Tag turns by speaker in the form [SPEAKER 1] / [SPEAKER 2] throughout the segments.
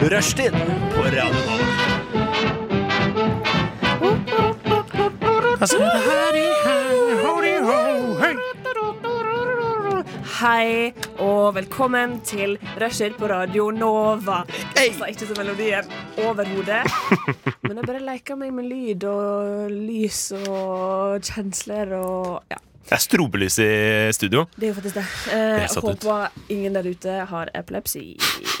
[SPEAKER 1] Rushtid på Radio Nova. Altså,
[SPEAKER 2] Hei og velkommen til Rusher på radio Nova.
[SPEAKER 1] Hey!
[SPEAKER 2] Jeg sa ikke så melodien overhodet, men jeg bare leker meg med lyd og lys og kjensler og Ja,
[SPEAKER 1] Det er strobelys i studio.
[SPEAKER 2] det er jo faktisk det.
[SPEAKER 1] Det
[SPEAKER 2] Eh, Jeg
[SPEAKER 1] satt ut.
[SPEAKER 2] håper ingen der ute har epilepsi.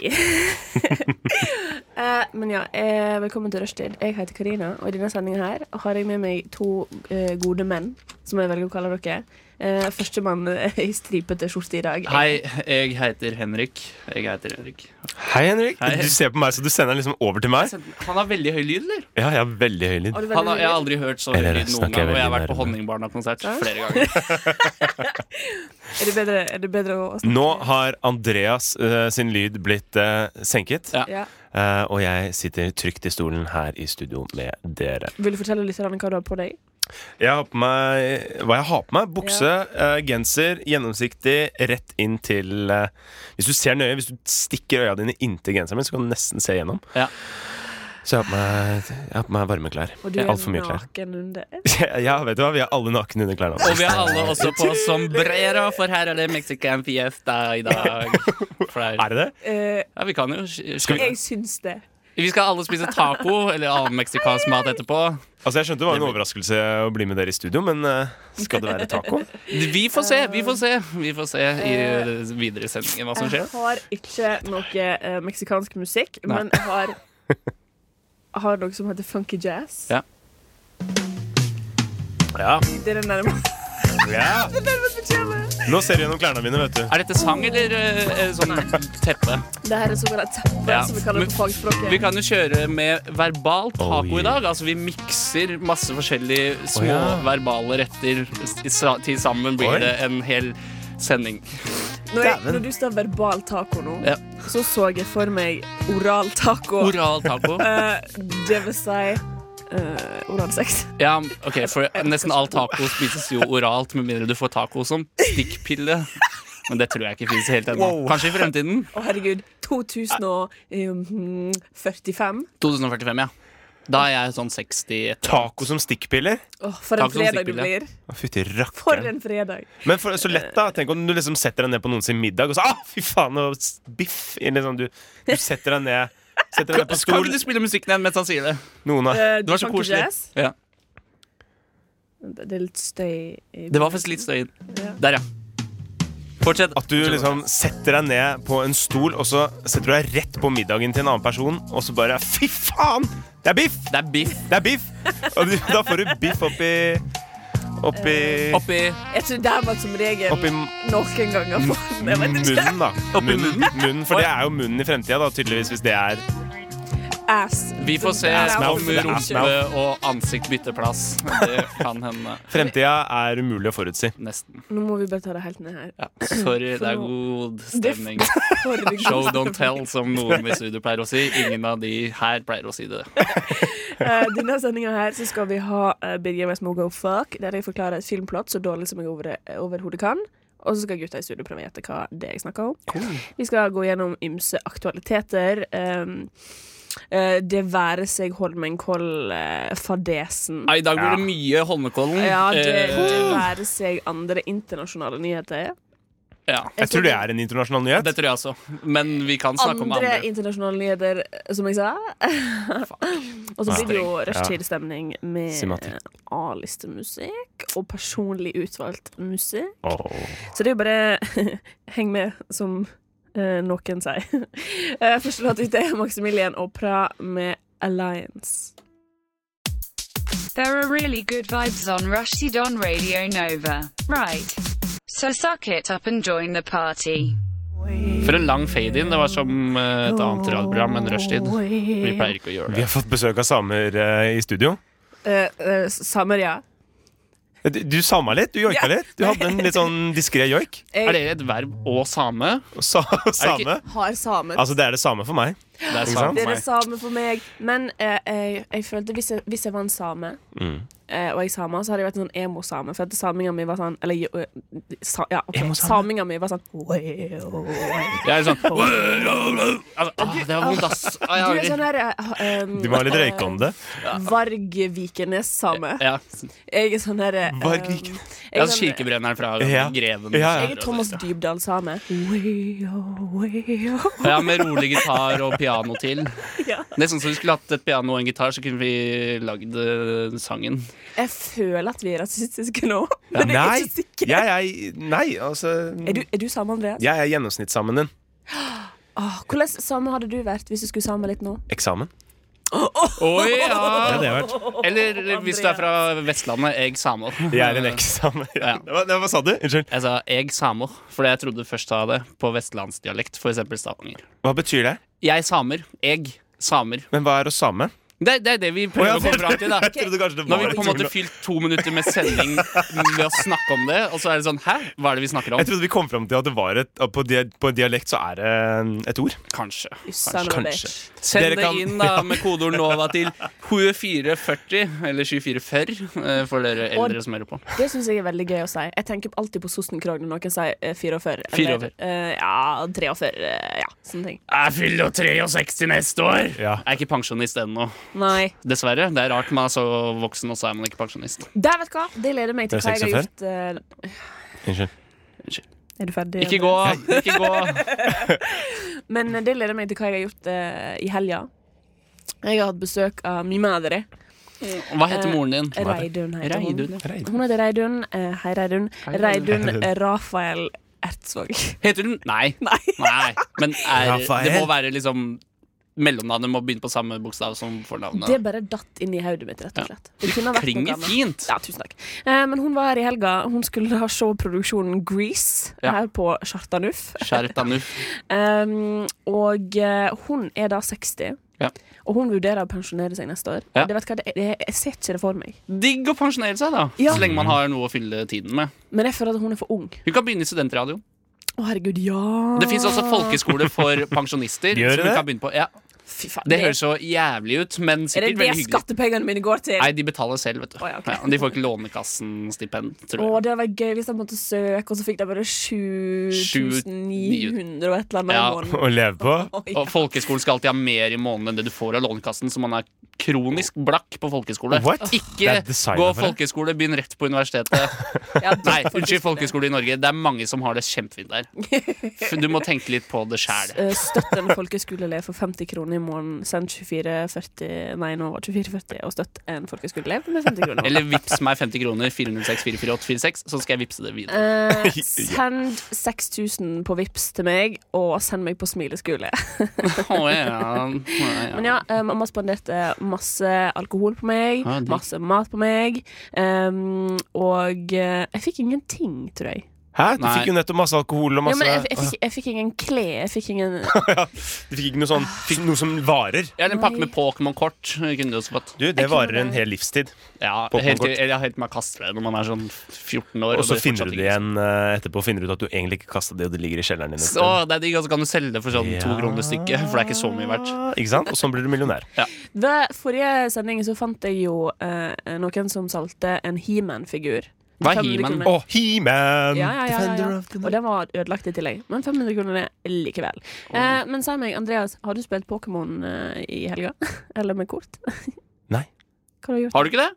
[SPEAKER 2] eh, men ja, eh, velkommen til Rushtid. Jeg heter Karina, og i denne sendingen her har jeg med meg to eh, gode menn, som jeg velger å kalle dere. Eh, Førstemann eh, i stripete skjorte i dag.
[SPEAKER 3] Hei, jeg heter Henrik. Jeg heter Henrik.
[SPEAKER 1] Hei, Henrik.
[SPEAKER 3] Hei.
[SPEAKER 1] Du ser på meg, så du sender den liksom over til meg.
[SPEAKER 3] Han har veldig høy lyd, eller?
[SPEAKER 1] Ja, jeg har veldig høy lyd.
[SPEAKER 2] Har du veldig
[SPEAKER 3] Han har,
[SPEAKER 2] mye
[SPEAKER 3] jeg har
[SPEAKER 2] lyd?
[SPEAKER 3] aldri hørt så høy
[SPEAKER 1] Eller
[SPEAKER 3] lyd noen
[SPEAKER 1] snakker jeg
[SPEAKER 3] gang, og jeg har
[SPEAKER 1] veldig
[SPEAKER 3] vært på
[SPEAKER 1] nærme?
[SPEAKER 3] Honningbarna-konsert flere ganger.
[SPEAKER 2] Er det bedre, er det bedre å å snakke?
[SPEAKER 1] Nå har Andreas eh, sin lyd blitt eh, senket,
[SPEAKER 3] Ja.
[SPEAKER 2] Ja.
[SPEAKER 1] Eh, og jeg sitter trygt i stolen her i studio med dere.
[SPEAKER 2] Vil du fortelle litt om hva du har på deg?
[SPEAKER 1] Jeg har på meg Hva jeg har på meg? Bukse, eh, genser, gjennomsiktig, rett inn til eh, Hvis du ser nøye, hvis du stikker øya dine inntil genseren min, så kan du nesten se gjennom.
[SPEAKER 3] Ja.
[SPEAKER 1] Så jeg har på meg, jeg har på meg varme klær.
[SPEAKER 2] Og du er
[SPEAKER 1] Altfor mye klær.
[SPEAKER 2] naken under.
[SPEAKER 1] Ja, vet du hva? Vi er alle nakne under klærne.
[SPEAKER 3] Og vi er alle også på sombrero, for her er det Mexican fiesta i dag. For det er-
[SPEAKER 1] Er det det?
[SPEAKER 2] Eh,
[SPEAKER 3] Ja, vi kan jo sk-
[SPEAKER 1] Skal
[SPEAKER 3] sk-
[SPEAKER 2] jeg syns det.
[SPEAKER 3] Vi skal alle spise taco eller annen meksikansk mat etterpå.
[SPEAKER 1] Altså, Jeg skjønte det var en overraskelse å bli med dere i studio, men eh, skal det være taco?
[SPEAKER 3] Vi får se, vi får se. Vi får se i eh, videre sendingen hva som skjer.
[SPEAKER 2] Jeg har ikke noe eh, meksikansk musikk,
[SPEAKER 3] Nei.
[SPEAKER 2] men jeg har, jeg har noe som heter funky jazz.
[SPEAKER 3] Ja.
[SPEAKER 1] Ja.
[SPEAKER 2] Det er den nærmeste
[SPEAKER 1] ja.
[SPEAKER 2] vi kommer.
[SPEAKER 1] Nå ser du gjennom klærne mine, vet du.
[SPEAKER 3] Er dette sang eller eh, sånn teppe?
[SPEAKER 2] Det her er såkalt teppe,
[SPEAKER 3] Ja,
[SPEAKER 2] som vi kaller det på
[SPEAKER 3] Vi
[SPEAKER 2] fagspråket.
[SPEAKER 3] kan jo kjøre med verbal taco
[SPEAKER 1] Oh, yeah.
[SPEAKER 3] i dag. Altså Vi mikser masse forskjellige små
[SPEAKER 1] Å, ja.
[SPEAKER 3] verbale retter. I sa- Til sammen blir
[SPEAKER 1] Oi.
[SPEAKER 3] det en hel sending.
[SPEAKER 2] Når, jeg,
[SPEAKER 1] Dæven.
[SPEAKER 2] når du sa verbal taco nå,
[SPEAKER 3] Ja.
[SPEAKER 2] så så jeg for meg oral taco.
[SPEAKER 3] Oral taco.
[SPEAKER 2] Eh, det vil si uh, oral sex.
[SPEAKER 3] Ja, ok, for Nesten all taco spises jo oralt, med mindre du får taco som stikkpille. Men det tror jeg ikke fins helt ennå.
[SPEAKER 1] Wow.
[SPEAKER 3] Kanskje i fremtiden.
[SPEAKER 2] Å, herregud. 2045.
[SPEAKER 3] 2045, ja. Da er jeg sånn 60
[SPEAKER 1] Taco som stikkpiller?
[SPEAKER 2] Åh, for en
[SPEAKER 3] Takk som
[SPEAKER 2] fredag du
[SPEAKER 3] stikkbilde.
[SPEAKER 2] blir.
[SPEAKER 1] Å, Fytti
[SPEAKER 2] For
[SPEAKER 1] rakkeren.
[SPEAKER 2] en fredag.
[SPEAKER 1] Men for, så lett, da. Tenk om du liksom setter deg ned på noens middag og så ah, fy faen, og s- biff. eller Liksom, du, du setter deg ned Setter deg ned på
[SPEAKER 3] Kan
[SPEAKER 1] stol.
[SPEAKER 3] ikke du spille musikken igjen mens han sier det?
[SPEAKER 1] Noen har
[SPEAKER 2] Eh,
[SPEAKER 3] Det var så
[SPEAKER 2] funky
[SPEAKER 3] koselig.
[SPEAKER 2] jazz.
[SPEAKER 3] Ja.
[SPEAKER 2] Det er litt støy. i-
[SPEAKER 3] Det var faktisk litt støy.
[SPEAKER 2] Ja.
[SPEAKER 3] Der, ja. Fortsett.
[SPEAKER 1] At du liksom setter deg ned på en stol, og så setter du deg rett på middagen til en annen person, og så bare Fy faen! Det er biff!
[SPEAKER 3] Det er biff
[SPEAKER 1] Det er biff! Og du, da får du biff oppi Oppi
[SPEAKER 2] Eh,
[SPEAKER 3] oppi
[SPEAKER 2] Jeg tror det her var som regel
[SPEAKER 1] Oppi
[SPEAKER 2] noen ganger.
[SPEAKER 3] Mm.
[SPEAKER 2] for den, Jeg vet ikke.
[SPEAKER 1] munnen, da.
[SPEAKER 3] Oppi
[SPEAKER 1] Munnen,
[SPEAKER 3] munnen?
[SPEAKER 1] munnen, for det er jo munnen i fremtida, da, tydeligvis, hvis det er
[SPEAKER 2] Ass.
[SPEAKER 3] Vi får se
[SPEAKER 2] Det er
[SPEAKER 3] om
[SPEAKER 1] mouth, det er ass
[SPEAKER 3] rumpe og ansikt bytter plass. Det kan hende.
[SPEAKER 1] Fremtida er umulig å forutsi.
[SPEAKER 3] Nesten.
[SPEAKER 2] Nå må vi bare ta det helt ned her.
[SPEAKER 3] Ja. Sorry, det er god stemning.
[SPEAKER 2] Herregud.
[SPEAKER 3] Show don't tell, som noen i studio pleier å si. Ingen av de her pleier å si det.
[SPEAKER 2] Eh, Denne sendinga her så skal vi ha eh, Birger Westmo Go Fuck, der jeg forklarer et filmplott så dårlig som jeg over, eh, overhodet kan. Og så skal gutta i studio prøve å gjette hva det er jeg snakker om. Vi skal gå gjennom ymse aktualiteter. ehm, eh, det være seg eh, Holmenkoll-fadesen.
[SPEAKER 3] Nei, I dag blir det mye Holmenkollen.
[SPEAKER 2] ja, det,
[SPEAKER 3] Eh,
[SPEAKER 2] det være seg andre internasjonale nyheter.
[SPEAKER 3] ja.
[SPEAKER 1] Jeg tror det er en internasjonal nyhet.
[SPEAKER 3] Det tror jeg også. Men vi kan snakke om
[SPEAKER 2] Andre
[SPEAKER 3] andre.
[SPEAKER 2] internasjonale nyheter, som jeg sa. og så blir det jo rushtidsstemning med
[SPEAKER 1] Simati.
[SPEAKER 2] A-listemusikk og personlig utvalgt musikk.
[SPEAKER 1] Åh.
[SPEAKER 2] Så det er jo bare heng med, som eh, noen sier. Eh, Første låt ut er Maximilian Opera med Alliance.
[SPEAKER 4] There are really good vibes on Rushdie on Radio Nova. Right. So suck it up and join the party.
[SPEAKER 3] For en lang fade-in. Det var som eh, et annet radioprogram enn rushtid. Vi pleier ikke å gjøre
[SPEAKER 1] Vi
[SPEAKER 3] det.
[SPEAKER 1] har fått besøk av samer eh, i studio. Eh,
[SPEAKER 2] Eh, eh, Samer, ja.
[SPEAKER 1] Du, du sama litt. Du joika
[SPEAKER 2] Ja.
[SPEAKER 1] litt. Du hadde en litt sånn diskré joik.
[SPEAKER 2] Jeg
[SPEAKER 3] Er det et verb og same?
[SPEAKER 1] Og sa, same.
[SPEAKER 2] har samer.
[SPEAKER 1] Altså, det er det samme for meg.
[SPEAKER 3] Det er
[SPEAKER 1] Ikke
[SPEAKER 3] same
[SPEAKER 1] sant?
[SPEAKER 2] det
[SPEAKER 3] for
[SPEAKER 2] er det
[SPEAKER 3] meg.
[SPEAKER 1] Mm.
[SPEAKER 2] samme for meg. Men eh, jeg, jeg følte hvis jeg, hvis jeg var en same, eh, og jeg sama, så hadde jeg vært sånn emo-same. For at saminga mi var sånn Eller jo, eh, sa, ja, ok,
[SPEAKER 1] Emo-same?
[SPEAKER 2] saminga mi var sånn wow.
[SPEAKER 3] Jeg er sånn altså, ah, Det var vondt, ass. Ah,
[SPEAKER 2] Du
[SPEAKER 3] jeg
[SPEAKER 2] er
[SPEAKER 3] angrer.
[SPEAKER 2] sånn der eh, um,
[SPEAKER 1] Du må ha litt røykeånde.
[SPEAKER 2] eh, Varg-Vikenes-same.
[SPEAKER 3] Ja.
[SPEAKER 2] Jeg er sånn her eh,
[SPEAKER 1] Varg
[SPEAKER 2] um,
[SPEAKER 1] Vikenes.
[SPEAKER 2] jeg
[SPEAKER 3] Ja,
[SPEAKER 2] er
[SPEAKER 3] altså,
[SPEAKER 2] sånn-
[SPEAKER 3] kirkebrenneren fra
[SPEAKER 1] Ja.
[SPEAKER 3] Greven.
[SPEAKER 1] Ja, ja.
[SPEAKER 2] Jeg er Thomas Dybdahl-same.
[SPEAKER 3] Ja, Med rolig gitar og piano til.
[SPEAKER 2] Ja.
[SPEAKER 3] Nesten som vi skulle hatt et piano og en gitar, så kunne vi lagd eh, sangen.
[SPEAKER 2] Jeg føler at vi er rasistiske nå, men jeg er
[SPEAKER 1] Nei,
[SPEAKER 2] ikke sikker.
[SPEAKER 1] jeg, jeg, nei, altså
[SPEAKER 2] Er du, er du same, Andreas?
[SPEAKER 1] Jeg er gjennomsnittssamen din.
[SPEAKER 2] Åh, hvordan same hadde du vært hvis du skulle same litt nå?
[SPEAKER 1] Eksamen.
[SPEAKER 3] Å
[SPEAKER 1] Ja,
[SPEAKER 3] ja!
[SPEAKER 1] det har jeg vært.
[SPEAKER 3] Eller hvis du er fra Vestlandet, egg samer.
[SPEAKER 1] Jeg er en eksamen.
[SPEAKER 3] Ja.
[SPEAKER 1] Det var- det var- Hva sa du? Unnskyld.
[SPEAKER 3] Jeg sa Altså, egg samer, fordi jeg trodde først sa det på vestlandsdialekt, f.eks. Stavanger.
[SPEAKER 1] Hva betyr det?
[SPEAKER 3] Jeg samer. Egg samer.
[SPEAKER 1] Men hva er å same?
[SPEAKER 3] Det, det er det vi
[SPEAKER 1] Å, ja,
[SPEAKER 3] prøver å komme fram til, da.
[SPEAKER 1] Jeg trodde kanskje det
[SPEAKER 3] Nå
[SPEAKER 1] var
[SPEAKER 3] har vi på en måte fylt to minutter med sending med å snakke om det, og så er det sånn Hæ? Hva er det vi snakker
[SPEAKER 1] Jeg
[SPEAKER 3] om?
[SPEAKER 1] trodde vi kom fram til at det var et at på, dia på dialekt så er det eh, et ord.
[SPEAKER 3] Kanskje.
[SPEAKER 2] Sanne
[SPEAKER 3] Kanskje.
[SPEAKER 1] Kanskje.
[SPEAKER 3] Send
[SPEAKER 1] Dere
[SPEAKER 3] det
[SPEAKER 1] kan-
[SPEAKER 3] inn da med kodeord NOVA til 2440, eller 2440, eh, for dere
[SPEAKER 2] Og-
[SPEAKER 3] eldre som hører på.
[SPEAKER 2] Det syns jeg er veldig gøy å si. Jeg tenker alltid på Sostenkrog når noen sier eh, 44.
[SPEAKER 3] Fire
[SPEAKER 2] eller,
[SPEAKER 3] over.
[SPEAKER 2] eh, ja, 43. eh, ja, sånne ting.
[SPEAKER 3] Jeg fyller jo 63 neste år!
[SPEAKER 1] Ja.
[SPEAKER 3] Jeg er ikke pensjonist ennå,
[SPEAKER 2] Nei.
[SPEAKER 3] dessverre. Det er rart man er så voksen, og så er man ikke pensjonist.
[SPEAKER 2] Der, vet du hva! Det leder meg til
[SPEAKER 1] Det er
[SPEAKER 2] hva jeg har gjort. eh,
[SPEAKER 1] Unnskyld.
[SPEAKER 2] er du ferdig?
[SPEAKER 3] Ikke gå! Ikke gå!
[SPEAKER 2] Men eh, det leder meg til hva jeg har gjort eh, i helga. Jeg har hatt besøk av mi madre.
[SPEAKER 3] Hva heter moren din?
[SPEAKER 2] Reidun Eh, heter hun.
[SPEAKER 3] Reidun. ja.
[SPEAKER 1] Reidun.
[SPEAKER 2] Hun heter Reidun. eh, hei, Reidun.
[SPEAKER 3] Hei,
[SPEAKER 2] Reidun
[SPEAKER 1] Reidun.
[SPEAKER 2] eh, Rafael Ertsvåg.
[SPEAKER 3] Heter hun Nei.
[SPEAKER 2] Nei.
[SPEAKER 3] Nei. Men er,
[SPEAKER 1] Rafael.
[SPEAKER 3] det må være liksom Mellomnavnet må begynne på samme bokstav som
[SPEAKER 2] Det
[SPEAKER 3] fornavnet.
[SPEAKER 2] bare datt inn i hodet mitt, rett og
[SPEAKER 3] Ja.
[SPEAKER 2] slett. Det kunne vært noe
[SPEAKER 3] Klinger
[SPEAKER 2] annet.
[SPEAKER 3] fint!
[SPEAKER 2] Ja, tusen takk. Eh, men hun var her i helga. Hun skulle ha se produksjonen Grease
[SPEAKER 3] Ja.
[SPEAKER 2] her på Chartanuff.
[SPEAKER 3] Skjerp deg, Nuff.
[SPEAKER 2] Um, og eh, hun er da 60.
[SPEAKER 3] Ja.
[SPEAKER 2] Og hun vurderer å pensjonere seg neste år.
[SPEAKER 3] Ja.
[SPEAKER 2] Det vet hva, det, det, jeg ser ikke det for meg.
[SPEAKER 3] Digg å pensjonere seg, da.
[SPEAKER 2] Ja.
[SPEAKER 3] Så lenge man har noe å fylle tiden med.
[SPEAKER 2] Men jeg føler at hun er for ung. Å,
[SPEAKER 3] Hun kan begynne i studentradioen.
[SPEAKER 2] herregud, ja!
[SPEAKER 3] Det fins også folkeskole for pensjonister.
[SPEAKER 1] Gjør
[SPEAKER 3] som hun
[SPEAKER 1] det?
[SPEAKER 3] kan begynne på ja,
[SPEAKER 2] Fy faen,
[SPEAKER 3] Det høres så jævlig ut, men
[SPEAKER 2] Er det
[SPEAKER 3] sikkert
[SPEAKER 2] det
[SPEAKER 3] veldig hyggelig.
[SPEAKER 2] skattepengene mine går til?
[SPEAKER 3] Nei, de betaler selv, vet du.
[SPEAKER 2] Å, ja, ok.
[SPEAKER 3] Ja, de får ikke Lånekassen-stipend,
[SPEAKER 2] Å,
[SPEAKER 3] tror jeg.
[SPEAKER 2] det hadde vært gøy hvis jeg måtte søke, og så fikk de bare 7900 og et eller annet
[SPEAKER 3] Ja.
[SPEAKER 2] i måneden.
[SPEAKER 1] Å leve på?
[SPEAKER 2] Oi.
[SPEAKER 3] Og folkeskolen skal alltid ha mer i måneden enn det du får av Lånekassen, så man er kronisk blakk på folkeskole.
[SPEAKER 1] What? Det
[SPEAKER 3] Ikke
[SPEAKER 1] er designet
[SPEAKER 3] gå
[SPEAKER 1] for det.
[SPEAKER 3] folkeskole, begynn rett på universitetet.
[SPEAKER 2] Ja, det er
[SPEAKER 3] Nei,
[SPEAKER 2] faktisk
[SPEAKER 3] unnskyld,
[SPEAKER 2] det.
[SPEAKER 3] folkeskole i Norge. Det er mange som har det kjempefint der. For Du må tenke litt på det sjæl.
[SPEAKER 2] Eh, Støtt en folkeskoleelev for 50 kroner i måneden. Send 2440 Nei, nå var det 2440 og støtt en folkeskoleelev med 50 kroner.
[SPEAKER 3] Eller vips meg 50 kroner, 406 448 46, så skal jeg vippse det videre.
[SPEAKER 2] Eh, send 6000 på Vips til meg, og send meg på smileskole.
[SPEAKER 3] Å, ja. Å,
[SPEAKER 2] Men
[SPEAKER 3] ja.
[SPEAKER 2] ja, eh, mamma spanderte masse alkohol på meg,
[SPEAKER 3] Ja, digg.
[SPEAKER 2] masse mat på meg, em, og eh, jeg fikk ingenting, tror jeg.
[SPEAKER 1] Hæ? Du
[SPEAKER 3] Nei.
[SPEAKER 1] fikk jo nettopp masse alkohol og
[SPEAKER 2] Ja,
[SPEAKER 1] masse
[SPEAKER 2] men jeg, jeg, fikk, jeg fikk ingen klær, jeg fikk ingen
[SPEAKER 1] Du fikk ikke noe
[SPEAKER 2] Ah,
[SPEAKER 1] sånn fikk noe som varer.
[SPEAKER 3] Ja, Eller en pakke
[SPEAKER 2] Nei.
[SPEAKER 3] med Pokémon-kort. eh, kunne du også fått.
[SPEAKER 1] Du, det
[SPEAKER 2] kunne
[SPEAKER 1] varer
[SPEAKER 2] det.
[SPEAKER 1] en hel livstid.
[SPEAKER 3] Ja,
[SPEAKER 1] Pokémon-kort.
[SPEAKER 3] helt, til- eller helt til man kaster det når man er sånn 14 år.
[SPEAKER 1] Og så
[SPEAKER 3] det
[SPEAKER 1] finner du
[SPEAKER 3] fortsatt
[SPEAKER 1] det
[SPEAKER 3] ikke-
[SPEAKER 1] igjen eh, etterpå. Finner du ut at du egentlig ikke kasta det, og det ligger i kjelleren din. en stund.
[SPEAKER 3] Så det er digg, og så kan du selge det for sånn to
[SPEAKER 1] Ja.
[SPEAKER 3] kroner stykket. For det er ikke så mye verdt.
[SPEAKER 1] Ikke sant? Og sånn blir du millionær.
[SPEAKER 2] Ved forrige sending så fant jeg jo eh, noen som solgte en He-Man-figur.
[SPEAKER 3] Hva er
[SPEAKER 2] 500
[SPEAKER 3] He-Man?
[SPEAKER 2] kroner.
[SPEAKER 1] Og He-Man!
[SPEAKER 2] Ja, ja, ja, ja,
[SPEAKER 1] Defender
[SPEAKER 2] ja.
[SPEAKER 1] of the
[SPEAKER 2] Og den var ødelagt i tillegg. Men 500 kroner er likevel. Eh, men si meg, Andreas, har du spilt Pokémon eh, i helga? Eller med kort?
[SPEAKER 1] Nei.
[SPEAKER 2] Hva har du gjort?
[SPEAKER 3] Har du ikke det?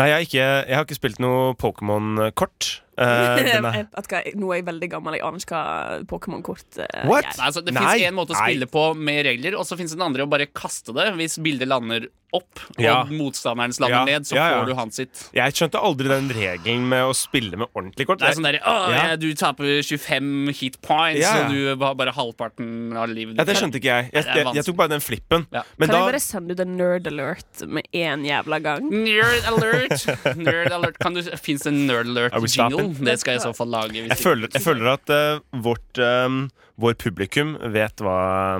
[SPEAKER 1] Nei, jeg har ikke, jeg har ikke spilt noe Pokémon-kort. Eh, den er-
[SPEAKER 2] Jeg vet hva, jeg- nå er jeg veldig gammel, jeg aner ikke hva Pokémon-kort eh,
[SPEAKER 1] What?
[SPEAKER 2] er.
[SPEAKER 3] Nei, altså, det
[SPEAKER 1] Nei.
[SPEAKER 3] fins én måte å
[SPEAKER 1] Nei.
[SPEAKER 3] spille på med regler, og så fins den andre å bare kaste det. Hvis bildet lander opp, og
[SPEAKER 1] Ja.
[SPEAKER 3] motstanderens lander
[SPEAKER 1] Ja,
[SPEAKER 3] ned, så
[SPEAKER 1] ja, ja.
[SPEAKER 3] får du hans sitt.
[SPEAKER 1] jeg skjønte aldri den regelen med å spille med ordentlig kort.
[SPEAKER 3] Det er sånn derre Å,
[SPEAKER 1] Ja.
[SPEAKER 3] ja, du taper 25 hit points,
[SPEAKER 1] Ja, ja.
[SPEAKER 3] og du har bare halvparten av livet
[SPEAKER 1] ja, det
[SPEAKER 3] ditt.
[SPEAKER 1] skjønte ikke jeg. Jeg,
[SPEAKER 3] det er
[SPEAKER 1] jeg, jeg tok bare den flippen.
[SPEAKER 3] Ja.
[SPEAKER 1] Men
[SPEAKER 2] Kan jeg
[SPEAKER 1] da
[SPEAKER 2] bare sende ut en nerd alert med én jævla gang?
[SPEAKER 3] Nerd alert! Nerd alert. Kan du, Fins det en nerd
[SPEAKER 1] Are we
[SPEAKER 3] alert-jingle?
[SPEAKER 1] stopping?
[SPEAKER 3] Det skal jeg i så fall lage. Hvis
[SPEAKER 1] Jeg føler, jeg føler at eh, vårt, eh, vår publikum vet hva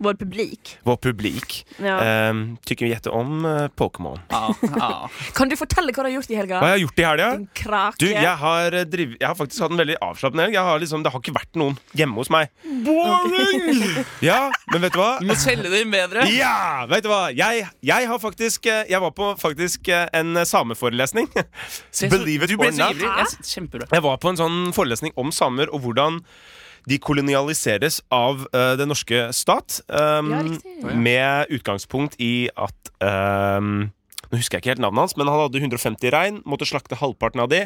[SPEAKER 2] Vår publik.
[SPEAKER 1] Vår publik
[SPEAKER 2] Ja.
[SPEAKER 1] ehm, tycker jätteom eh, Pokémon.
[SPEAKER 3] Ja, ja.
[SPEAKER 2] Kan du fortelle hva du har gjort i helga?
[SPEAKER 1] Hva har jeg gjort i helga?
[SPEAKER 2] Din krake.
[SPEAKER 1] Du, jeg har, eh, driv, jeg har faktisk hatt en veldig avslappende helg. Jeg har liksom, det har ikke vært noen hjemme hos meg. Boring! Ja, men vet du hva?
[SPEAKER 3] Du må selge det inn bedre.
[SPEAKER 1] Ja! Vet du hva? Jeg, jeg har faktisk eh, Jeg var på faktisk eh, en eh, sameforelesning.
[SPEAKER 3] Se, så-
[SPEAKER 1] Believe it
[SPEAKER 3] Du ble
[SPEAKER 1] or
[SPEAKER 3] så
[SPEAKER 1] not.
[SPEAKER 3] ivrig. Jeg s- Kjempebra.
[SPEAKER 1] Jeg var på en sånn forelesning om samer og hvordan de kolonialiseres av eh, den norske stat. ehm,
[SPEAKER 2] Ja, riktig.
[SPEAKER 1] med utgangspunkt i at ehm, Nå husker jeg ikke helt navnet hans, men han hadde 150 rein, måtte slakte halvparten av de.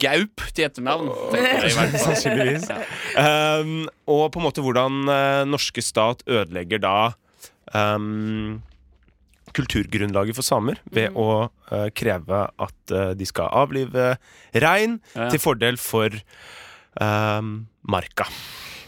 [SPEAKER 3] Gaup til etternavn. tenker jeg i hvert fall.
[SPEAKER 1] Sannsynligvis.
[SPEAKER 3] Ja.
[SPEAKER 1] Ehm, og på en måte hvordan eh, norske stat ødelegger da ehm, kulturgrunnlaget for samer
[SPEAKER 2] Mm.
[SPEAKER 1] ved å eh, kreve at eh, de skal avlive rein
[SPEAKER 3] Ja, ja.
[SPEAKER 1] til fordel for ehm, marka.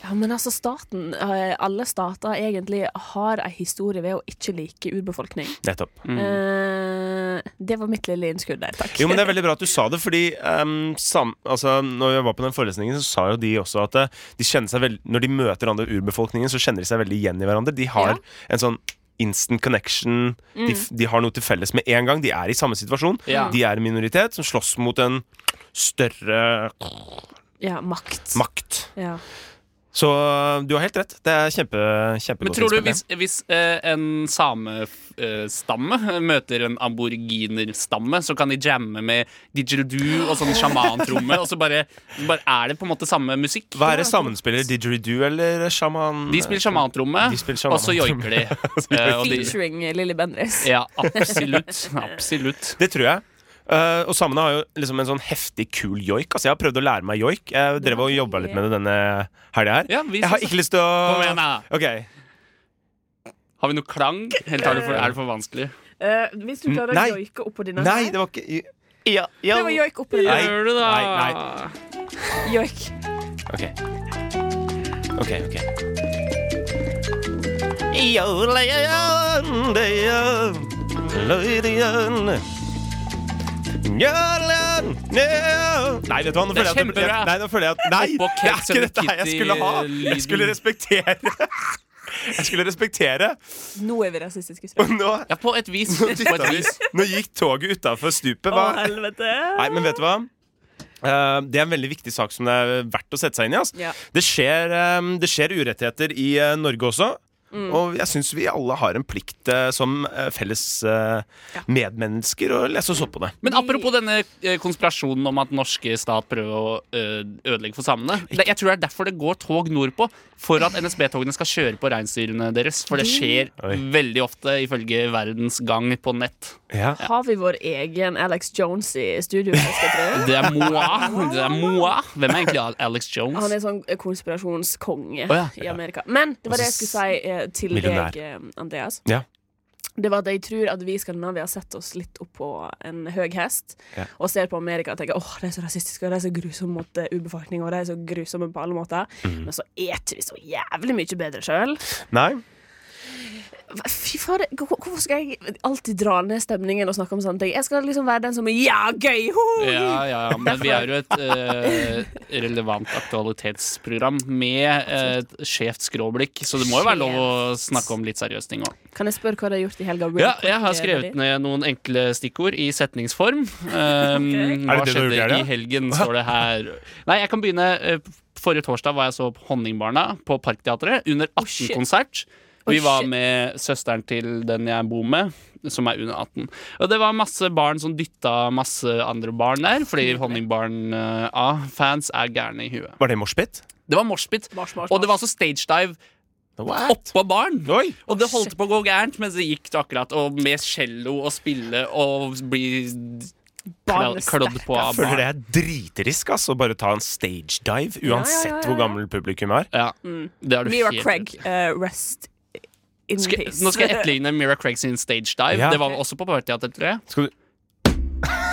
[SPEAKER 2] Ja, men altså staten, eh, alle stater egentlig har ei historie ved å ikke like urbefolkning.
[SPEAKER 1] Nettopp.
[SPEAKER 2] Eh, det var mitt lille innskudd der, takk.
[SPEAKER 1] Mm. Jo, men Det er veldig bra at du sa det, fordi ehm, sam, altså, når jeg var på den forelesningen, så sa jo de også at eh, de kjenner seg veld, når de møter andre urbefolkningen, så kjenner de seg veldig igjen i hverandre. De har
[SPEAKER 2] Ja.
[SPEAKER 1] en sånn instant connection. De, f- de har noe til felles med en gang. De er i samme situasjon.
[SPEAKER 3] Mm. Ja.
[SPEAKER 1] De er en minoritet som slåss mot en større
[SPEAKER 2] Ja, makt.
[SPEAKER 1] makt.
[SPEAKER 2] Ja.
[SPEAKER 1] Så eh, du har helt rett. Det er kjempe, kjempegodt.
[SPEAKER 3] Men tror du
[SPEAKER 1] innspill, det.
[SPEAKER 3] hvis, hvis eh, en samestamme eh, møter en aboriginerstamme, så kan de jamme med didgeridoo og sånn sjamantromme, og så bare, bare er det på en måte samme musikk?
[SPEAKER 1] Hva er det sammenspiller? Didgeridoo eller sjaman?
[SPEAKER 3] De spiller sjamantromme,
[SPEAKER 1] De spiller
[SPEAKER 3] og så
[SPEAKER 1] sjamantromme.
[SPEAKER 3] joiker de. Eh, og de
[SPEAKER 2] Featuring Lilly Bendriss.
[SPEAKER 3] ja, absolutt. Absolutt.
[SPEAKER 1] Det tror jeg. Eh, og samene har jo liksom en sånn heftig kul joik. Altså Jeg har prøvd å lære meg joik. Jeg drev og jobba litt med det denne helga her.
[SPEAKER 3] Ja, vi
[SPEAKER 1] Jeg har
[SPEAKER 3] synes-
[SPEAKER 1] ikke lyst til å
[SPEAKER 3] Kom igjen, da.
[SPEAKER 1] Ok,
[SPEAKER 3] Har vi noe klang? Eller er det for, er det for vanskelig?
[SPEAKER 2] Eh, hvis du klarer
[SPEAKER 1] Mm. Nei.
[SPEAKER 2] å joike oppå denne
[SPEAKER 1] Nei, det var ikke ja, ja.
[SPEAKER 2] Prøv å joike oppå denne.
[SPEAKER 1] Nei,
[SPEAKER 3] Gjør det, da.
[SPEAKER 1] nei,
[SPEAKER 2] Joik.
[SPEAKER 1] Ok. Ok, ok. Nei, vet du hva, nå føler
[SPEAKER 3] Det er
[SPEAKER 1] jeg at
[SPEAKER 3] kjempebra.
[SPEAKER 1] Nei, nå føler jeg at Nei,
[SPEAKER 3] Oppå
[SPEAKER 1] det er
[SPEAKER 3] Kate
[SPEAKER 1] ikke dette her jeg skulle ha!
[SPEAKER 3] Kitty-lyden.
[SPEAKER 1] Jeg skulle respektere Jeg skulle respektere.
[SPEAKER 2] Nå er vi rasistiske. Sven.
[SPEAKER 1] Og nå,
[SPEAKER 3] Ja, på et vis. På et vis.
[SPEAKER 1] nå gikk toget utafor stupet.
[SPEAKER 2] Å,
[SPEAKER 1] Hva?
[SPEAKER 2] helvete.
[SPEAKER 1] Nei, men vet du hva? Eh, det er en veldig viktig sak som det er verdt å sette seg inn i. ass.
[SPEAKER 2] Ja.
[SPEAKER 1] Det, skjer, eh, det skjer urettigheter i eh, Norge også.
[SPEAKER 2] Mm.
[SPEAKER 1] Og jeg syns vi alle har en plikt eh, som eh, felles eh, medmennesker å lese oss opp på det.
[SPEAKER 3] Men apropos denne eh, konspirasjonen om at norske stat prøver å eh, ødelegge for samene. Det, jeg tror det er derfor det går tog nordpå. For at NSB-togene skal kjøre på reinsdyrene deres. For det skjer
[SPEAKER 1] Oi.
[SPEAKER 3] veldig ofte, ifølge Verdens Gang på nett.
[SPEAKER 1] Ja.
[SPEAKER 2] Har vi vår egen Alex Jones i studio? jeg skal tro?
[SPEAKER 3] Det er Moa. Det er Moa. Hvem er egentlig Al- Alex
[SPEAKER 2] Han
[SPEAKER 3] Jones?
[SPEAKER 2] er sånn konspirasjonskonge
[SPEAKER 3] Å, ja. Altså,
[SPEAKER 2] i Amerika. Men det var det jeg skulle si eh, til
[SPEAKER 1] Millionær.
[SPEAKER 2] deg, eh, Andreas.
[SPEAKER 1] Ja.
[SPEAKER 2] Det var at jeg tror at vi i Skandinavia har sett oss litt opp på en høy hest
[SPEAKER 1] Ja.
[SPEAKER 2] og ser på Amerika og tenker åh, de er så rasistiske og de er så grusomme mot eh, urbefolkning og de er så grusomme på alle måter.
[SPEAKER 3] Mm.
[SPEAKER 2] Men så er ikke vi så jævlig mye bedre sjøl.
[SPEAKER 1] Nei?
[SPEAKER 2] Fy fader, hvor- hvorfor skal jeg alltid dra ned stemningen og snakke om sånne ting? Jeg skal liksom være den som er ja, gøy! Ho!
[SPEAKER 3] Ja, ja, ja, men vi er jo et eh, relevant aktualitetsprogram med eh, et skjevt skråblikk, så det må jo være lov å snakke om litt seriøse ting òg.
[SPEAKER 2] Kan jeg spørre hva du har gjort i helga?
[SPEAKER 3] Ja, jeg har skrevet ned noen enkle stikkord i setningsform. Um, Hva
[SPEAKER 1] Er det det du
[SPEAKER 3] skjedde
[SPEAKER 1] gjør, ja?
[SPEAKER 3] i helgen, står det her. Nei, jeg kan begynne. eh, Forrige torsdag var jeg så på Honningbarna på Parkteatret under
[SPEAKER 2] shit.
[SPEAKER 3] 18-konsert.
[SPEAKER 2] Oh,
[SPEAKER 3] Vi var
[SPEAKER 2] shit.
[SPEAKER 3] med søsteren til den jeg bor med, som er under 18. Og det var masse barn som dytta masse andre barn der, fordi Honningbarn-fans er gærne i huet.
[SPEAKER 1] Var det moshpit?
[SPEAKER 3] Det var moshpit,
[SPEAKER 2] Mars, mars,
[SPEAKER 3] og det
[SPEAKER 2] mars.
[SPEAKER 3] var også stage dive
[SPEAKER 1] What?
[SPEAKER 3] oppå barn.
[SPEAKER 1] Oi!
[SPEAKER 3] Og det holdt på å gå gærent, mens det gikk akkurat. Og med cello og spille og bli
[SPEAKER 2] Barn er
[SPEAKER 3] klødd klødd på av
[SPEAKER 1] Føler det
[SPEAKER 3] barn.
[SPEAKER 1] er dritrisk ass, å bare ta en stage dive,
[SPEAKER 2] ja,
[SPEAKER 1] uansett
[SPEAKER 2] ja, ja.
[SPEAKER 1] hvor gammel publikum er.
[SPEAKER 3] Ja, det har du
[SPEAKER 2] Mm. Mira
[SPEAKER 3] helt
[SPEAKER 2] Craig,
[SPEAKER 3] rett i.
[SPEAKER 2] eh, rest in
[SPEAKER 3] Skal,
[SPEAKER 2] peace.
[SPEAKER 3] nå skal jeg etterligne Mira Craig sin stage dive.
[SPEAKER 1] Ja.
[SPEAKER 3] Det var også på Partyteatret, tror jeg.
[SPEAKER 1] Skal du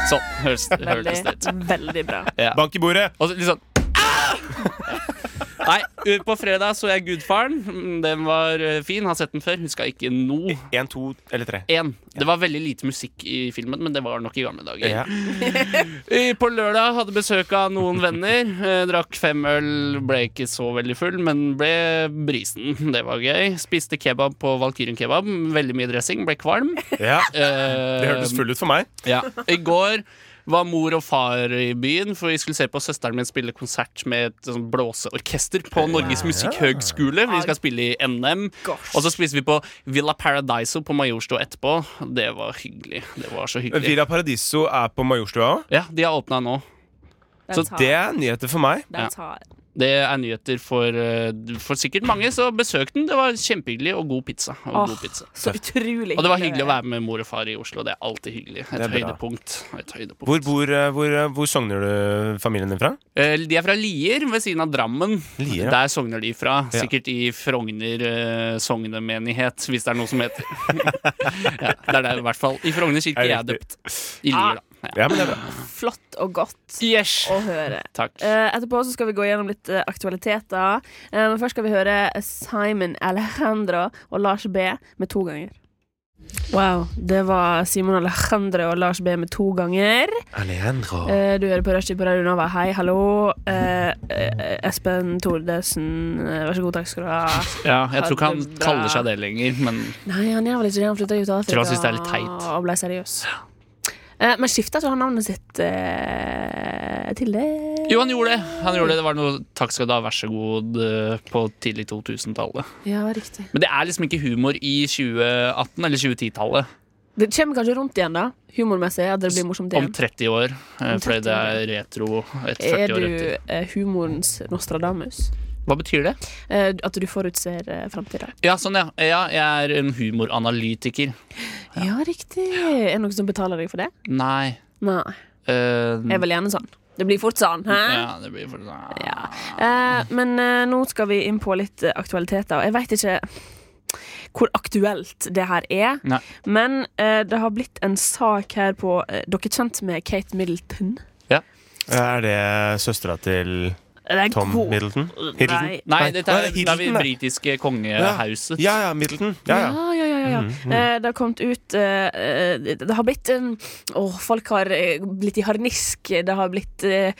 [SPEAKER 3] Sånn høres, høres det ut.
[SPEAKER 2] veldig, veldig bra.
[SPEAKER 1] Bank i bordet!
[SPEAKER 3] Og så litt sånn Ah! Nei, ø, på fredag så jeg Gudfaren. Mm, Den var ø, fin. Har sett den før. Huska ikke noe.
[SPEAKER 1] Én, to eller tre.
[SPEAKER 3] En. Det var veldig lite musikk i filmen, men det var nok i gamle dager.
[SPEAKER 1] Ja.
[SPEAKER 3] Eh, På lørdag hadde besøk av noen venner. Eh, Drakk fem øl, ble ikke så veldig full, men ble brisen. Det var gøy. Spiste kebab på Valkyrien kebab. Veldig mye dressing, ble kvalm.
[SPEAKER 1] ja. Det
[SPEAKER 3] Eh,
[SPEAKER 1] hørtes full ut for meg.
[SPEAKER 3] ja. I går var mor og far i byen, for vi skulle se på søsteren min spille konsert med et sånn blåseorkester på Norges musikkhøgskole. Vi skal spille i NM.
[SPEAKER 2] Gosh.
[SPEAKER 3] Og så spiste vi på Villa Paradiso på Majorstua etterpå. Det var hyggelig. Det var så hyggelig.
[SPEAKER 1] Villa Paradiso er på Majorstua òg.
[SPEAKER 3] Ja, de har åpna nå.
[SPEAKER 2] That's
[SPEAKER 3] Så
[SPEAKER 2] hard.
[SPEAKER 1] Det er nyheter for meg.
[SPEAKER 2] That's hard.
[SPEAKER 3] Det er nyheter for, eh, for sikkert mange, så besøk den. Det var kjempehyggelig og god pizza. Og,
[SPEAKER 2] Åh,
[SPEAKER 3] god pizza.
[SPEAKER 2] Så utrolig
[SPEAKER 3] og det var hyggelig å være med mor og far i Oslo. Det er alltid hyggelig. Et
[SPEAKER 1] Det er bra.
[SPEAKER 3] høydepunkt. Et høydepunkt.
[SPEAKER 1] Hvor, bor, eh, hvor, eh, hvor sogner du familien din fra?
[SPEAKER 3] Eh, De er fra Lier, ved siden av Drammen.
[SPEAKER 1] Lier, ja.
[SPEAKER 3] Der sogner de fra.
[SPEAKER 1] Ja.
[SPEAKER 3] Sikkert i Frogner eh, sognemenighet, hvis det er noe som heter ja, Det er det i hvert fall. I Frogner kirke jeg er
[SPEAKER 1] riktig.
[SPEAKER 3] døpt. I Lier, da. Ja.
[SPEAKER 1] Ja, men det er bra.
[SPEAKER 2] Flott og godt
[SPEAKER 3] Yes.
[SPEAKER 2] å høre.
[SPEAKER 3] Takk.
[SPEAKER 2] Ah, Eh, etterpå så skal vi gå gjennom litt eh, aktualiteter. Eh, men først skal vi høre Simon Alejandro og Lars B med to ganger. Wow. Det var Simon Alejandro og Lars B med to ganger.
[SPEAKER 1] Alejandro.
[SPEAKER 2] Eh, du hører på Rushdie på Radio Nova. Hei, hallo. Eh, eh, Espen Tordesen, eh, vær så god, takk skal du ha.
[SPEAKER 3] Ja, jeg tror ikke han
[SPEAKER 2] ha det bra.
[SPEAKER 3] kaller seg det lenger, men
[SPEAKER 2] Nei, han gjør vel ikke det. Han flytta ut av
[SPEAKER 3] Tror
[SPEAKER 2] Afrika
[SPEAKER 3] han synes det er litt teit.
[SPEAKER 2] og ble seriøs. Eh, men skifta ikke han navnet sitt eh, til det?
[SPEAKER 3] Jo, han gjorde det. Han gjorde det. det var noe 'takk skal du ha, vær så god' eh, på tidlig 2000-tallet.
[SPEAKER 2] Ja, riktig.
[SPEAKER 3] Men det er liksom ikke humor i 2018- eller 2010-tallet.
[SPEAKER 2] Det kommer kanskje rundt igjen, da. Humormessig. At det blir morsomt
[SPEAKER 3] Om
[SPEAKER 2] igjen.
[SPEAKER 3] 30 år, eh, fordi det er retro et 40
[SPEAKER 2] Er
[SPEAKER 3] år
[SPEAKER 2] du
[SPEAKER 3] etter.
[SPEAKER 2] eh, humorens Nostradamus?
[SPEAKER 3] Hva betyr det?
[SPEAKER 2] Eh, at du forutser eh, framtida?
[SPEAKER 3] Ja, sånn, ja. ja. Jeg er en humoranalytiker.
[SPEAKER 2] Ja. riktig. Er det noen som betaler deg for det?
[SPEAKER 3] Nei.
[SPEAKER 2] Nei.
[SPEAKER 3] eh,
[SPEAKER 2] Jeg er vel gjerne sånn. Det blir fort sånn. Hæ?
[SPEAKER 3] ja, det blir for ja.
[SPEAKER 2] Ja. Eh, men eh, nå skal vi inn på litt eh, aktualiteter. Og jeg veit ikke hvor aktuelt det her er,
[SPEAKER 3] Nei.
[SPEAKER 2] men eh, det har blitt en sak her på eh, Dere er kjent med Kate Middleton?
[SPEAKER 1] Er det søstera til
[SPEAKER 2] Det er
[SPEAKER 1] Tom
[SPEAKER 2] god-
[SPEAKER 1] Middleton?
[SPEAKER 2] Nei.
[SPEAKER 1] Hiddleton?
[SPEAKER 3] Nei, dette er, det er vi
[SPEAKER 1] Hiddleton, det.
[SPEAKER 3] britiske kongehauset.
[SPEAKER 1] Ja, ja, Middleton. Ja,
[SPEAKER 2] Ja,
[SPEAKER 1] ja. Mhm,
[SPEAKER 2] ja, ja. ja, ja. Eh, det har kommet ut eh, eh, Det det har blitt um, Å, folk har eh, blitt i harnisk. Det har blitt eh,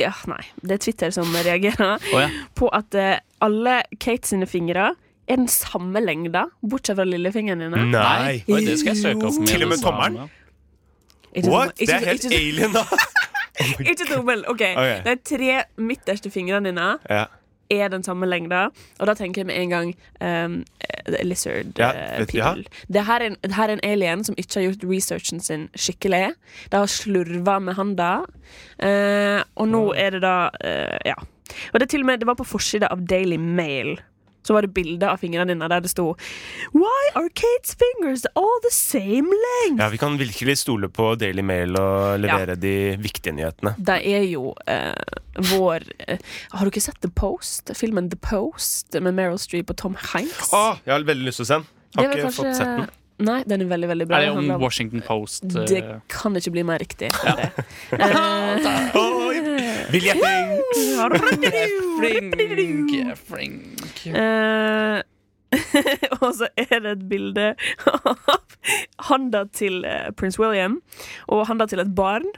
[SPEAKER 2] Ja, nei. Det er Twitter som reagerer.
[SPEAKER 3] Å, ja.
[SPEAKER 2] på at eh, alle Kate sine fingre er den samme lengda, bortsett fra lillefingeren din.
[SPEAKER 1] Nei.
[SPEAKER 3] Oi, det skal jeg søke opp. med
[SPEAKER 1] Til og med
[SPEAKER 3] det
[SPEAKER 1] tommelen?
[SPEAKER 3] samme.
[SPEAKER 2] Ikke som-
[SPEAKER 1] What?
[SPEAKER 2] ikke
[SPEAKER 1] Det er
[SPEAKER 2] som-
[SPEAKER 1] helt
[SPEAKER 2] ikke som-
[SPEAKER 1] alien, da!
[SPEAKER 2] Ikke tommel. OK.
[SPEAKER 1] Ok.
[SPEAKER 2] De tre midterste fingrene dine
[SPEAKER 1] Ja,
[SPEAKER 2] er den samme lengda, og da tenker jeg med en gang um, eh, lizard
[SPEAKER 1] Ja,
[SPEAKER 2] eh,
[SPEAKER 1] vet- ja.
[SPEAKER 2] people. Det her er en, det her er en alien som ikke har gjort researchen sin skikkelig. De har slurva med handa, eh, og nå er det da eh, Ja. Og det, er til og med, det var på forsida av Daily Mail. Så var det bilde av fingrene dine der det sto Why are Kates fingers all the same length?
[SPEAKER 1] ja Vi kan virkelig stole på Daily Mail og levere de viktige nyhetene.
[SPEAKER 2] De er jo eh, vår eh, Har du ikke sett The Post? Filmen The Post med Meryl Streep og Tom Hanks?
[SPEAKER 3] Ah!
[SPEAKER 1] Å, jeg har veldig lyst til å se den.
[SPEAKER 2] Det
[SPEAKER 1] Har
[SPEAKER 2] er vel
[SPEAKER 1] ikke
[SPEAKER 2] kanskje-
[SPEAKER 1] fått sett den.
[SPEAKER 2] Nei, den er veldig, veldig bra.
[SPEAKER 3] Er det
[SPEAKER 2] Den
[SPEAKER 3] om
[SPEAKER 2] handler om-
[SPEAKER 3] Washington Post? eh,
[SPEAKER 2] det kan ikke bli mer riktig. enn det. Eh,
[SPEAKER 1] Oi, Vil jeg
[SPEAKER 3] Flink, flink.
[SPEAKER 2] Eh, og så er det et bilde av handa til eh, prins William og handa til et barn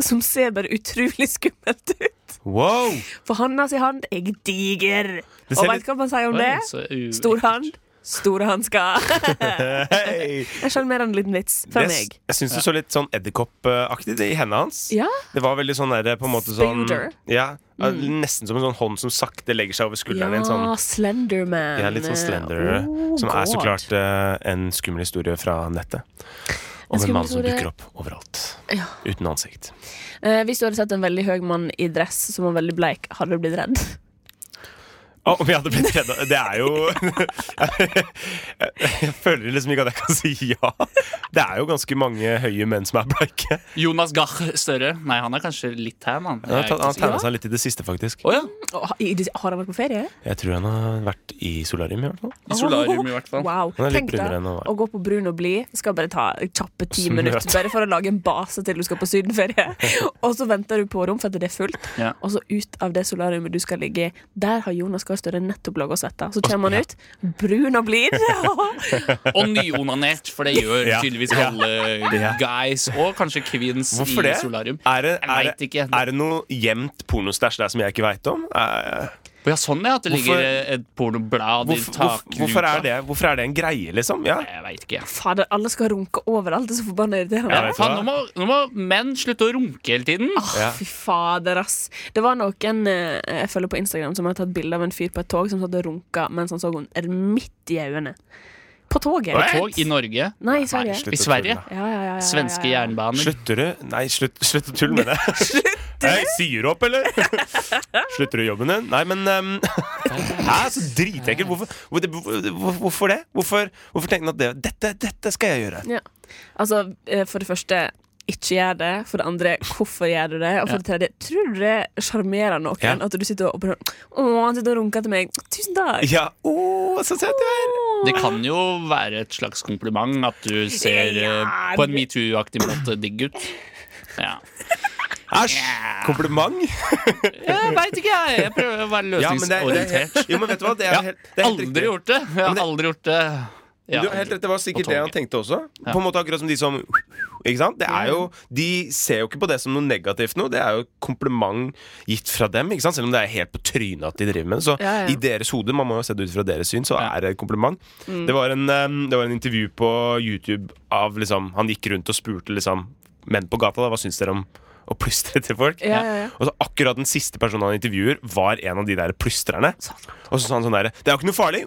[SPEAKER 2] som ser bare utrolig skummelt ut.
[SPEAKER 1] Wow!
[SPEAKER 2] For handa si hand er diger.
[SPEAKER 1] Det
[SPEAKER 2] Og
[SPEAKER 1] ser
[SPEAKER 2] veit
[SPEAKER 1] litt
[SPEAKER 2] hva man sier om det?
[SPEAKER 3] Oi, så u-
[SPEAKER 2] Stor hand, store hansker.
[SPEAKER 1] Hei.
[SPEAKER 2] En sjarmerende liten vits fra
[SPEAKER 1] Jeg s-
[SPEAKER 2] meg.
[SPEAKER 1] Jeg syns det så litt sånn edderkoppaktig ut i hendene hans.
[SPEAKER 2] Ja.
[SPEAKER 1] Det var veldig sånn der, på en måte sånn
[SPEAKER 2] Sphincter.
[SPEAKER 1] ja,
[SPEAKER 2] Mm.
[SPEAKER 1] Nesten som en sånn hånd som sakte legger seg over skulderen din. Sånn.
[SPEAKER 2] Ja, Slenderman.
[SPEAKER 1] Ja, litt sånn slender,
[SPEAKER 2] Oh,
[SPEAKER 1] som er så
[SPEAKER 2] God.
[SPEAKER 1] klart eh, en skummel historie fra nettet. Om en mann
[SPEAKER 2] En
[SPEAKER 1] som
[SPEAKER 2] skummel historie.
[SPEAKER 1] dukker opp overalt.
[SPEAKER 2] Ja.
[SPEAKER 1] Uten ansikt.
[SPEAKER 2] Eh, hvis du hadde sett en veldig høy mann i dress som var veldig bleik, hadde du blitt redd?
[SPEAKER 1] Å, Om jeg hadde blitt redd av- Det er jo Jeg føler liksom ikke at jeg kan si ja. Det er jo ganske mange høye menn som er bleike.
[SPEAKER 3] Jonas Gahr Støre. Nei, han er kanskje litt tan,
[SPEAKER 1] Han
[SPEAKER 3] han.
[SPEAKER 1] har
[SPEAKER 3] Jeg er
[SPEAKER 1] tatt- han
[SPEAKER 3] ikke
[SPEAKER 1] har
[SPEAKER 3] så sikker.
[SPEAKER 1] tegna seg litt i det siste, faktisk.
[SPEAKER 3] Å ja.
[SPEAKER 2] Å, ha- i- Har han vært på ferie?
[SPEAKER 1] Jeg tror han har vært i solarium, i hvert fall.
[SPEAKER 3] I solarium, i hvert fall.
[SPEAKER 2] Wow.
[SPEAKER 1] Han er litt
[SPEAKER 2] Tenk deg
[SPEAKER 1] brunere enn han var.
[SPEAKER 2] å gå på brun og blid. Skal bare ta kjappe ti
[SPEAKER 1] Smøt.
[SPEAKER 2] minutter Bare for å lage en base til du skal på sydenferie. og så venter du på rom, for at det er fullt.
[SPEAKER 3] Ja.
[SPEAKER 2] Og så ut av det solariumet du skal ligge i, der har Jonas Gahr Støre nettopp ligget og svetta. Så kommer han ut, brun og blid.
[SPEAKER 3] Og nyonanert, for det gjør
[SPEAKER 1] Ja.
[SPEAKER 3] tydeligvis
[SPEAKER 1] Ja.
[SPEAKER 3] alle guys, og kanskje kvinns i
[SPEAKER 1] Hvorfor det?
[SPEAKER 3] solarium.
[SPEAKER 1] Er det,
[SPEAKER 3] Jeg
[SPEAKER 1] er,
[SPEAKER 3] vet
[SPEAKER 1] det-
[SPEAKER 3] ikke.
[SPEAKER 1] er det noe gjemt pornostæsj der som jeg ikke veit om? Eh,
[SPEAKER 3] Ja, sånn ja, at det
[SPEAKER 1] Hvorfor-
[SPEAKER 3] ligger et pornoblad i
[SPEAKER 1] Hvorfor, hvorfor,
[SPEAKER 3] takluka.
[SPEAKER 1] hvorfor, er det, hvorfor er det en greie, liksom? Ja.
[SPEAKER 3] Jeg veit ikke.
[SPEAKER 2] Fader, alle skal runke overalt. Det er så forbanna irriterende.
[SPEAKER 1] Ja, vet du
[SPEAKER 3] Faen,
[SPEAKER 1] hva?
[SPEAKER 3] nå, må, nå må menn slutte å runke hele tiden.
[SPEAKER 1] Ja.
[SPEAKER 2] Fy fader, ass. Det var noen eh, jeg følger på Instagram som har tatt bilde av en fyr på et tog som satt og runka mens han så henne midt i øynene. På toget.
[SPEAKER 3] På tog i Norge.
[SPEAKER 2] Nei, i Sverige.
[SPEAKER 1] Nei, slutt
[SPEAKER 3] I
[SPEAKER 1] å
[SPEAKER 3] Sverige.
[SPEAKER 1] tulle.
[SPEAKER 2] Ja, ja, ja, ja, ja,
[SPEAKER 3] Svenske
[SPEAKER 2] ja, ja.
[SPEAKER 3] jernbaner.
[SPEAKER 1] Slutter du? Nei, slutt, slutt å tulle med det. Hei, sier du opp, eller? Slutter du i jobben din? Nei, men ehm, Hæ, så dritekkelt. Hvorfor, hvor- hvor- hvor- hvorfor det? Hvorfor, hvorfor tenker han at det, dette, dette skal jeg gjøre?
[SPEAKER 2] Ja. Altså, eh, for det første ikke gjør det. For det andre, hvorfor gjør du det? Og for det tredje, tror du det sjarmerer noen
[SPEAKER 1] Ja.
[SPEAKER 2] at du sitter og bare Å, han sitter og runker til meg. Tusen takk!
[SPEAKER 1] Ja, å, så søt du er!
[SPEAKER 3] Det kan jo være et slags kompliment at du ser eh,
[SPEAKER 2] Ja,
[SPEAKER 3] på en
[SPEAKER 2] det-
[SPEAKER 3] metoo-aktig måte digg ut. Ja.
[SPEAKER 1] Æsj! Kompliment.
[SPEAKER 3] Jeg veit ikke, jeg. Jeg prøver å være
[SPEAKER 1] Ja, men det, det,
[SPEAKER 3] løsningsorientert.
[SPEAKER 1] jo, men vet du hva? Det er
[SPEAKER 3] Jeg
[SPEAKER 1] helt, det er
[SPEAKER 3] har
[SPEAKER 1] helt
[SPEAKER 3] aldri
[SPEAKER 1] riktig.
[SPEAKER 3] gjort det. Jeg
[SPEAKER 1] Men
[SPEAKER 3] har
[SPEAKER 1] det-
[SPEAKER 3] aldri gjort det. Ja.
[SPEAKER 1] Du har helt rett, Det var sikkert det han
[SPEAKER 3] toget.
[SPEAKER 1] tenkte også. På en måte akkurat som de som ikke sant? Det er jo,
[SPEAKER 3] Mm.
[SPEAKER 1] De ser jo ikke på det som noe negativt nå. Det er jo et kompliment gitt fra dem. Ikke sant? Selv om det er helt på trynet at de driver med det. Så
[SPEAKER 2] Ja, ja.
[SPEAKER 1] i deres hode, man må jo se det ut fra deres syn, så
[SPEAKER 3] Ja. Mm.
[SPEAKER 1] er det et kompliment. Det, var en, em, det var en intervju på YouTube av liksom Han gikk rundt og spurte liksom menn på gata da, hva syns dere om å plystre til folk.
[SPEAKER 2] Ja, ja, ja.
[SPEAKER 1] Og så akkurat den siste personen han intervjuer, var en av de der plystrerne. Og så sa han sånn der, Det er jo ikke noe farlig!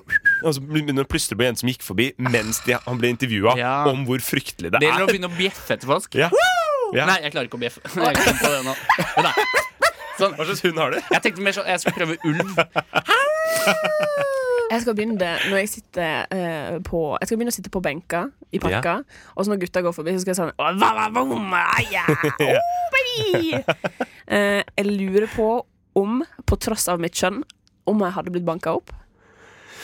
[SPEAKER 1] Og så begynner han å plystre på en jente som gikk forbi mens de, han ble intervjua
[SPEAKER 3] Ja.
[SPEAKER 1] om hvor fryktelig det
[SPEAKER 3] Det gjelder å
[SPEAKER 1] er.
[SPEAKER 3] begynne å bjeffe etter folk.
[SPEAKER 1] Ja. Ja.
[SPEAKER 3] Nei, jeg klarer ikke å bjeffe. Jeg kom på det nå. Men da. Sånn.
[SPEAKER 1] Hva slags hund har du?
[SPEAKER 3] Jeg tenkte mer sånn, jeg skulle prøve ulv.
[SPEAKER 2] Jeg skal begynne det når jeg sitter eh, på Jeg skal begynne å sitte på benka i parka, og så når gutta går forbi, så skal jeg sånn «Åh, va, va, vom, ah, ja, oh, baby! Eh, Jeg lurer på om, på tross av mitt kjønn, om jeg hadde blitt banka opp.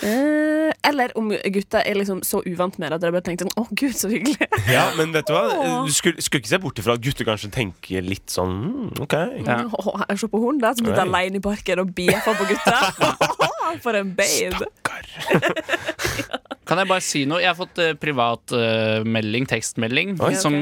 [SPEAKER 2] Eh, eller om gutta er liksom så uvant med det at de bare tenkte sånn Å, gud, så hyggelig.
[SPEAKER 1] Ja, men vet du hva?
[SPEAKER 2] Åh.
[SPEAKER 1] Du skulle, skulle ikke se bort ifra at gutter kanskje tenker litt sånn mm, OK.
[SPEAKER 3] Ja.
[SPEAKER 2] Åh, Se på hun der som sitter
[SPEAKER 1] Oi.
[SPEAKER 2] alene i parken og bjeffer på gutta. For en babe.
[SPEAKER 1] Stakkar.
[SPEAKER 3] Kan jeg bare si noe? Jeg har fått eh, privat eh, melding, tekstmelding,
[SPEAKER 1] Oi.
[SPEAKER 3] som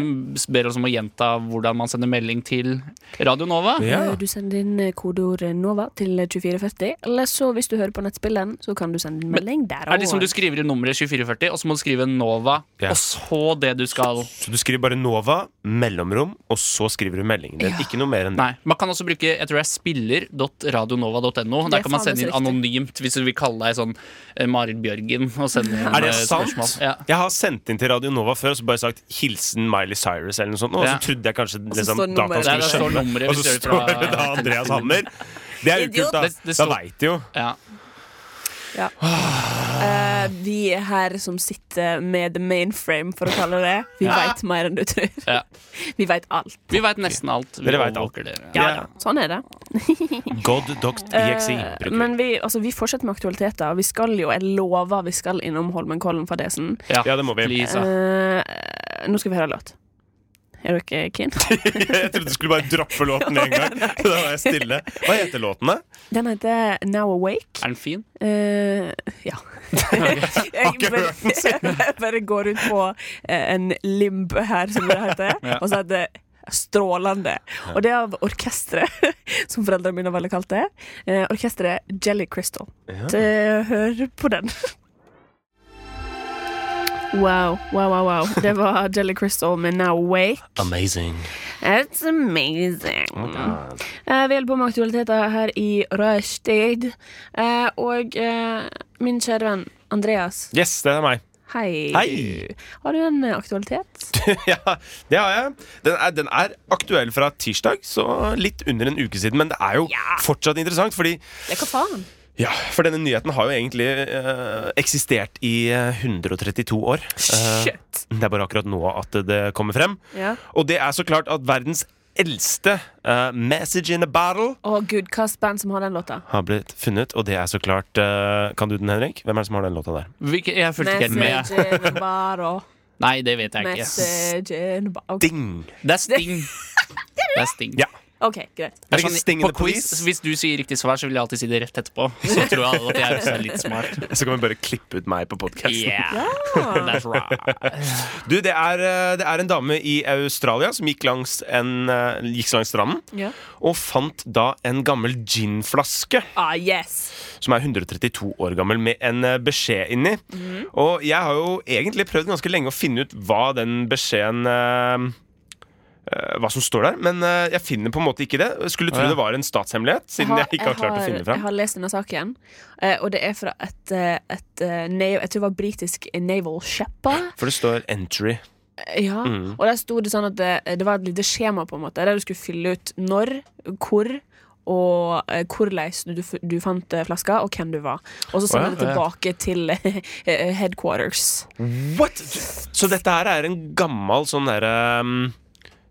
[SPEAKER 3] ber oss om å gjenta hvordan man sender melding til Radio Nova.
[SPEAKER 1] Ja.
[SPEAKER 2] Eh, Du sender inn eh, kodeord NOVA til 2440. Eller så hvis du hører på nettspillen, så kan du sende en melding der
[SPEAKER 3] Er det
[SPEAKER 2] også.
[SPEAKER 3] som du skriver i nummeret 2440, og så må du skrive Nova,
[SPEAKER 1] Ja.
[SPEAKER 3] og så det du skal
[SPEAKER 1] Så du skriver bare Nova, mellomrom, og så skriver du meldingen din. Ikke noe mer enn det.
[SPEAKER 3] Nei. Man kan også bruke jeg tror det er spiller.radionova.no.
[SPEAKER 2] Det
[SPEAKER 3] Der
[SPEAKER 2] er
[SPEAKER 3] kan man
[SPEAKER 2] faen
[SPEAKER 3] sende inn
[SPEAKER 2] meg så riktig.
[SPEAKER 3] anonymt hvis du vil kalle deg sånn eh, Marit Bjørgen. Og sende inn,
[SPEAKER 1] Er det
[SPEAKER 3] eh,
[SPEAKER 1] sant?
[SPEAKER 3] spørsmål. Ja.
[SPEAKER 1] Jeg har sendt inn til Radio Nova før og så bare sagt 'hilsen Miley Cyrus' eller noe sånt. Og så
[SPEAKER 3] Ja.
[SPEAKER 1] trodde jeg kanskje
[SPEAKER 2] så
[SPEAKER 1] liksom,
[SPEAKER 2] står nummeret
[SPEAKER 1] dataen skulle
[SPEAKER 3] Der, der står
[SPEAKER 1] skjønne.
[SPEAKER 3] nummeret.
[SPEAKER 1] Og så
[SPEAKER 3] hvis du gjør det
[SPEAKER 1] står
[SPEAKER 3] fra-
[SPEAKER 1] det da Andreas Hammer. Det er jo kult, da.
[SPEAKER 3] Det- det
[SPEAKER 1] Da
[SPEAKER 3] står-
[SPEAKER 1] veit de jo.
[SPEAKER 3] Ja.
[SPEAKER 2] Ja. Eh, vi er her som sitter med the mainframe, for å kalle det. Vi vet veit mer enn du tror.
[SPEAKER 3] Ja.
[SPEAKER 2] Vi veit alt.
[SPEAKER 3] Vi veit nesten alt. Vi
[SPEAKER 1] Dere vet
[SPEAKER 3] overvåker dere.
[SPEAKER 1] Ja,
[SPEAKER 2] Ja, Sånn er det.
[SPEAKER 3] E
[SPEAKER 1] God.exe.
[SPEAKER 2] Eh, men vi, altså, vi fortsetter med aktualiteter. Vi skal jo, jeg lover, vi skal innom Holmenkollen-fadesen.
[SPEAKER 3] Ja.
[SPEAKER 1] Ja, det må vi.
[SPEAKER 3] Please, ja.
[SPEAKER 2] Eh, nå skal vi høre en låt. Er dere keen?
[SPEAKER 1] Jeg trodde du skulle bare droppe låten med en gang. Da var jeg stille. Hva heter låten, da?
[SPEAKER 2] Den heter Now Awake.
[SPEAKER 3] Er den fin?
[SPEAKER 2] Eh, ja. jeg
[SPEAKER 1] ikke
[SPEAKER 2] bare,
[SPEAKER 1] hørt den
[SPEAKER 2] jeg bare går ut på eh, en limb her, som det heter, og så heter det Strålende. Og det er av orkesteret, som foreldrene mine har veldig kalt det. Eh, orkesteret Jelly Crystal. Så, hør på den. Wow, wow, wow. wow Det var Jelly Crystal med Now Wake.
[SPEAKER 1] Amazing.
[SPEAKER 2] It's amazing.
[SPEAKER 1] Mm.
[SPEAKER 2] Eh, vi holder på med aktualiteter her i Rushtid. Eh, og eh, min kjære venn Andreas,
[SPEAKER 1] Yes, det er meg.
[SPEAKER 2] hei.
[SPEAKER 1] Hei.
[SPEAKER 2] Har du en eh, aktualitet?
[SPEAKER 1] ja, det har jeg. Den er, den er aktuell fra tirsdag, så litt under en uke siden. Men det er jo
[SPEAKER 2] Ja.
[SPEAKER 1] fortsasatt interessant, fordi
[SPEAKER 2] Ja, hva faen?
[SPEAKER 1] Ja, for denne nyheten har jo egentlig eh, eksistert i eh, 132 år. Eh,
[SPEAKER 2] Shit!
[SPEAKER 1] det er bare akkurat nå at det kommer frem.
[SPEAKER 2] Ja.
[SPEAKER 1] Og det er så klart at verdens eldste eh, message in a bottle
[SPEAKER 2] Å gud, hva slags band som har den låta?
[SPEAKER 1] har blitt funnet, og det er så klart eh, Kan du den, Henrik? Hvem er det som har den låta der?
[SPEAKER 3] Hvilke, jeg fulgte ikke helt med.
[SPEAKER 2] Message in a bottle.
[SPEAKER 3] Nei, det vet jeg ikke.
[SPEAKER 2] Message in a bottle.
[SPEAKER 1] Ding!
[SPEAKER 3] Det er Sting. Det er Sting.
[SPEAKER 1] Ja.
[SPEAKER 2] OK,
[SPEAKER 1] Er
[SPEAKER 2] greit.
[SPEAKER 3] Det
[SPEAKER 1] det
[SPEAKER 3] er
[SPEAKER 1] ikke
[SPEAKER 3] sånn,
[SPEAKER 1] Sting in
[SPEAKER 3] på
[SPEAKER 1] the
[SPEAKER 3] quiz,
[SPEAKER 1] Police?
[SPEAKER 3] hvis du sier riktig svar, så vil jeg alltid si det rett etterpå. Så tror jeg alle at jeg også er litt smart.
[SPEAKER 1] Så kan vi bare klippe ut meg på podkasten.
[SPEAKER 3] Yeah,
[SPEAKER 2] Ah,
[SPEAKER 3] that's right.
[SPEAKER 1] Du, det er, eh, det er en dame i Australia som gikk langs, en, eh, gikk langs stranden
[SPEAKER 2] ja.
[SPEAKER 1] og fant da en gammel ginflaske.
[SPEAKER 2] ah yes!
[SPEAKER 1] som er 132 år gammel, med en eh, beskjed inni. Og jeg har jo egentlig prøvd ganske lenge å finne ut hva den beskjeden eh, eh, Hva som står der, men eh, jeg finner på en måte ikke det. Jeg Skulle tro
[SPEAKER 3] Å, ja.
[SPEAKER 1] det var en statshemmelighet, siden jeg, ikke har klart å finne det
[SPEAKER 2] Jeg
[SPEAKER 1] fram.
[SPEAKER 2] har lest denne saken, eh, og det er fra et, eh, et eh, nav, Jeg tror det var britisk naval shepherd.
[SPEAKER 1] For det står 'entry'.
[SPEAKER 2] Ja,
[SPEAKER 3] Mm.
[SPEAKER 2] og der sto det sånn at det, det var et lite skjema på en måte Der du skulle fylle ut når, hvor og eh, hvordan du, f- du fant eh, flaska, og hvem du var. Og så
[SPEAKER 1] Å ja,
[SPEAKER 2] sendte det tilbake til eh, headquarters.
[SPEAKER 1] What?! Så dette her er en gammel sånn derre ehm,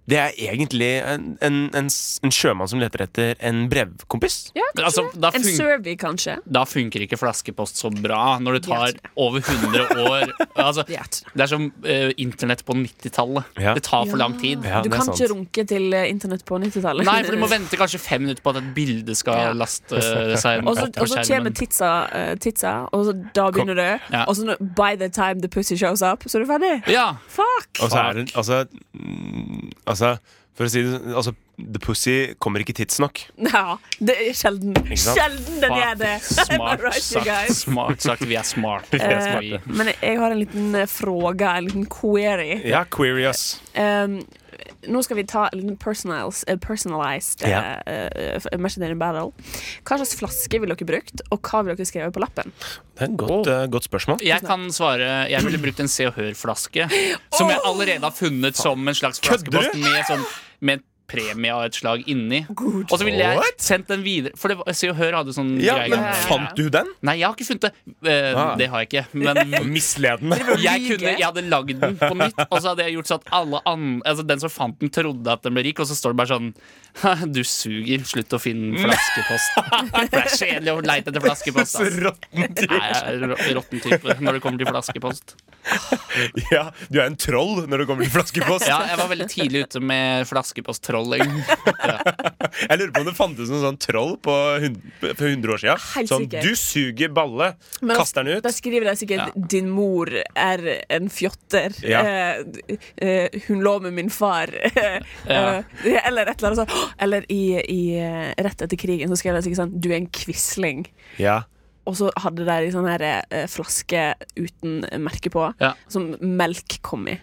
[SPEAKER 1] Det er egentlig en, en, en, s- en sjømann som leter etter en brevkompis.
[SPEAKER 2] Ja, kanskje
[SPEAKER 3] Altså, da
[SPEAKER 2] det. En
[SPEAKER 3] fun-
[SPEAKER 2] survey, kanskje.
[SPEAKER 3] Da funker ikke flaskepost så bra når det tar
[SPEAKER 2] Det er
[SPEAKER 3] over 100 år. Altså,
[SPEAKER 2] Det er ikke
[SPEAKER 3] det er som eh, internett på 90-tallet.
[SPEAKER 1] Ja.
[SPEAKER 3] Det tar for lang tid.
[SPEAKER 1] Ja,
[SPEAKER 2] du
[SPEAKER 1] det er
[SPEAKER 2] kan
[SPEAKER 1] sant.
[SPEAKER 2] ikke runke til eh, internett på 90-tallet.
[SPEAKER 3] Nei, for du må vente kanskje fem minutter på at et bilde
[SPEAKER 2] Ja.
[SPEAKER 3] skal laste eh, seg
[SPEAKER 2] Og så,
[SPEAKER 3] opp på
[SPEAKER 2] og så kommer
[SPEAKER 3] skjermen.
[SPEAKER 2] tidsa, eh, tidsa, og så da begynner det.
[SPEAKER 3] Ja.
[SPEAKER 2] Og så når- by the time the pussy shows up, så er du ferdig.
[SPEAKER 3] Ja,
[SPEAKER 2] Fuck!
[SPEAKER 1] Og så er det Altså, mm, altså For å si det sånn altså, The pussy kommer ikke tidsnok.
[SPEAKER 2] Ja, det er sjelden.
[SPEAKER 1] sant?
[SPEAKER 2] Sjelden den gjør det. Am I
[SPEAKER 3] smart
[SPEAKER 2] right, you
[SPEAKER 3] sagt.
[SPEAKER 2] guys?
[SPEAKER 3] Smart sagt. Vi er smart. Vi er
[SPEAKER 2] Eh,
[SPEAKER 3] smarte.
[SPEAKER 2] men jeg- jeg har en liten eh, fråga, en liten query.
[SPEAKER 1] Ja, query us.
[SPEAKER 2] Um, nå skal vi ta en liten personals, eh, personalized eh,
[SPEAKER 1] Ja.
[SPEAKER 2] eh, f- Machine Gun Battle. Hva slags flaske ville dere brukt, og hva ville dere skrevet på lappen?
[SPEAKER 1] Det er et godt, eh, godt spørsmål.
[SPEAKER 3] Jeg kan svare Jeg ville brukt en Se og Hør-flaske. Som jeg allerede har funnet som en slags
[SPEAKER 1] Kødder du?
[SPEAKER 3] flaskepost med, sånn, med et premie av et slag inni.
[SPEAKER 2] Good.
[SPEAKER 3] Og så ville jeg
[SPEAKER 1] What?
[SPEAKER 3] sendt den videre. For det var, Se og Hør hadde sånn
[SPEAKER 1] Ja,
[SPEAKER 3] greie.
[SPEAKER 1] men
[SPEAKER 3] gamle dager.
[SPEAKER 1] fant du den?
[SPEAKER 3] Nei, jeg har ikke funnet det. Eh,
[SPEAKER 1] Ah.
[SPEAKER 3] Det har jeg ikke. Men
[SPEAKER 1] Misledende.
[SPEAKER 3] jeg, kunne, jeg hadde lagd den på nytt, og så hadde jeg gjort sånn at alle andre altså Den som fant den, trodde at den ble rik, og så står det bare sånn Du suger. Slutt
[SPEAKER 1] Mm.
[SPEAKER 3] å finne flaskeposten. For det er kjedelig å leite etter flaskepost.
[SPEAKER 1] Så
[SPEAKER 3] ass.
[SPEAKER 1] råtten du
[SPEAKER 3] Nei, jeg er rå- råtten type når det kommer til flaskepost.
[SPEAKER 1] Ja, du er en troll når det kommer til flaskepost.
[SPEAKER 3] Ja, jeg var veldig tidlig ute med flaskeposttrolling.
[SPEAKER 1] Jeg lurer på om det fantes en sånn troll på hun- for 100 år siden.
[SPEAKER 2] Helt
[SPEAKER 1] Som
[SPEAKER 2] sikkert.
[SPEAKER 1] du suger balle,
[SPEAKER 2] Men
[SPEAKER 1] kaster den
[SPEAKER 2] Da
[SPEAKER 1] ut.
[SPEAKER 2] skriver de sikkert 'Din mor er en fjotter'.
[SPEAKER 1] Ja.
[SPEAKER 2] Eh, eh, 'Hun lå med min far'. Eh,
[SPEAKER 3] Ja.
[SPEAKER 2] Eller et eller annet sånt. Eller i, i eh, rett etter krigen så skrev de sikkert sånn 'Du er en quisling'.
[SPEAKER 1] Ja.
[SPEAKER 2] Og så hadde de en sånn her eh, flaske uten merke på,
[SPEAKER 3] Ja.
[SPEAKER 2] som melk kom i.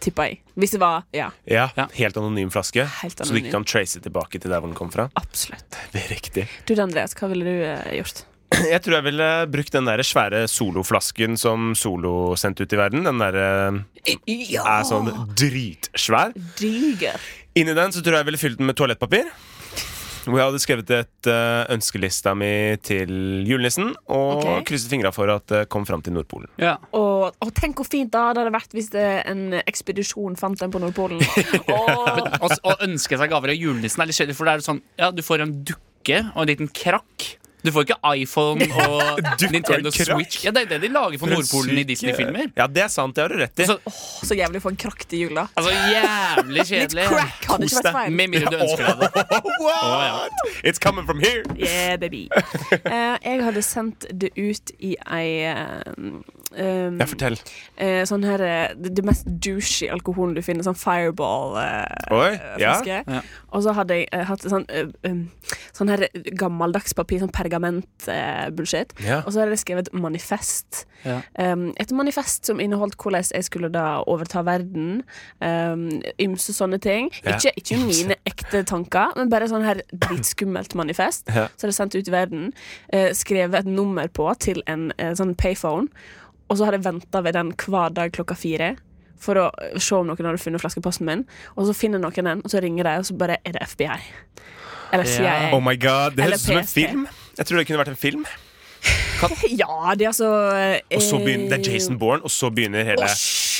[SPEAKER 2] Tippa jeg. Hvis det var Ja,
[SPEAKER 1] ja.
[SPEAKER 3] Ja.
[SPEAKER 1] Helt anonym flaske,
[SPEAKER 2] Helt
[SPEAKER 1] så du
[SPEAKER 2] anonym.
[SPEAKER 1] ikke kan trace tilbake til der hvor den kom fra.
[SPEAKER 2] absolutt.
[SPEAKER 1] Det er riktig
[SPEAKER 2] Du Andreas, hva ville du eh, gjort?
[SPEAKER 1] Jeg tror jeg ville brukt den der svære soloflasken som Solo sendte ut i verden. Den der eh, er sånn dritsvær.
[SPEAKER 2] Diger.
[SPEAKER 1] Inni den så tror jeg jeg ville fylt den med toalettpapir. Hvor jeg hadde skrevet et eh, ønskelista mi til julenissen. Og
[SPEAKER 2] Ok.
[SPEAKER 1] krysset fingra for at det kom fram til Nordpolen.
[SPEAKER 3] Ja.
[SPEAKER 2] Og, og tenk hvor fint da det hadde vært hvis det, en ekspedisjon fant den på Nordpolen. Åh.
[SPEAKER 3] Og, s- og ønske seg gaver av julenissen er litt kjedelig, for det er sånn Ja, du får en dukke og en liten krakk. Du får ikke iPhone og
[SPEAKER 1] Dukke og
[SPEAKER 3] Nintendo
[SPEAKER 1] krakk?
[SPEAKER 3] Switch. Ja, det er det de lager for Nordpolen i
[SPEAKER 1] Syk-
[SPEAKER 3] Disney-filmer.
[SPEAKER 1] Ja, det er sant. Det har du rett i.
[SPEAKER 3] Så-
[SPEAKER 2] Så jævlig å få en krakk til jula.
[SPEAKER 3] Altså, jævlig
[SPEAKER 2] Litt
[SPEAKER 3] kjedelig.
[SPEAKER 2] crack hadde ikke
[SPEAKER 1] Kos deg.
[SPEAKER 2] vært feil.
[SPEAKER 3] Med mindre du ønsker deg det.
[SPEAKER 1] What? It's coming from here!
[SPEAKER 2] Yeah, baby. Eh, jeg hadde sendt det ut i ei eh, um,
[SPEAKER 1] Ja, fortell.
[SPEAKER 2] eh, sånn her eh, det, det mest douchey alkoholen du finner. Sånn eh, fireball-flaske.
[SPEAKER 1] Oi. Ja.
[SPEAKER 3] Ja.
[SPEAKER 2] Og så hadde jeg eh, hatt sånn, eh, um, sånn her gammeldags papir, sånn eh, pergament-bullshit.
[SPEAKER 1] Ja.
[SPEAKER 2] Og så hadde jeg skrevet manifest.
[SPEAKER 3] Ja.
[SPEAKER 2] Um, et manifest som inneholdt hvordan jeg skulle da overta verden. Um, ymse sånne ting.
[SPEAKER 1] Ja.
[SPEAKER 2] Ikke, ikke mine ekte tanker, men bare sånn her dritskummelt manifest.
[SPEAKER 1] Ja.
[SPEAKER 2] Så hadde jeg sendt ut i verden. eh, skrevet et nummer på til en eh, sånn payphone. Og så hadde jeg venta ved den hver dag klokka fire. For å eh, se om noen hadde funnet flaskeposten min. Og så finner noen den, og så ringer de, og så bare er det FBI. Eller
[SPEAKER 3] Ja.
[SPEAKER 2] CIA.
[SPEAKER 1] Oh my god, Det
[SPEAKER 2] Eller
[SPEAKER 1] høres ut som en
[SPEAKER 2] PST.
[SPEAKER 1] film. Jeg tror det kunne vært en film.
[SPEAKER 3] Kan,
[SPEAKER 2] Ja, det er altså eh,
[SPEAKER 1] Og så begynner, det er Jason Bourne, og så begynner hele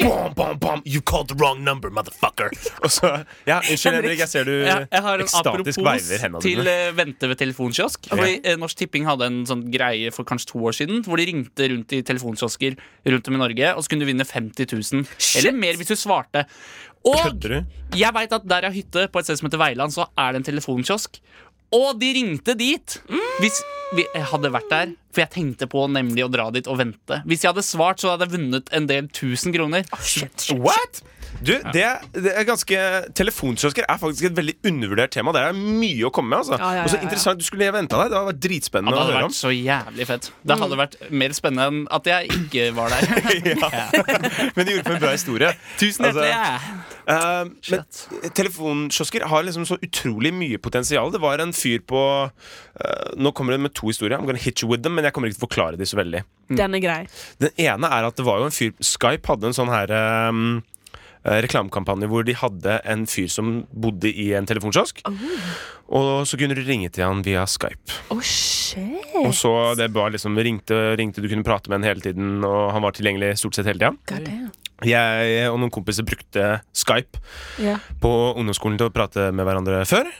[SPEAKER 1] bom, bom, bom, You called the wrong number, motherfucker! Og så, ja, Unnskyld, Henrik, jeg ser du
[SPEAKER 3] jeg, jeg har en
[SPEAKER 1] ekstatisk
[SPEAKER 3] apropos
[SPEAKER 1] veiver hendene
[SPEAKER 3] til
[SPEAKER 1] dine.
[SPEAKER 3] eh, vente ved telefonkiosk. Fordi eh, Norsk Tipping hadde en sånn greie for kanskje to år siden hvor de ringte rundt i telefonkiosker rundt om i Norge, og så kunne du vinne 50 000. Eller mer hvis du svarte. Og
[SPEAKER 1] Kødder du?
[SPEAKER 3] jeg veit at der jeg har hytte, på et sted som heter Veiland, så er det en telefonkiosk. Og de ringte dit! Hvis vi, jeg hadde vært der. For jeg tenkte på nemlig å dra dit og vente. Hvis jeg hadde svart, så hadde jeg vunnet en del tusen kroner.
[SPEAKER 1] What? Du, det, det er ganske Telefonkiosker er faktisk et veldig undervurdert tema. Det er mye å komme med. altså
[SPEAKER 2] Ja, ja, ja,
[SPEAKER 1] Og så
[SPEAKER 2] ja.
[SPEAKER 1] interessant, Du skulle venta deg. Det hadde vært
[SPEAKER 3] Ja,
[SPEAKER 1] dritspennende
[SPEAKER 3] det
[SPEAKER 1] å
[SPEAKER 3] hadde
[SPEAKER 1] høre
[SPEAKER 3] vært så jævlig fett. Det hadde vært mer spennende enn at jeg ikke var der.
[SPEAKER 1] om. Men det gjorde for en bra historie. Altså,
[SPEAKER 3] Tusen hjertelig.
[SPEAKER 1] Eh,
[SPEAKER 3] Shit.
[SPEAKER 1] men telefonkiosker har liksom så utrolig mye potensial. Det var en fyr på eh, Nå kommer det med to historier. I'm gonna hit you with them, men jeg kommer ikke til å forklare de så veldig.
[SPEAKER 2] Den er grei.
[SPEAKER 1] Den ene er at det var jo en fyr Skype hadde en sånn her ehm, eh, reklamekampanje hvor de hadde en fyr som bodde i en telefonkiosk.
[SPEAKER 2] Oh.
[SPEAKER 1] Og så kunne du ringe til han via Skype.
[SPEAKER 2] Å, Oh, shit.
[SPEAKER 1] Og så det var liksom ringte, ringte, du kunne prate med han hele tiden, og han var tilgjengelig stort sett hele tida.
[SPEAKER 2] God damn.
[SPEAKER 1] Jeg og noen kompiser brukte Skype
[SPEAKER 2] Ja.
[SPEAKER 1] på ungdomsskolen til å prate med hverandre før.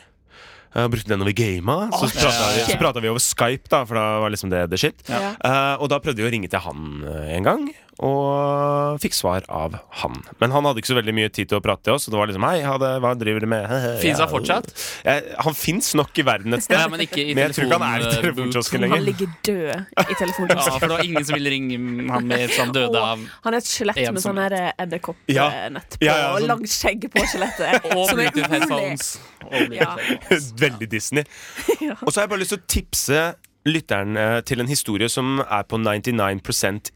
[SPEAKER 1] Eh, brukte den når vi gama. Så prata vi, så pratet vi over Skype, da, for da var liksom det the shit.
[SPEAKER 2] Ja.
[SPEAKER 1] Eh, og da prøvde vi å ringe til han eh, en gang, og fikk svar av han. Men han hadde ikke så veldig mye tid til å prate til oss, så det var liksom Hei, ha det, hva driver du med?
[SPEAKER 3] Finnes han fortsatt?
[SPEAKER 1] Eh, han fins nok i verden et sted.
[SPEAKER 3] Ja, men ikke i
[SPEAKER 1] jeg tror ikke han er i
[SPEAKER 3] telefonboot.
[SPEAKER 1] telefonkiosken
[SPEAKER 2] Han
[SPEAKER 1] lenger.
[SPEAKER 2] ligger død i
[SPEAKER 3] Ja,
[SPEAKER 2] telefonen.
[SPEAKER 3] for det var ingen som ville ringe han med, så han døde av
[SPEAKER 2] Han er et skjelett med
[SPEAKER 3] Ensom.
[SPEAKER 2] sånn her eh, edderkoppnett på,
[SPEAKER 1] Ja, ja, sånn-
[SPEAKER 2] og langt skjegg på skjelettet.
[SPEAKER 3] Og
[SPEAKER 2] som er
[SPEAKER 3] Bluetooth
[SPEAKER 2] urolig.
[SPEAKER 3] headphones. Og
[SPEAKER 2] Ja.
[SPEAKER 3] Bluetooth headphones.
[SPEAKER 1] Veldig Disney. Og så har jeg bare lyst til å tipse lytteren eh, til en historie som er på 99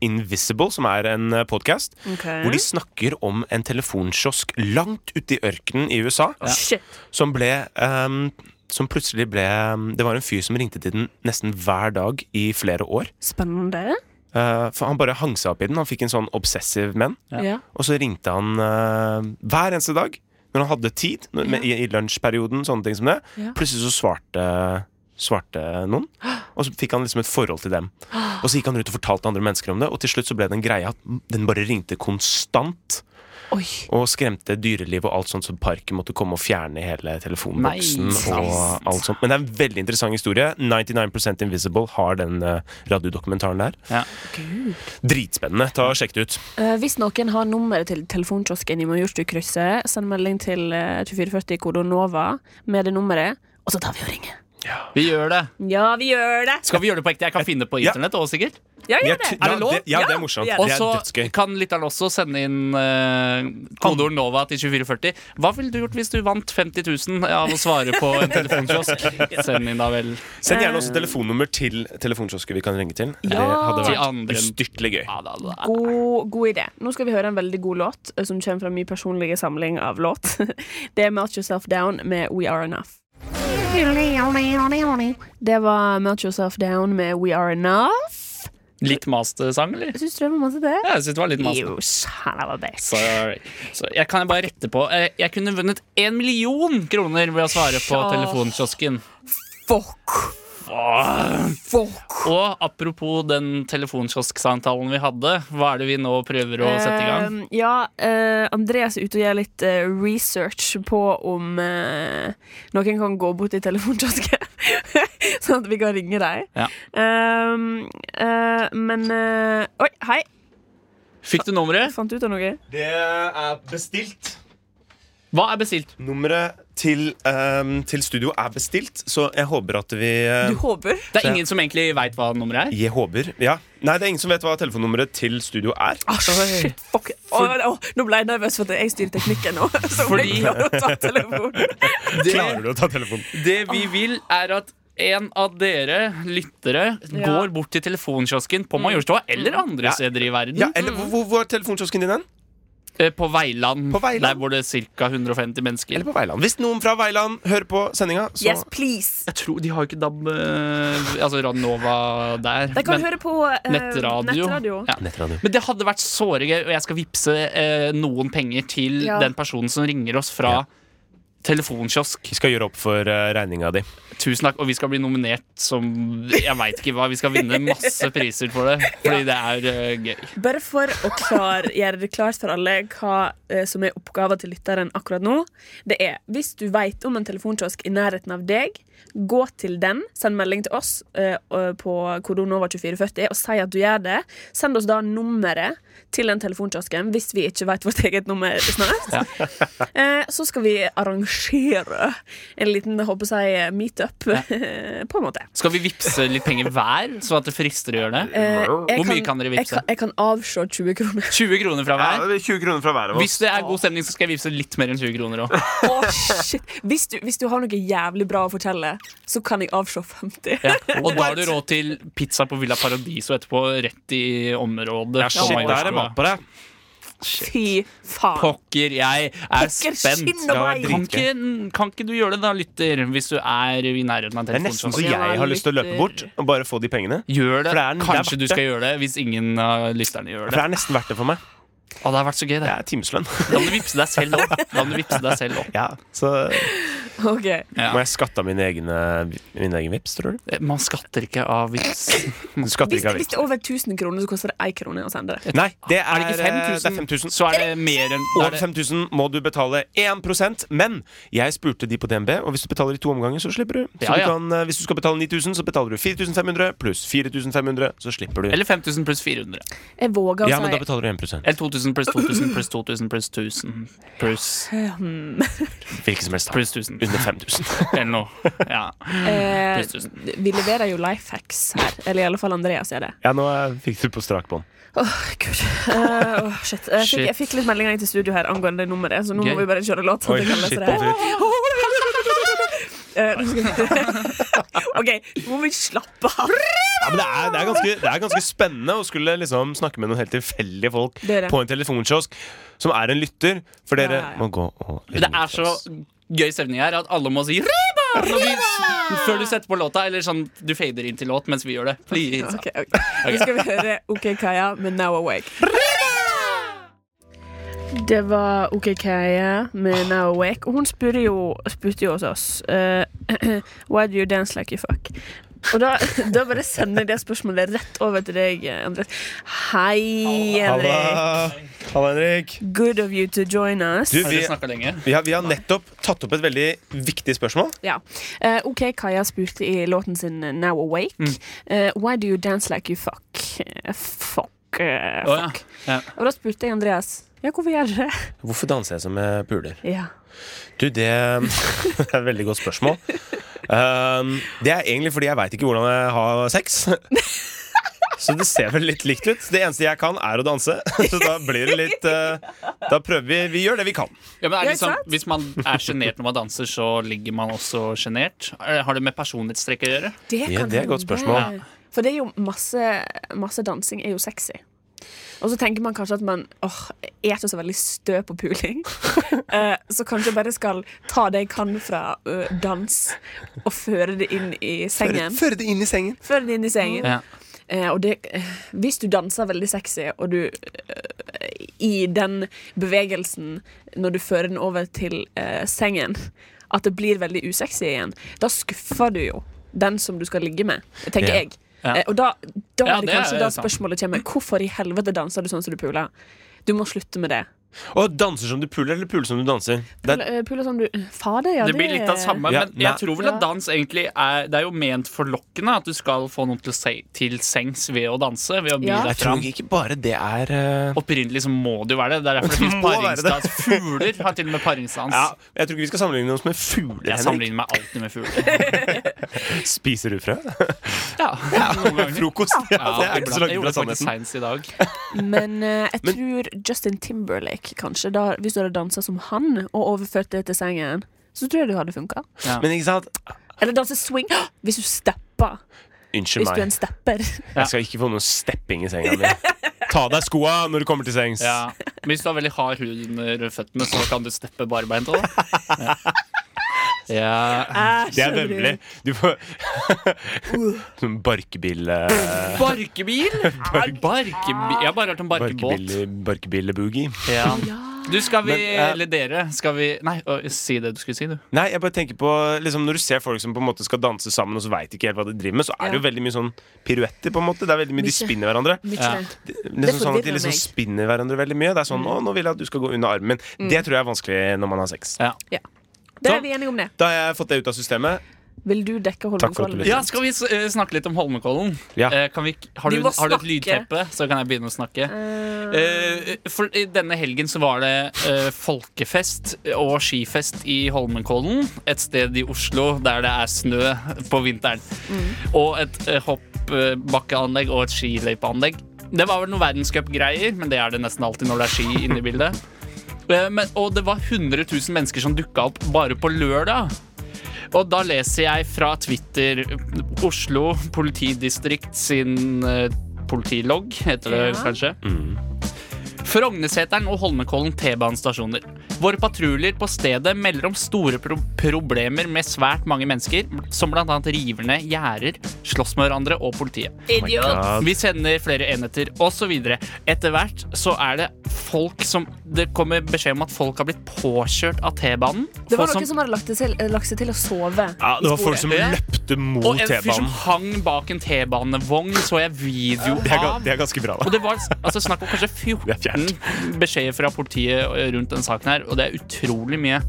[SPEAKER 1] Invisible, som er en podkast,
[SPEAKER 2] Ok.
[SPEAKER 1] hvor
[SPEAKER 3] Mm.
[SPEAKER 1] de snakker om en telefonkiosk langt ute i ørkenen i USA,
[SPEAKER 2] Shit.
[SPEAKER 1] som ble ehm, som plutselig ble ehm, Det var en fyr som ringte til den nesten hver dag i flere år.
[SPEAKER 2] Spennende.
[SPEAKER 1] Eh, for han bare hang seg opp i den. Han fikk en sånn obsessive menn.
[SPEAKER 3] Ja.
[SPEAKER 2] Ja.
[SPEAKER 1] Og så ringte han eh, hver eneste dag når han hadde tid, når, med, i, i lunsjperioden, sånne ting som det.
[SPEAKER 2] Ja.
[SPEAKER 1] Plutselig så svarte, svarte noen, og så fikk han liksom et forhold til dem. Og så gikk han rundt og fortalte andre mennesker om det, og til slutt så ble det en greie at den bare ringte konstant.
[SPEAKER 2] Oi.
[SPEAKER 1] Og skremte dyreliv og alt sånt, så parken måtte komme og fjerne hele telefonboksen.
[SPEAKER 3] Nei, sant.
[SPEAKER 1] og alt sånt Men det er en veldig interessant historie. 99 Invisible har den eh, radiodokumentaren der.
[SPEAKER 3] Ja.
[SPEAKER 1] Dritspennende. Ta og Sjekk det ut.
[SPEAKER 2] Eh, hvis noen har nummeret til telefonkiosken i Majorstukrysset, send melding til eh, 2440 kode NOVA med det nummeret, og så tar vi og ringer.
[SPEAKER 3] Vi gjør det.
[SPEAKER 2] Ja, vi gjør det!
[SPEAKER 3] Skal vi gjøre det på ekte? Jeg kan finne det på
[SPEAKER 1] Ja.
[SPEAKER 3] internett òg, sikkert.
[SPEAKER 2] Ja,
[SPEAKER 1] Jeg
[SPEAKER 2] gjør
[SPEAKER 1] t-
[SPEAKER 2] det.
[SPEAKER 3] Er det lov?
[SPEAKER 1] Ja, det, ja, det
[SPEAKER 2] Ja,
[SPEAKER 1] er morsomt.
[SPEAKER 2] det er
[SPEAKER 3] Og
[SPEAKER 1] Det er
[SPEAKER 3] så
[SPEAKER 1] dødsgøy.
[SPEAKER 3] kan lytteren også sende inn uh, kodeord NOVA til 2440. Hva ville du gjort hvis du vant 50 000 av å svare på en telefonkiosk? Send inn da vel
[SPEAKER 1] Send gjerne også telefonnummer til telefonkiosken vi kan ringe til. Det hadde
[SPEAKER 3] Til
[SPEAKER 1] vært
[SPEAKER 3] andre.
[SPEAKER 1] ustyrtelig gøy.
[SPEAKER 3] Ja, da, da.
[SPEAKER 2] God, god idé. Nå skal vi høre en veldig god låt eh, som kommer fra min personlige samling av låt. Det er Melt Yourself Down med We Are Enough. Det var Melt Yourself Down med We Are Enough.
[SPEAKER 3] Litt master-sang, eller?
[SPEAKER 2] Syns du det var masse det?
[SPEAKER 3] Ja, jeg synes det var litt master.
[SPEAKER 2] Jo, kjære var best.
[SPEAKER 3] Sorry. Så jeg kan bare rette på. Eh, Jeg kunne vunnet én million kroner ved å svare på
[SPEAKER 2] Åh.
[SPEAKER 3] telefonkiosken.
[SPEAKER 2] Fuck! Fuck!
[SPEAKER 3] Og apropos den telefonkiosksamtalen vi hadde, hva er det vi nå prøver å sette i gang?
[SPEAKER 2] Eh, ja, eh, Andreas er ute og gjør litt eh, research på om eh, noen kan gå bort i telefonkiosken, sånn at vi kan ringe dem.
[SPEAKER 3] Ja.
[SPEAKER 2] Um, eh, men eh, Oi, hei!
[SPEAKER 3] Fikk du nummeret?
[SPEAKER 2] Fant du ut av noe?
[SPEAKER 1] Det er bestilt.
[SPEAKER 3] Hva er bestilt?
[SPEAKER 1] Nummeret til, ehm, til studio er bestilt, så jeg håper at vi eh,
[SPEAKER 2] Du håper?
[SPEAKER 3] Det er ingen som egentlig veit hva nummeret er.
[SPEAKER 1] Jeg håper, ja Nei, det er ingen som vet hva telefonnummeret til studio er.
[SPEAKER 2] Ah, shit, fuck Åh, åh, Nå ble jeg nervøs for at jeg styrer teknikken nå. Så om
[SPEAKER 3] Fordi-
[SPEAKER 2] jeg klarer å ta telefonen.
[SPEAKER 1] Klarer du å ta telefonen?
[SPEAKER 3] Det vi vil, er at en av dere lyttere går bort til telefonkiosken på Majorstua eller andre
[SPEAKER 1] Ja.
[SPEAKER 3] steder i verden.
[SPEAKER 1] Ja, eller hvor, hvor er telefonkiosken din hen?
[SPEAKER 3] Eh, På Veiland.
[SPEAKER 1] På Veiland.
[SPEAKER 3] Der bor det ca. 150 mennesker.
[SPEAKER 1] Eller på Veiland? Hvis noen fra Veiland hører på sendinga, så
[SPEAKER 2] Yes, please.
[SPEAKER 3] Jeg tror De har jo ikke DAB, eh, altså Radnova der.
[SPEAKER 2] De kan
[SPEAKER 3] men-
[SPEAKER 2] høre på eh,
[SPEAKER 3] Nettradio.
[SPEAKER 2] nettradio.
[SPEAKER 3] Ja.
[SPEAKER 1] Nettradio.
[SPEAKER 3] Men det hadde vært såre gøy, og jeg skal vippse eh, noen penger til
[SPEAKER 2] Ja.
[SPEAKER 3] den personen som ringer oss fra telefonkiosk.
[SPEAKER 1] Vi skal gjøre opp for uh, regninga di.
[SPEAKER 3] Tusen takk. Og vi skal bli nominert som Jeg veit ikke hva. Vi skal vinne masse priser for det. Fordi det er eh, gøy.
[SPEAKER 2] Bare for å klar, gjøre det klart for alle hva eh, som er oppgaven til lytteren akkurat nå. Det er, Hvis du vet om en telefonkiosk i nærheten av deg, gå til den, send melding til oss eh, og- på kodonova2440 og si at du gjør det. Send oss da nummeret til den telefonkiosken hvis vi ikke vet vårt eget nummer snart. Eh, Så skal vi arrangere en liten jeg håper jeg, meetup, på en måte.
[SPEAKER 3] Skal vi vippse litt penger hver, så at det frister å gjøre det?
[SPEAKER 2] Eh, jeg
[SPEAKER 3] Hvor mye kan dere
[SPEAKER 2] Jeg
[SPEAKER 3] vippse?
[SPEAKER 2] kan, jeg kan avslå 20 kroner.
[SPEAKER 3] 20 kroner fra hver.
[SPEAKER 1] 20 kroner fra hver av
[SPEAKER 3] Hvis det er god stemning, så skal jeg vippse litt mer enn 20 kroner òg.
[SPEAKER 2] Åh, shit. Hvis du, hvis du har noe jævlig bra å fortelle, så kan jeg avslå 50.
[SPEAKER 3] Ja. Og da har du råd til pizza på Villa Paradiso etterpå, rett i området.
[SPEAKER 1] Ja, shit,
[SPEAKER 3] på
[SPEAKER 1] der er det mat
[SPEAKER 3] Majorstua.
[SPEAKER 1] på deg.
[SPEAKER 2] Fy faen.
[SPEAKER 3] Pokker, jeg er
[SPEAKER 2] Pokker,
[SPEAKER 3] spent.
[SPEAKER 2] skinn og
[SPEAKER 1] Ja,
[SPEAKER 2] meg.
[SPEAKER 1] drit-
[SPEAKER 3] Kan ikke, kan ikke du gjøre det da, lytter, hvis du er i nærheten av en
[SPEAKER 1] Det er nesten så
[SPEAKER 3] telefonkiosk?
[SPEAKER 1] jeg sånn. har lyst til å løpe bort og bare få de pengene.
[SPEAKER 3] Gjør det.
[SPEAKER 1] For det er den- det er verdt
[SPEAKER 3] Kanskje du
[SPEAKER 1] det.
[SPEAKER 3] skal gjøre det hvis ingen av lytterne gjør
[SPEAKER 1] For
[SPEAKER 3] det.
[SPEAKER 1] det er nesten verdt det for meg.
[SPEAKER 3] Å, det har vært så gøy,
[SPEAKER 1] Det
[SPEAKER 3] det.
[SPEAKER 1] er timeslønn.
[SPEAKER 3] Da må du vippse deg selv opp. Da må du vippse deg selv opp.
[SPEAKER 1] Ja, så
[SPEAKER 2] Ok.
[SPEAKER 3] Ja. Eh,
[SPEAKER 1] må jeg skatte av min egen, min egen vips, tror du?
[SPEAKER 3] Man skatter ikke av vips.
[SPEAKER 1] Du skatter
[SPEAKER 2] Hvis,
[SPEAKER 1] ikke av
[SPEAKER 2] hvis
[SPEAKER 1] vips.
[SPEAKER 2] det er over 1000 kroner, så koster det 1 krone å sende det.
[SPEAKER 1] Nei, det er,
[SPEAKER 3] Er det ikke 5000,
[SPEAKER 1] 5000.
[SPEAKER 3] så er det mer enn da
[SPEAKER 1] Over
[SPEAKER 3] er det,
[SPEAKER 1] 5000 må du betale 1 men jeg spurte de på DNB, og hvis du betaler i to omganger, så slipper du. Så
[SPEAKER 3] Ja, ja.
[SPEAKER 1] Du kan, eh, hvis du skal betale 9000, så betaler du 4500 pluss 4500, så slipper du.
[SPEAKER 3] Eller 5000 pluss 400.
[SPEAKER 2] Jeg våger
[SPEAKER 1] ja,
[SPEAKER 2] å
[SPEAKER 1] men da
[SPEAKER 2] si
[SPEAKER 1] betaler du 1
[SPEAKER 3] Eller 2000 pluss 2000 pluss 2000 pluss 1000 pluss
[SPEAKER 2] hmm,
[SPEAKER 1] Hvilken som helst. da.
[SPEAKER 3] pluss 1000.
[SPEAKER 1] Under 5000.
[SPEAKER 3] Eller noe. Ja.
[SPEAKER 2] eh,
[SPEAKER 3] Pluss tusen.
[SPEAKER 2] Vi leverer jo life hacks her. Eller i alle fall Andreas gjør det.
[SPEAKER 1] Ja, nå eh, fikk du på strak bånd.
[SPEAKER 2] Åh, gud. Eh, åh, shit. Jeg fikk, jeg fikk litt meldinger inn til studio her angående det nummeret, så nå
[SPEAKER 3] Gøy.
[SPEAKER 2] må vi bare kjøre låt.
[SPEAKER 1] Oi,
[SPEAKER 2] sånn at jeg kan lese
[SPEAKER 1] shit,
[SPEAKER 2] det
[SPEAKER 1] på
[SPEAKER 2] her. Eh, nå skal- OK, nå må vi slappe av.
[SPEAKER 1] Ja, men det er, det, er ganske, det er ganske spennende å skulle liksom snakke med noen helt tilfeldige folk
[SPEAKER 2] Det er det.
[SPEAKER 1] på en telefonkiosk som er en lytter, for dere
[SPEAKER 2] Ja, ja, ja.
[SPEAKER 1] må gå og
[SPEAKER 3] Det er så gøy stemning her at alle må si Riba! Når vi, før du setter på låta, eller sånn du fader inn til låt mens vi gjør det. Please.
[SPEAKER 2] Ok, ok. Nå skal vi høre OK Kaja med Now Awake. Det var OK Kaja med Now Awake. Og hun spurte jo, spurte jo hos oss eh, Why do you dance like you fuck? Og da, da bare sender jeg det spørsmålet rett over til deg, Andres. Hei, Henrik.
[SPEAKER 1] Halla, Halla Henrik.
[SPEAKER 2] Good of you to join us.
[SPEAKER 1] Du,
[SPEAKER 3] Har
[SPEAKER 1] vi,
[SPEAKER 3] dere snakka lenge?
[SPEAKER 1] vi, har, vi har nettopp tatt opp et veldig viktig spørsmål.
[SPEAKER 2] Ja. Eh, OK, Kaja spurte i låten sin eh, Now Awake. eh, why do you dance like you fuck? Eh, fuck. eh,
[SPEAKER 3] Å, ja.
[SPEAKER 2] fuck.
[SPEAKER 3] Ja.
[SPEAKER 2] Og da spurte jeg Andreas. Ja, hvorfor gjør dere det?
[SPEAKER 1] Hvorfor danser jeg som jeg puler?
[SPEAKER 2] Ja.
[SPEAKER 1] Du, det er et veldig godt spørsmål. Um, det er egentlig fordi jeg veit ikke hvordan jeg har sex. Så det ser vel litt likt ut. Det eneste jeg kan, er å danse. Så da blir det litt uh, Da prøver vi. Vi gjør det vi kan.
[SPEAKER 3] Ja, men
[SPEAKER 2] Ja,
[SPEAKER 3] er
[SPEAKER 2] ikke
[SPEAKER 3] det liksom,
[SPEAKER 2] sant?
[SPEAKER 3] hvis man er sjenert når man danser, så ligger man også sjenert? Er- Har det med personlighetstrekk å gjøre?
[SPEAKER 2] Det,
[SPEAKER 1] Ja,
[SPEAKER 2] kan
[SPEAKER 1] det er et godt
[SPEAKER 2] hende.
[SPEAKER 1] spørsmål. Ja.
[SPEAKER 2] For det er jo masse, masse dansing er jo sexy. Og så tenker man kanskje at man åh, er ikke så veldig stø på puling. Eh, så kanskje jeg bare skal ta det jeg kan fra ø, dans, og føre det inn i sengen.
[SPEAKER 1] Føre det inn i sengen.
[SPEAKER 2] Føre det inn i sengen.
[SPEAKER 3] Ja.
[SPEAKER 2] Eh, og det, eh, hvis du danser veldig sexy, og du eh, i den bevegelsen, når du fører den over til eh, sengen, at det blir veldig usexy igjen, da skuffer du jo den som du skal ligge med, tenker
[SPEAKER 1] Ja.
[SPEAKER 2] jeg.
[SPEAKER 3] Ja.
[SPEAKER 2] Eh, og da, da
[SPEAKER 3] Ja,
[SPEAKER 2] er det
[SPEAKER 3] det er
[SPEAKER 2] kanskje
[SPEAKER 3] jo
[SPEAKER 2] da
[SPEAKER 3] sant.
[SPEAKER 2] spørsmålet kommer. Hvorfor i helvete danser du sånn som du puler? Du må slutte med det.
[SPEAKER 1] Og danser som du puler, eller puler som du danser? Det,
[SPEAKER 2] Puler, eh, puler som du Fader, ja,
[SPEAKER 3] Det blir litt av det samme,
[SPEAKER 1] Ja,
[SPEAKER 3] men jeg
[SPEAKER 1] nei.
[SPEAKER 3] tror vel
[SPEAKER 2] Ja.
[SPEAKER 3] at dans egentlig er Det er jo ment forlokkende at du skal få noen til, se, til sengs ved å danse. Ved å by
[SPEAKER 2] Ja.
[SPEAKER 3] deg
[SPEAKER 1] jeg tror
[SPEAKER 3] fram.
[SPEAKER 1] ikke bare det er uh,
[SPEAKER 3] Opprinnelig så må det jo være det. Det er derfor det
[SPEAKER 1] Det
[SPEAKER 3] finnes
[SPEAKER 1] må være det.
[SPEAKER 3] paringsdans. Fugler har til og med paringsdans.
[SPEAKER 1] ja, Jeg tror ikke vi skal sammenligne oss med fugler.
[SPEAKER 3] Jeg
[SPEAKER 1] Henrik.
[SPEAKER 3] sammenligner meg alltid med fugler.
[SPEAKER 1] Spiser du frø?
[SPEAKER 3] Ja, noen ganger.
[SPEAKER 1] Frokost? Ja,
[SPEAKER 3] Ja,
[SPEAKER 1] det er ikke
[SPEAKER 3] iblant.
[SPEAKER 1] så
[SPEAKER 3] jeg
[SPEAKER 1] langt fra
[SPEAKER 3] gjorde det faktisk
[SPEAKER 1] sannheten.
[SPEAKER 3] seinest i dag.
[SPEAKER 2] Men eh, jeg tror Justin Timberlake, kanskje. Da, hvis du hadde dansa som han og overført det til sengen, så tror jeg du hadde funka.
[SPEAKER 1] Men ikke sant?
[SPEAKER 2] Eller danse swing hvis du stepper.
[SPEAKER 1] Unnskyld
[SPEAKER 2] Hvis du er
[SPEAKER 1] meg.
[SPEAKER 2] en stepper.
[SPEAKER 1] Jeg skal ikke få noe stepping i senga mi. Ta av deg skoa når du kommer til sengs.
[SPEAKER 3] Ja. Men hvis du har veldig hard hud under føttene, så kan du steppe barbeint òg. Ja.
[SPEAKER 1] Det er vemmelig. Du får Sånn barkebille...
[SPEAKER 3] Barkebil? Barkebil? Jeg har bare hørt om barkebåt.
[SPEAKER 1] Barkebille, barkebille-boogie.
[SPEAKER 3] Ja. Du, skal vi,
[SPEAKER 1] Men, eh,
[SPEAKER 3] eller dere, skal vi Nei, å, si det du skulle si, du.
[SPEAKER 1] Nei, jeg bare tenker på liksom, Når du ser folk som på en måte skal danse sammen, og så veit ikke helt hva de driver med, så er det jo
[SPEAKER 2] Ja.
[SPEAKER 1] veldig mye sånn piruetter, på en måte. Det er veldig mye de
[SPEAKER 2] Mye.
[SPEAKER 1] spinner hverandre.
[SPEAKER 2] Mye.
[SPEAKER 3] Ja.
[SPEAKER 1] Det, liksom sånn at
[SPEAKER 2] forvirrer
[SPEAKER 1] de liksom
[SPEAKER 2] meg. Mm.
[SPEAKER 1] spinner hverandre veldig mye. Det er sånn 'Å, nå vil jeg at du skal gå under armen min'. Det tror jeg er vanskelig når man har sex.
[SPEAKER 3] Ja.
[SPEAKER 2] Det
[SPEAKER 1] Så-
[SPEAKER 2] er vi enige om, det.
[SPEAKER 1] Da har jeg fått det ut av systemet.
[SPEAKER 2] Vil du dekke
[SPEAKER 1] Takk for at du
[SPEAKER 2] Holmenkollen?
[SPEAKER 1] lyttet.
[SPEAKER 3] Ja, skal vi s- eh, snakke litt om Holmenkollen?
[SPEAKER 1] Ja.
[SPEAKER 3] Eh, Kan vi, har,
[SPEAKER 2] Vi
[SPEAKER 3] du,
[SPEAKER 2] må
[SPEAKER 3] har du et
[SPEAKER 2] snakke.
[SPEAKER 3] lydteppe, så kan jeg begynne å snakke? Eh, for i denne helgen så var det eh, folkefest og skifest i Holmenkollen. Et sted i Oslo der det er snø på vinteren. Og et eh, hoppbakkeanlegg og et skiløypeanlegg. Det var vel noe verdenscupgreier, men det er det nesten alltid når det er ski inne i bildet. Eh, Men, og det var 100 000 mennesker som dukka opp bare på lørdag. Og da leser jeg fra Twitter Oslo politidistrikt sin eh, politilogg, heter det
[SPEAKER 2] Ja.
[SPEAKER 3] kanskje. Frognerseteren og Holmenkollen T-banestasjoner. Våre patruljer på stedet melder om store pro problemer med svært mange mennesker, som bl.a. river ned gjerder, slåss med hverandre og politiet.
[SPEAKER 2] Idiot!
[SPEAKER 1] Ja,
[SPEAKER 3] Vi sender flere enheter osv. Etter hvert så er det folk som Det kommer beskjed om at folk har blitt påkjørt av T-banen.
[SPEAKER 2] Det var
[SPEAKER 3] Folk
[SPEAKER 1] sånn-
[SPEAKER 2] noen som hadde lagt, det til, eh, lagt seg til å sove.
[SPEAKER 1] ja, det var folk som
[SPEAKER 3] Ja.
[SPEAKER 1] løpte mot
[SPEAKER 3] Og en fyr som
[SPEAKER 1] T-banen.
[SPEAKER 3] hang bak en T-banevogn, så jeg video
[SPEAKER 1] Det, er ga-
[SPEAKER 3] av.
[SPEAKER 1] det er ganske bra,
[SPEAKER 3] Og
[SPEAKER 1] da.
[SPEAKER 3] det var altså, snakk om kanskje
[SPEAKER 1] Det er
[SPEAKER 3] 14 beskjeder fra politiet rundt den saken her, og det er utrolig mye.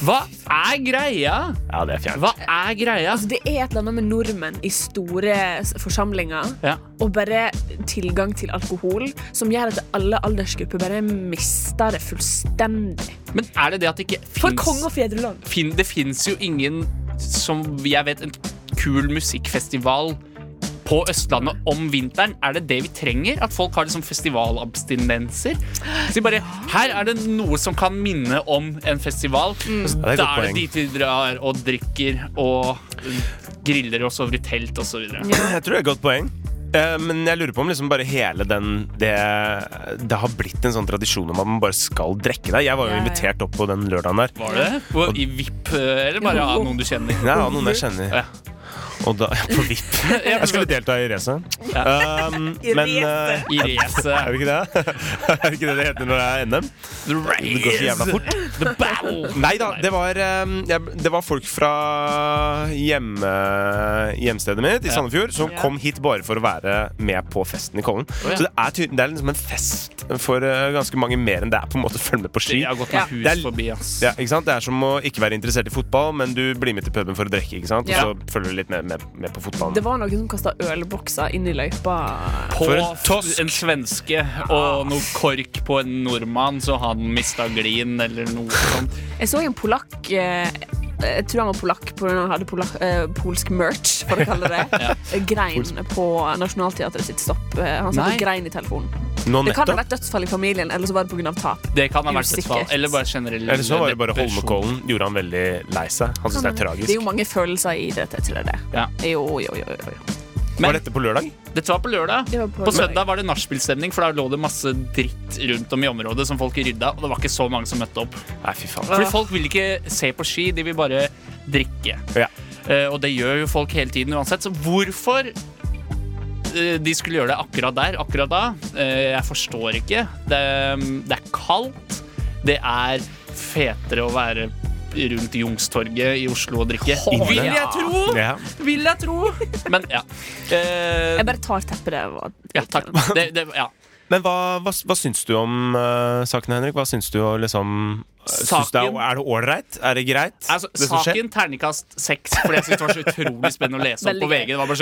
[SPEAKER 3] Hva er greia?
[SPEAKER 1] Ja, det er fjernt.
[SPEAKER 3] Hva er greia?
[SPEAKER 2] Det er et eller annet med nordmenn i store s- forsamlinger
[SPEAKER 3] Ja.
[SPEAKER 2] og bare tilgang til alkohol som gjør at alle aldersgrupper bare mister det fullstendig.
[SPEAKER 3] Men er det det at det ikke
[SPEAKER 2] For konge
[SPEAKER 3] fins
[SPEAKER 2] og fedreland.
[SPEAKER 3] fin, Det fins jo ingen, som jeg vet, en kul musikkfestival på Østlandet om vinteren. Er det det vi trenger? At folk har liksom festivalabstinenser? Så de bare, Her er det noe som kan minne om en festival. Så
[SPEAKER 1] Mm. Ja, det er et
[SPEAKER 3] da
[SPEAKER 1] godt
[SPEAKER 3] er det
[SPEAKER 1] poeng.
[SPEAKER 3] dit vi drar og drikker og um, griller og sover i telt og så videre
[SPEAKER 1] Jeg tror det er et godt poeng. Eh, Men jeg lurer på om liksom bare hele den det, det har blitt en sånn tradisjon om at man bare skal drikke deg. Jeg var jo
[SPEAKER 2] Ja, ja.
[SPEAKER 1] invitert opp på den lørdagen der.
[SPEAKER 3] Var det? Hvor- I VIP, eh, eller bare av noen du kjenner?
[SPEAKER 1] Nei, ja, noen jeg kjenner.
[SPEAKER 3] Ja.
[SPEAKER 1] Og da, på VIP. Jeg skulle delta i racet. Um,
[SPEAKER 2] I
[SPEAKER 1] men
[SPEAKER 2] racet.
[SPEAKER 1] eh,
[SPEAKER 3] I racet.
[SPEAKER 1] er det ikke det? Er det ikke det det heter når det er NM?
[SPEAKER 3] The
[SPEAKER 1] Det går så jævla
[SPEAKER 3] race.
[SPEAKER 1] fort.
[SPEAKER 3] The battle.
[SPEAKER 1] Nei da, det var, ehm, jeg- det var folk fra hjemme, hjemstedet mitt i Sandefjord som
[SPEAKER 2] Ja.
[SPEAKER 1] kom hit bare for å være med på festen i Kollen.
[SPEAKER 3] ja.
[SPEAKER 1] Så det er, tydelig- det er liksom en fest for eh, ganske mange mer enn det er på en måte å følge med på ski.
[SPEAKER 3] Jeg har gått
[SPEAKER 2] Ja.
[SPEAKER 3] meg hus
[SPEAKER 1] Det er-
[SPEAKER 3] forbi, ass.
[SPEAKER 1] Ja, ikke sant? Det er som å ikke være interessert i fotball, men du blir med til puben for å drikke. Ikke sant? Og
[SPEAKER 2] Ja.
[SPEAKER 1] så følger du litt med, med, med på
[SPEAKER 2] Det
[SPEAKER 1] fotballen.
[SPEAKER 2] var noen som kasta ølbokser inn i løypa.
[SPEAKER 3] på
[SPEAKER 1] For en
[SPEAKER 3] f-
[SPEAKER 1] tosk. Ah.
[SPEAKER 3] en svenske og noe kork på en nordmann, så han mista glien eller noe sånt.
[SPEAKER 2] Jeg så en polakk eh, Jeg tror han var polakk pga. han hadde polak, eh, polsk merch, for å kalle det det. Grein på Nationaltheatret sitt stopp. Eh, Han satt
[SPEAKER 3] Nei.
[SPEAKER 2] og grein i telefonen.
[SPEAKER 1] Nå
[SPEAKER 2] Det kan ha
[SPEAKER 1] nettopp.
[SPEAKER 2] vært dødsfall i familien, eller så var det pga. tap.
[SPEAKER 3] Det kan ha vært et
[SPEAKER 2] Usikkert.
[SPEAKER 3] fall. Eller bare generell
[SPEAKER 1] Eller så var det bare
[SPEAKER 3] depresjon.
[SPEAKER 1] Holmenkollen gjorde han veldig lei seg. Han syns det er
[SPEAKER 2] Det er
[SPEAKER 1] tragisk.
[SPEAKER 2] jo mange følelser i det. Til det.
[SPEAKER 3] Ja.
[SPEAKER 2] Jo, jo, jo, jo, jo.
[SPEAKER 3] Men-
[SPEAKER 1] Var dette på lørdag?
[SPEAKER 3] Dette var på lørdag.
[SPEAKER 2] Det var på
[SPEAKER 3] på
[SPEAKER 2] lørdag.
[SPEAKER 3] søndag var det nachspielstemning, for da lå det masse dritt rundt om i området som folk rydda, og det var ikke så mange som møtte opp.
[SPEAKER 1] Nei, fy faen.
[SPEAKER 3] Fordi folk vil ikke se på ski, de vil bare drikke.
[SPEAKER 1] Ja.
[SPEAKER 3] Eh, og det gjør jo folk hele tiden uansett, så hvorfor eh, de skulle gjøre det akkurat der, akkurat da. eh, Jeg forstår ikke. Det, det er kaldt. Det er fetere å være rundt Youngstorget i Oslo og drikke.
[SPEAKER 1] Inne.
[SPEAKER 3] Vil jeg tro!
[SPEAKER 1] Ja.
[SPEAKER 3] Vil jeg tro! Men ja. Eh,
[SPEAKER 2] Jeg bare tar teppet der. og-
[SPEAKER 3] ja takk. Det, det, ja.
[SPEAKER 1] Men hva, hva, hva syns du om eh, saken, Henrik? Hva syns du og liksom syns det er,
[SPEAKER 3] Saken-
[SPEAKER 1] er det ålreit? Er det greit,
[SPEAKER 3] Altså,
[SPEAKER 1] det som skjer?
[SPEAKER 3] saken terningkast seks, for jeg synes det var så utrolig spennende å lese om
[SPEAKER 2] Veldig
[SPEAKER 3] på VG. Det var bare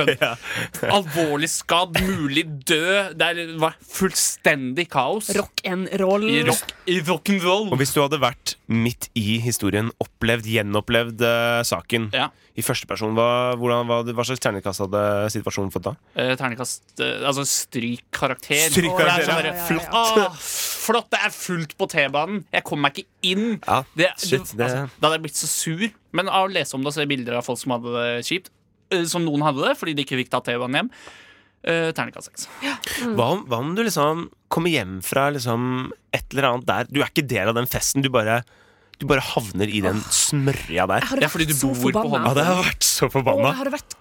[SPEAKER 3] sånn Alvorlig skadd, mulig død. Det er- det var fullstendig kaos.
[SPEAKER 2] Rock and roll.
[SPEAKER 3] I rock, i rock'n'roll.
[SPEAKER 1] Og hvis du hadde vært midt i historien, opplevd, gjenopplevd eh, saken
[SPEAKER 3] Ja.
[SPEAKER 1] i første person, hva, hvordan, hva, hva slags terningkast hadde situasjonen fått da?
[SPEAKER 3] eh, Terningkast eh, Altså stryk karakter.
[SPEAKER 1] Stryk
[SPEAKER 3] Og det er
[SPEAKER 1] karakter, ja.
[SPEAKER 3] sånn
[SPEAKER 2] Ja,
[SPEAKER 3] bare,
[SPEAKER 2] ja, ja.
[SPEAKER 3] Flott. Ah, flott! Det er fullt på T-banen. Jeg kommer meg ikke inn.
[SPEAKER 1] Ja,
[SPEAKER 3] Det-
[SPEAKER 1] shit,
[SPEAKER 3] det-
[SPEAKER 1] det-
[SPEAKER 3] altså, da hadde jeg blitt så sur. Men av å lese om det og se bilder av folk som hadde det kjipt, eh, som noen hadde det fordi de ikke fikk ta T-banen hjem, eh, terningkast seks. mm.
[SPEAKER 1] Hva om, hva om du liksom kommer hjem fra liksom et eller annet der Du er ikke del av den festen, du bare, du bare havner i den smørja der.
[SPEAKER 2] Jeg hadde
[SPEAKER 3] Det er fordi
[SPEAKER 2] vært
[SPEAKER 3] du
[SPEAKER 2] så
[SPEAKER 3] bor på
[SPEAKER 2] forbanna.
[SPEAKER 1] Ja, det har vært så
[SPEAKER 2] Å, jeg
[SPEAKER 1] forbanna.
[SPEAKER 2] hadde vært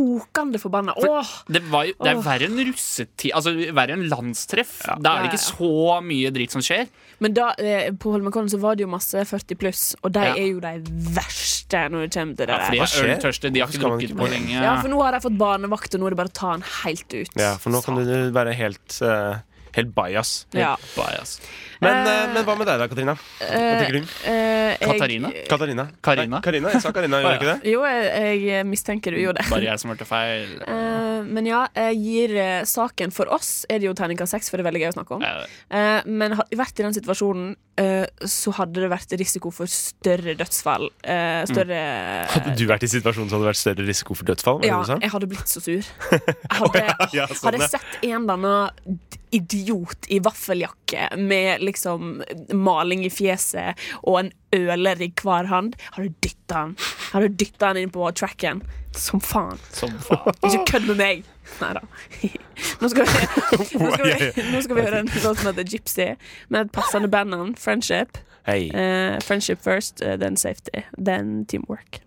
[SPEAKER 2] kokende forbanna. Åh!
[SPEAKER 3] Det, var, jo- det er verre enn russetid Altså verre enn landstreff. Da er det ikke så mye dritt som skjer.
[SPEAKER 2] Men da, eh, på Holmenkollen så var det jo masse 40 pluss, og de
[SPEAKER 3] Ja.
[SPEAKER 2] er jo de verste når det kommer til det
[SPEAKER 3] Ja, for de
[SPEAKER 1] Hva
[SPEAKER 2] der.
[SPEAKER 3] er
[SPEAKER 1] skjer?
[SPEAKER 3] øltørste. De har
[SPEAKER 1] Hvorfor
[SPEAKER 3] ikke
[SPEAKER 1] skal man
[SPEAKER 3] drukket
[SPEAKER 1] ikke
[SPEAKER 3] på
[SPEAKER 1] på-
[SPEAKER 3] lenge.
[SPEAKER 2] Ja, for nå har de fått barnevakt, og nå er det bare å ta den helt ut.
[SPEAKER 1] Ja, for nå kan du være helt, eh, helt bajas.
[SPEAKER 2] Ja.
[SPEAKER 3] Bare, altså.
[SPEAKER 1] Men,
[SPEAKER 2] Eh,
[SPEAKER 1] eh, men hva med deg da, Katarina? Hva tenker du?
[SPEAKER 2] Eh, jeg-
[SPEAKER 3] Katarina?
[SPEAKER 1] Katarina?
[SPEAKER 3] Karina?
[SPEAKER 1] Nei, Karina? Jeg sa Karina, gjør
[SPEAKER 3] Å,
[SPEAKER 1] jeg ikke
[SPEAKER 3] ja.
[SPEAKER 1] det?
[SPEAKER 2] Jo, jeg, jeg mistenker du gjorde det.
[SPEAKER 3] Bare jeg som hørte feil.
[SPEAKER 2] Eh, men ja, jeg gir eh, saken for oss er det jo terningkast seks, for det er veldig gøy å snakke om.
[SPEAKER 3] Ja,
[SPEAKER 2] Eh, men hadde vi vært i den situasjonen, eh, så hadde det vært risiko for større dødsfall. eh, større
[SPEAKER 3] Mm.
[SPEAKER 1] Hadde du vært i situasjonen så hadde det vært større risiko for dødfall? var det
[SPEAKER 2] Ja,
[SPEAKER 1] det du sa?
[SPEAKER 2] jeg hadde blitt så sur. Jeg Hadde,
[SPEAKER 1] ja, sånn,
[SPEAKER 2] hadde
[SPEAKER 1] ja.
[SPEAKER 2] jeg sett en eller annen idiot i vaffeljakke med liksom maling i fjeset og en øler i hver hand, hadde dytta han. Hadde dytta han inn på tracken. Som faen.
[SPEAKER 3] Som faen.
[SPEAKER 2] Ikke kødd med meg! Nei da. Nå skal vi, nå skal vi, nå skal vi høre en låt som heter Gypsy, med et passende bandnavn, Friendship.
[SPEAKER 1] Hei.
[SPEAKER 2] Eh, friendship first, eh, then safety, then teamwork.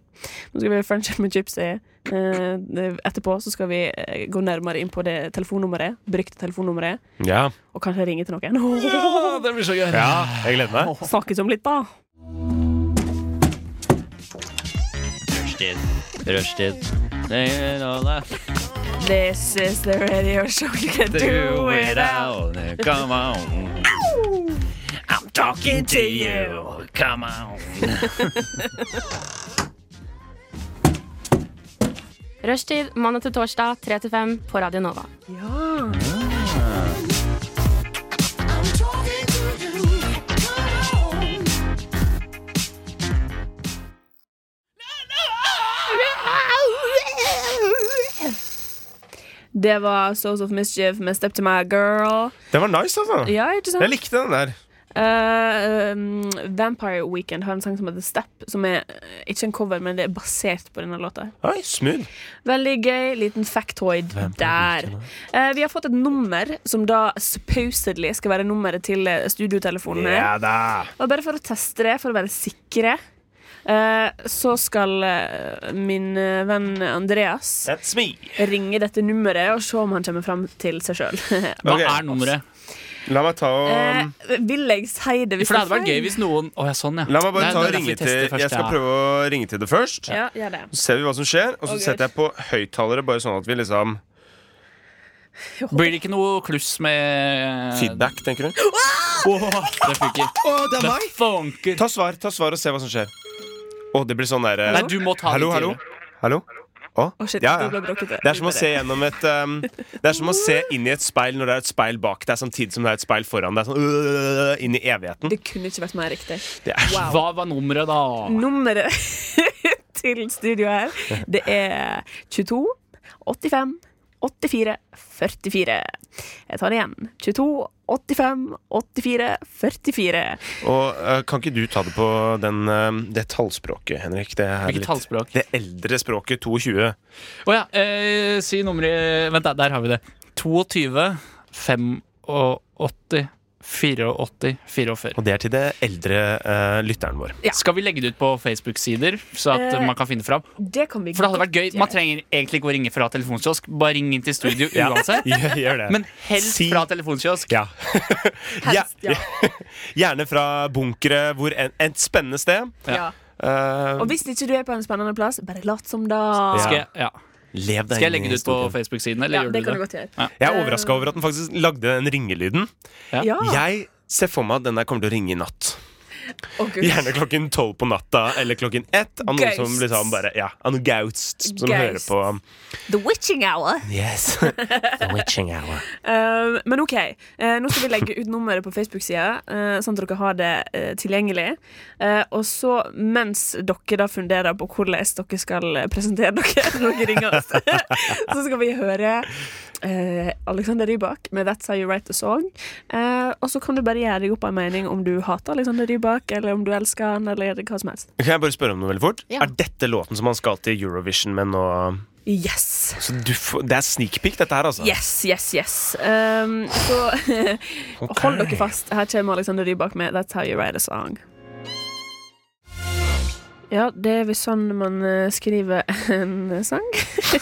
[SPEAKER 2] Nå skal vi høre Friendship med Gypsy. Eh, etterpå så skal vi eh, gå nærmere inn på det telefonnummeret, berykte telefonnummeret,
[SPEAKER 1] Ja.
[SPEAKER 2] og kanskje ringe til noen.
[SPEAKER 3] det blir så gøy.
[SPEAKER 1] ja, jeg gleder meg.
[SPEAKER 2] Snakkes om litt, da.
[SPEAKER 3] Rushtid. Rushtid. Det er alle.
[SPEAKER 2] This is the radio show you can do without.
[SPEAKER 3] Come on. I'm talking to you. Come on.
[SPEAKER 5] Rushtid mandag til torsdag 3 til 5 på Radio Nova.
[SPEAKER 2] Ja. Det var Souls of Mischief med Step to My Girl.
[SPEAKER 1] Den var nice, altså.
[SPEAKER 2] Ja, ikke sant?
[SPEAKER 1] Jeg likte den der.
[SPEAKER 2] Eh, um, Vampire Weekend har en sang som heter Step, som er eh, ikke en cover, men det er basert på denne låta.
[SPEAKER 1] Oi, smooth.
[SPEAKER 2] Veldig gøy. Liten factoid der. Eh, vi har fått et nummer som da supposedly skal være nummeret til eh, studiotelefonene.
[SPEAKER 1] Ja da.
[SPEAKER 2] Og bare for å teste det, for å være sikre, eh, så skal eh, min eh, venn Andreas
[SPEAKER 1] That's me.
[SPEAKER 2] ringe dette nummeret og se om han kommer fram til seg sjøl.
[SPEAKER 1] Ok.
[SPEAKER 3] Hva er nummeret?
[SPEAKER 1] La meg ta og
[SPEAKER 2] Eh, vil jeg si det hvis
[SPEAKER 3] Um, For det hadde
[SPEAKER 2] er
[SPEAKER 3] vært gøy
[SPEAKER 2] feil?
[SPEAKER 3] hvis noen Å ja, sånn, ja.
[SPEAKER 1] La meg bare
[SPEAKER 3] Nei,
[SPEAKER 1] ta
[SPEAKER 3] det
[SPEAKER 1] og
[SPEAKER 3] er derfor vi
[SPEAKER 1] ringe til
[SPEAKER 3] tester først,
[SPEAKER 1] Jeg skal
[SPEAKER 3] ja.
[SPEAKER 1] prøve å ringe til det først.
[SPEAKER 2] Ja, gjør det.
[SPEAKER 1] Så ser vi hva som skjer, og så
[SPEAKER 2] Ok.
[SPEAKER 1] setter jeg på høyttalere, bare sånn at vi liksom
[SPEAKER 3] Blir det ikke noe kluss med eh,
[SPEAKER 1] Feedback, tenker du?
[SPEAKER 3] Det funker.
[SPEAKER 1] Å, det
[SPEAKER 3] Det funker.
[SPEAKER 1] Ta svar, ta svar og se hva som skjer. Å, det blir sånn derre
[SPEAKER 3] Nei, du må ta
[SPEAKER 1] Hallo,
[SPEAKER 3] litt
[SPEAKER 1] hallo?
[SPEAKER 3] tidligere.
[SPEAKER 1] Hallo? Å,
[SPEAKER 2] Å, shit,
[SPEAKER 1] ja,
[SPEAKER 2] det ble
[SPEAKER 1] ja.
[SPEAKER 2] bråkete.
[SPEAKER 1] Det er som å se gjennom et um, Det er som å se inn i et speil når det er et speil bak deg, samtidig som det er et speil foran deg. Sånn øh, inn i evigheten.
[SPEAKER 2] Det kunne ikke vært mer riktig.
[SPEAKER 1] Det er
[SPEAKER 2] Wow.
[SPEAKER 3] Hva var nummeret, da?
[SPEAKER 2] Nummeret til studio her, det er 22 85 84 44. Jeg tar det igjen. 22 85 84 44.
[SPEAKER 1] Og eh, kan ikke du ta det på den, eh, det tallspråket, Henrik? Det er
[SPEAKER 3] Hvilket tallspråk?
[SPEAKER 1] Det eldre språket 22.
[SPEAKER 3] Å ja, eh, si nummeret Vent, da, der har vi det. 22, 85, 84, 44.
[SPEAKER 1] Og det er til det eldre eh, lytteren vår.
[SPEAKER 2] Ja.
[SPEAKER 3] Skal vi legge det ut på Facebook-sider, så at
[SPEAKER 2] Eh,
[SPEAKER 3] man kan finne fram?
[SPEAKER 2] Det kan vi
[SPEAKER 3] For det hadde vært gøy.
[SPEAKER 2] godt
[SPEAKER 3] Man
[SPEAKER 2] gjøre.
[SPEAKER 3] trenger egentlig ikke å ringe fra telefonkiosk. Bare ring inn til studio uansett.
[SPEAKER 1] Gjør, gjør det.
[SPEAKER 3] Men helst
[SPEAKER 1] Si-
[SPEAKER 3] fra telefonkiosk.
[SPEAKER 1] ja. ja.
[SPEAKER 2] Helst, ja.
[SPEAKER 1] Gjerne fra bunkere, hvor en, et spennende sted.
[SPEAKER 2] Ja.
[SPEAKER 1] Eh,
[SPEAKER 2] Og hvis ikke du er på en spennende plass, bare lat som da.
[SPEAKER 1] Ja.
[SPEAKER 3] Skal jeg, ja.
[SPEAKER 1] lev deg
[SPEAKER 3] Skal jeg
[SPEAKER 1] inn i
[SPEAKER 3] legge det ut på
[SPEAKER 1] historien.
[SPEAKER 3] Facebook-siden, eller
[SPEAKER 2] Ja,
[SPEAKER 3] gjør
[SPEAKER 2] det
[SPEAKER 3] du
[SPEAKER 2] kan du
[SPEAKER 3] det?
[SPEAKER 2] godt gjøre.
[SPEAKER 1] Jeg er overraska over at den faktisk lagde den ringelyden.
[SPEAKER 2] Ja.
[SPEAKER 1] Jeg ser for meg at den der kommer til å ringe i natt.
[SPEAKER 2] Å, Gud.
[SPEAKER 1] Gjerne klokken tolv på natta eller klokken ett. Av noen som
[SPEAKER 2] Ghosts.
[SPEAKER 1] liksom bare Ja, av noen ghosts som hører
[SPEAKER 2] Ghosts.
[SPEAKER 1] på.
[SPEAKER 2] The witching hour.
[SPEAKER 1] Yes. The witching hour.
[SPEAKER 2] Eh, men OK. eh, nå skal vi legge ut nummeret på Facebook-sida, eh, sånn at dere har det eh, tilgjengelig. Eh, og så, mens dere da funderer på hvordan dere skal eh, presentere dere når dere ringer oss, så skal vi høre eh, Alexander Rybak med 'That's How You Write A Song'. Eh, og så kan du bare gjøre deg opp en mening om du hater Alexander Rybak, eller om du elsker han, eller hva som helst.
[SPEAKER 1] Kan jeg bare spørre om noe veldig fort?
[SPEAKER 5] Ja.
[SPEAKER 1] Er dette låten som han skal til Eurovision med nå?
[SPEAKER 2] Yes!
[SPEAKER 1] Så du får, det er sneak peek, dette her, altså?
[SPEAKER 2] Yes, yes, yes. Um, så
[SPEAKER 1] Ok.
[SPEAKER 2] hold dere fast. Her kommer Alexander Rybak med 'That's How You Write a Song'. Ja, det er visst sånn man eh, skriver en sang. Fy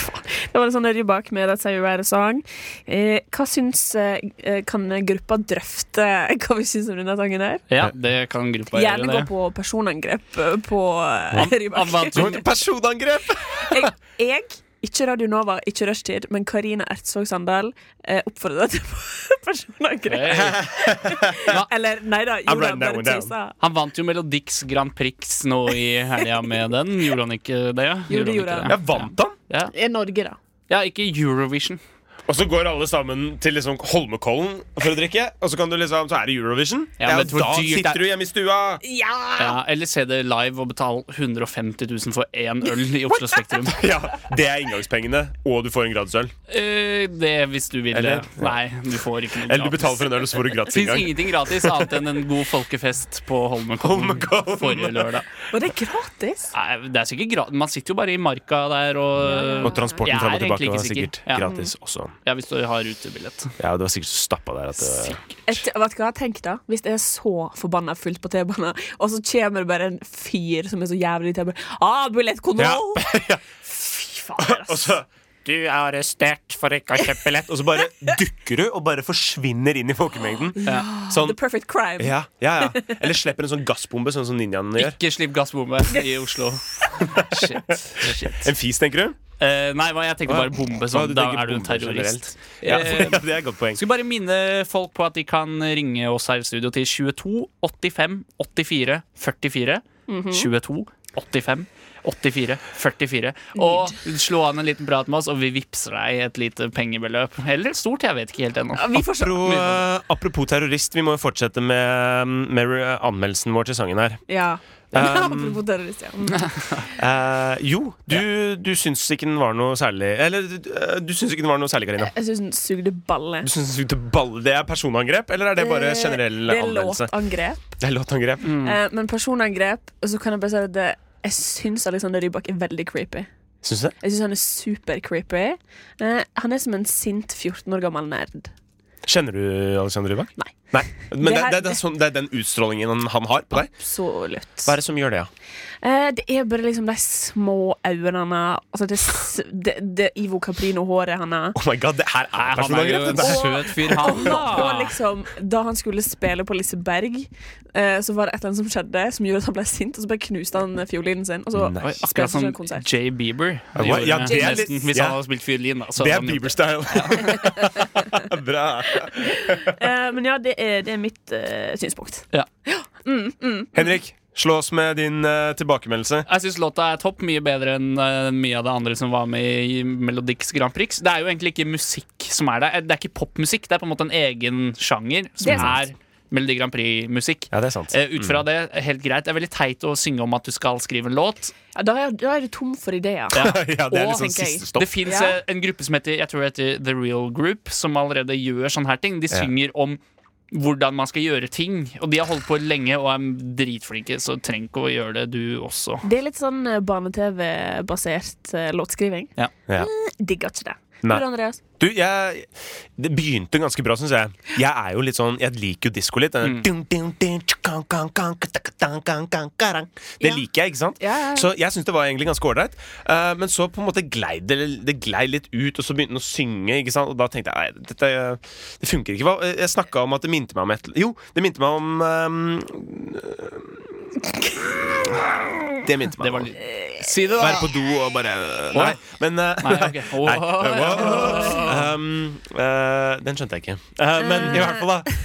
[SPEAKER 2] faen. Det var en sånn Ørje bak med That's How You Write a Song. Eh, hva syns eh, Kan gruppa drøfte hva vi syns om denne sangen her?
[SPEAKER 3] Ja, det kan gruppa
[SPEAKER 2] Gjerne gå
[SPEAKER 3] gjøre. det
[SPEAKER 2] på personangrep eh, på eh, Ørje
[SPEAKER 3] Avant-
[SPEAKER 2] Bak.
[SPEAKER 1] Personangrep!
[SPEAKER 2] Jeg, jeg ikke Radio Nova, ikke Rushtid, men Karina Ertsvåg Sandal eh, oppfordrer deg til personangrep.
[SPEAKER 3] Hey.
[SPEAKER 2] Eller nei da,
[SPEAKER 1] I'm
[SPEAKER 2] Jorda
[SPEAKER 1] writing that
[SPEAKER 2] bare
[SPEAKER 1] one down.
[SPEAKER 2] tisa.
[SPEAKER 3] Han vant jo Melodix Grand Prix nå i helga med den. Gjorde han ikke det? ja?
[SPEAKER 2] Jo, det gjorde
[SPEAKER 3] han.
[SPEAKER 2] han.
[SPEAKER 3] ikke
[SPEAKER 1] Jeg vant han!
[SPEAKER 3] Ja.
[SPEAKER 2] I Norge, da.
[SPEAKER 3] ja, ikke Eurovision.
[SPEAKER 1] Og så går alle sammen til liksom Holmenkollen for å drikke. Og så, kan du liksom, så er det Eurovision.
[SPEAKER 3] Ja, men
[SPEAKER 1] og
[SPEAKER 3] hvor
[SPEAKER 1] da
[SPEAKER 3] dyrt er-
[SPEAKER 1] sitter du hjemme i stua!
[SPEAKER 3] Ja, eller se det live og betale 150 000 for én øl i Oslo Spektrum.
[SPEAKER 1] Ja, Det er inngangspengene, og du får en gratisøl.
[SPEAKER 3] Eh, det hvis du vil eh,
[SPEAKER 1] Eller-
[SPEAKER 3] Nei, du får ikke noe
[SPEAKER 1] Eller du betaler for en øl, og så får du
[SPEAKER 3] Det
[SPEAKER 1] gratis
[SPEAKER 3] fins
[SPEAKER 1] inngang.
[SPEAKER 3] ingenting gratis annet enn en god folkefest på Holmenkollen
[SPEAKER 1] Holmenkollen.
[SPEAKER 3] forrige lørdag.
[SPEAKER 2] Var det gratis?
[SPEAKER 3] Nei, det er sikkert gra Man sitter jo bare i marka der og
[SPEAKER 1] Og transporten
[SPEAKER 3] Jeg er
[SPEAKER 1] fram og tilbake
[SPEAKER 3] egentlig ikke
[SPEAKER 1] var
[SPEAKER 3] sikker.
[SPEAKER 1] sikkert
[SPEAKER 3] Ja.
[SPEAKER 1] gratis også.
[SPEAKER 3] Ja, hvis du har rutebillett.
[SPEAKER 1] Ja, det var sikkert så stappa der at eh, det
[SPEAKER 2] Et, vet du hva, tenk da Hvis det er så forbanna fullt på T-banen, og så kommer det bare en fyr som er så jævlig i T-banen ah, Billett control! Fy faen,
[SPEAKER 1] Og
[SPEAKER 2] ass.
[SPEAKER 1] så Du er arrestert for ikke å ha kjøpt billett. Og så bare dukker du og bare forsvinner inn i folkemengden. Sånn
[SPEAKER 2] The perfect crime.
[SPEAKER 1] ja, ja, ja. Eller slipper en sånn gassbombe, sånn som ninjaene gjør.
[SPEAKER 3] Ikke slipp gassbombe i Oslo. Shit. Shit.
[SPEAKER 1] En fis, tenker du?
[SPEAKER 3] Eh, nei, hva, jeg tenkte bare bombe.
[SPEAKER 1] Hva,
[SPEAKER 3] Sånn.
[SPEAKER 1] du
[SPEAKER 3] Da
[SPEAKER 1] tenker
[SPEAKER 3] er du en
[SPEAKER 1] bombe
[SPEAKER 3] terrorist.
[SPEAKER 1] Ja,
[SPEAKER 3] Eh,
[SPEAKER 1] det er et godt poeng.
[SPEAKER 3] skal bare minne folk på at de kan ringe oss her i studio til 22 85 84 44. 22 85 84 44. Og slå an en liten prat med oss, og vi vippser deg et lite pengebeløp. Eller stort, jeg vet ikke helt ennå.
[SPEAKER 2] Ja, Vi får se.
[SPEAKER 1] Apropos, apropos terrorist, vi må jo fortsette med, med anmeldelsen vår til sangen her.
[SPEAKER 2] Ja.
[SPEAKER 1] Um,
[SPEAKER 2] Apropos terrorist, ja. Mm.
[SPEAKER 1] Eh, jo, du, du syns ikke den var noe særlig Eller eh, du syns ikke den var noe særlig, Karina.
[SPEAKER 2] Jeg syns den sugde balle.
[SPEAKER 1] Du syns den sugde balle. Det er personangrep, eller er det bare generell
[SPEAKER 2] Eh,
[SPEAKER 1] Mm.
[SPEAKER 2] Det er
[SPEAKER 1] anmeldelse?
[SPEAKER 2] låtangrep.
[SPEAKER 1] Det er låtangrep.
[SPEAKER 2] Eh, men personangrep, så kan jeg bare si at det, jeg syns Alexander Rybak er veldig creepy.
[SPEAKER 1] Syns du det?
[SPEAKER 2] Jeg syns han er super creepy. Eh, han er som en sint 14 år gammel nerd.
[SPEAKER 1] Kjenner du Alexander Rybak?
[SPEAKER 2] Nei.
[SPEAKER 1] Men det,
[SPEAKER 2] Det
[SPEAKER 1] det,
[SPEAKER 2] her-
[SPEAKER 1] er den sånn, det er den utstrålingen han, han har på deg?
[SPEAKER 2] Absolutt.
[SPEAKER 1] Hva er det som gjør det, ja?
[SPEAKER 2] Eh, det er bare liksom de små øynene altså det, s- det, det Ivo Caprino-håret han har.
[SPEAKER 1] Oh my god, det her er
[SPEAKER 3] Han er jo
[SPEAKER 1] personangrep!
[SPEAKER 3] en
[SPEAKER 1] dette her.
[SPEAKER 3] søt fyr, han.
[SPEAKER 2] Og
[SPEAKER 3] da.
[SPEAKER 2] liksom, da han skulle spille på Liseberg, eh, så var det et eller annet som skjedde som gjorde at han ble sint, og så bare knuste han eh, fiolinen sin. Og så
[SPEAKER 1] Nei.
[SPEAKER 3] Oi,
[SPEAKER 2] spilte han
[SPEAKER 3] akkurat
[SPEAKER 2] ikke en
[SPEAKER 3] som
[SPEAKER 2] konsert.
[SPEAKER 3] Jay Bieber.
[SPEAKER 1] Ja, hva? Ja,
[SPEAKER 3] gjorde
[SPEAKER 1] det er
[SPEAKER 3] nesten,
[SPEAKER 1] litt-
[SPEAKER 3] hvis
[SPEAKER 1] ja.
[SPEAKER 3] han hadde spilt fiolin, da. så
[SPEAKER 1] Det
[SPEAKER 3] hadde
[SPEAKER 1] er
[SPEAKER 3] han gjort
[SPEAKER 1] Bieber-style. Bra.
[SPEAKER 2] Eh, men ja, det er, det er mitt eh, synspunkt.
[SPEAKER 1] Henrik, slå oss med din eh, tilbakemeldelse.
[SPEAKER 3] Jeg syns låta er topp. Mye bedre enn eh, mye av det andre som var med i Melodix Grand Prix. Det er jo egentlig ikke musikk som er der. Det er ikke popmusikk. Det er på en måte en egen sjanger som
[SPEAKER 2] Det er
[SPEAKER 3] er,
[SPEAKER 2] sant.
[SPEAKER 3] Melodi Grand Prix-musikk.
[SPEAKER 1] Ja, det er sant.
[SPEAKER 3] Eh, ut fra det, helt greit. Det er veldig teit å synge om at du skal skrive en låt.
[SPEAKER 2] Ja, da, er, da er du tom for ideer.
[SPEAKER 1] ja, det er
[SPEAKER 2] Og,
[SPEAKER 1] litt sånn
[SPEAKER 2] tenker jeg,
[SPEAKER 1] siste stopp.
[SPEAKER 3] Det fins
[SPEAKER 2] Ja.
[SPEAKER 3] eh, en gruppe som heter Jeg tror det heter The Real Group, som allerede gjør sånne her ting. De
[SPEAKER 1] Ja.
[SPEAKER 3] synger om hvordan man skal gjøre ting. Og de har holdt på lenge og er dritflinke, så trenger ikke å gjøre det, du også.
[SPEAKER 2] Det er litt sånn eh, barne-TV-basert eh, låtskriving.
[SPEAKER 1] Ja.
[SPEAKER 2] Digger ikke det.
[SPEAKER 1] Nei.
[SPEAKER 2] Du, Andreas?
[SPEAKER 1] Du, jeg, det begynte ganske bra, syns jeg. Jeg er jo litt sånn, jeg liker jo disko litt.
[SPEAKER 3] Mm.
[SPEAKER 1] Den der- Det
[SPEAKER 2] Ja.
[SPEAKER 1] liker jeg, ikke sant?
[SPEAKER 2] Ja, ja, ja.
[SPEAKER 1] Så jeg syns det var egentlig ganske ålreit. Eh, men så på en måte glei det, det glei litt ut, og så begynte den å synge. Ikke sant? Og da tenkte jeg nei, dette det funker ikke. Hva- eh, Jeg snakka om at det minte meg om et Jo, det minte meg om ehm, Det minte meg
[SPEAKER 3] Det
[SPEAKER 1] om
[SPEAKER 3] var litt Si det,
[SPEAKER 1] Være på do og bare Nei, men eh,
[SPEAKER 3] Nei, ok. Åh.
[SPEAKER 1] nei, wow. um, eh, Den skjønte jeg ikke. Eh, men i hvert fall, da.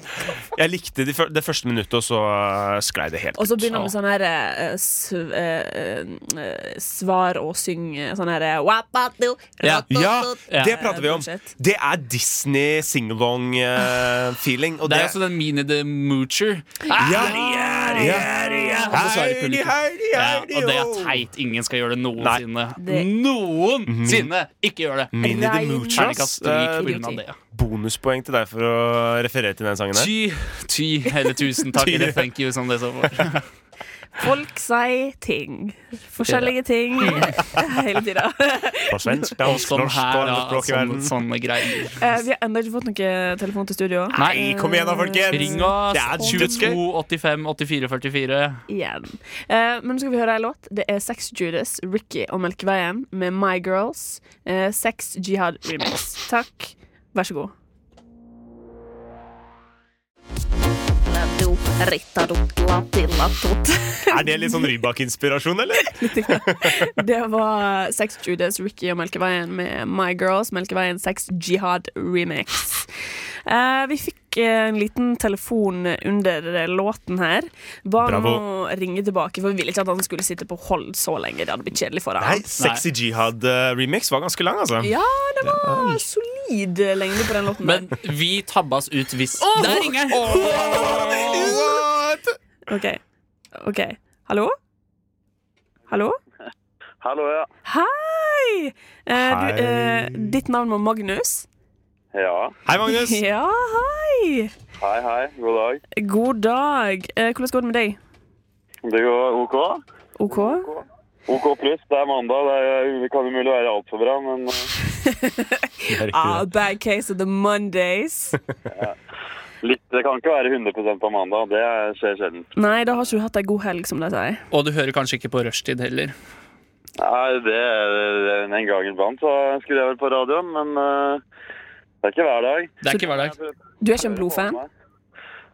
[SPEAKER 1] jeg likte de fyr- det første minuttet, og så eh, sklei det helt.
[SPEAKER 2] Og så begynner vi med sånn her eh, sv, eh, eh, svar og syng eh, sånn her eh, wapatu,
[SPEAKER 3] Ja.
[SPEAKER 2] ratatu,
[SPEAKER 1] Ja,
[SPEAKER 3] Ja.
[SPEAKER 1] det prater vi om.
[SPEAKER 2] Bullshit.
[SPEAKER 1] Det er Disney singalong-feeling. og
[SPEAKER 3] Det er
[SPEAKER 1] det
[SPEAKER 3] jo sånn den Mini the Moocher.
[SPEAKER 1] Ja. Ja.
[SPEAKER 3] Og så svarer publikum.
[SPEAKER 1] Heidi,
[SPEAKER 3] Ja, og
[SPEAKER 1] Heidi,
[SPEAKER 3] det er
[SPEAKER 1] oh.
[SPEAKER 3] teit. Ingen skal gjøre det noensinne.
[SPEAKER 2] Det-
[SPEAKER 3] Noensinne! Ikke gjør det!
[SPEAKER 1] Mini the
[SPEAKER 2] Rein
[SPEAKER 1] Mhm. Moochers.
[SPEAKER 3] Terningkast stryk
[SPEAKER 1] Eh,
[SPEAKER 3] på grunn av det.
[SPEAKER 1] bonuspoeng til deg for å referere til den sangen der.
[SPEAKER 3] Ty, ty, eller tusen takk,
[SPEAKER 1] Ty.
[SPEAKER 3] eller thank you, som det står for.
[SPEAKER 2] Folk sier ting. Forskjellige ting hele tida.
[SPEAKER 1] På svensk,
[SPEAKER 3] Og
[SPEAKER 1] dansk,
[SPEAKER 3] sånn
[SPEAKER 1] norsk og
[SPEAKER 3] her,
[SPEAKER 1] andre
[SPEAKER 3] da.
[SPEAKER 1] språk i
[SPEAKER 3] Sånne,
[SPEAKER 1] verden.
[SPEAKER 3] sånne greier.
[SPEAKER 2] Eh, vi har ennå ikke fått noe telefon til studio.
[SPEAKER 1] Nei, kom igjen da, folkens!
[SPEAKER 3] Ring oss.
[SPEAKER 1] Det er
[SPEAKER 3] 22 85 84 44.
[SPEAKER 2] Igjen. Eh, men nå skal vi høre ei låt. Det er Sex Judas, Ricky og Melkeveien med My Girls. Eh, Sex Jihad Remix. Takk. Vær så god.
[SPEAKER 1] Er det litt sånn Rybak-inspirasjon, eller?
[SPEAKER 2] Det var Sex Judas, Ricky og Melkeveien med My Girls. Melkeveien Sex Jihad Remix. Eh, vi fikk eh, en liten telefon under eh, låten her. Ba han
[SPEAKER 1] Bravo.
[SPEAKER 2] om å ringe tilbake, for vi ville ikke at han skulle sitte på hold så lenge. Det hadde blitt kjedelig for
[SPEAKER 1] Nei,
[SPEAKER 2] ham.
[SPEAKER 1] Sexy Jihad-remix var ganske lang, altså.
[SPEAKER 2] Ja, det var solid lengde på den låten.
[SPEAKER 3] Men vi tabbas ut hvis Der ringer den!
[SPEAKER 1] What?
[SPEAKER 2] OK. ok Hallo? Hallo?
[SPEAKER 6] Hallo, ja.
[SPEAKER 2] Hei! Eh,
[SPEAKER 1] Hei.
[SPEAKER 2] Du, eh, ditt navn var Magnus?
[SPEAKER 6] Ja.
[SPEAKER 1] Hei, Magnus.
[SPEAKER 2] Ja, hei!
[SPEAKER 6] Hei, hei. God dag.
[SPEAKER 2] God dag. Eh, hvordan går det med deg?
[SPEAKER 6] Det går OK?
[SPEAKER 2] OK?
[SPEAKER 6] OK pluss. Det er mandag. Det, er, det kan umulig være altfor bra, men eh,
[SPEAKER 2] Ah, bad case of the Mondays.
[SPEAKER 6] litt, det kan ikke være 100 på mandag. Det er- skjer sjelden.
[SPEAKER 2] Nei, da har ikke du hatt ei god helg, som de sier.
[SPEAKER 3] Og du hører kanskje ikke på rushtid heller.
[SPEAKER 6] Nei, det, det En gang iblant så skulle jeg vel på radioen, men eh, det er ikke hver dag.
[SPEAKER 3] Det er ikke hver dag.
[SPEAKER 2] Du er ikke en blodfan?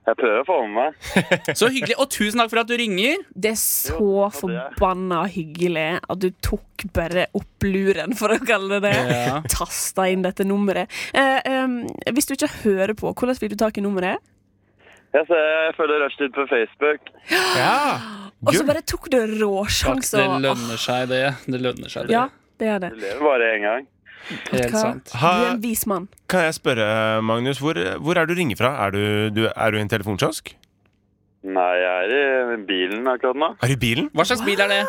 [SPEAKER 6] Jeg prøver å få med meg.
[SPEAKER 3] Så hyggelig. Og tusen takk for at du ringer.
[SPEAKER 2] Det er så forbanna hyggelig at du tok bare opp luren, for å kalle det det.
[SPEAKER 3] Ja.
[SPEAKER 2] Tasta inn dette nummeret. Eh, em, hvis du ikke hører på, hvordan fikk du tak i nummeret?
[SPEAKER 6] Jeg, ser, jeg følger rushtid på Facebook.
[SPEAKER 1] Ja.
[SPEAKER 2] Og så
[SPEAKER 1] Gull.
[SPEAKER 2] bare tok du
[SPEAKER 3] Takk, det
[SPEAKER 2] råsjanser. Ah,
[SPEAKER 3] lønner seg, det. Det lønner seg, det.
[SPEAKER 2] Ja, det er det.
[SPEAKER 6] Du lever bare én gang.
[SPEAKER 3] Helt
[SPEAKER 2] Hva?
[SPEAKER 3] sant.
[SPEAKER 2] Du er en vis mann.
[SPEAKER 1] Kan jeg spørre, Magnus, hvor, hvor er du ringer fra? Er du, du, er du i en telefonkiosk?
[SPEAKER 6] Nei, jeg er i bilen akkurat nå.
[SPEAKER 1] Er du i bilen?
[SPEAKER 3] Hva slags bil er det?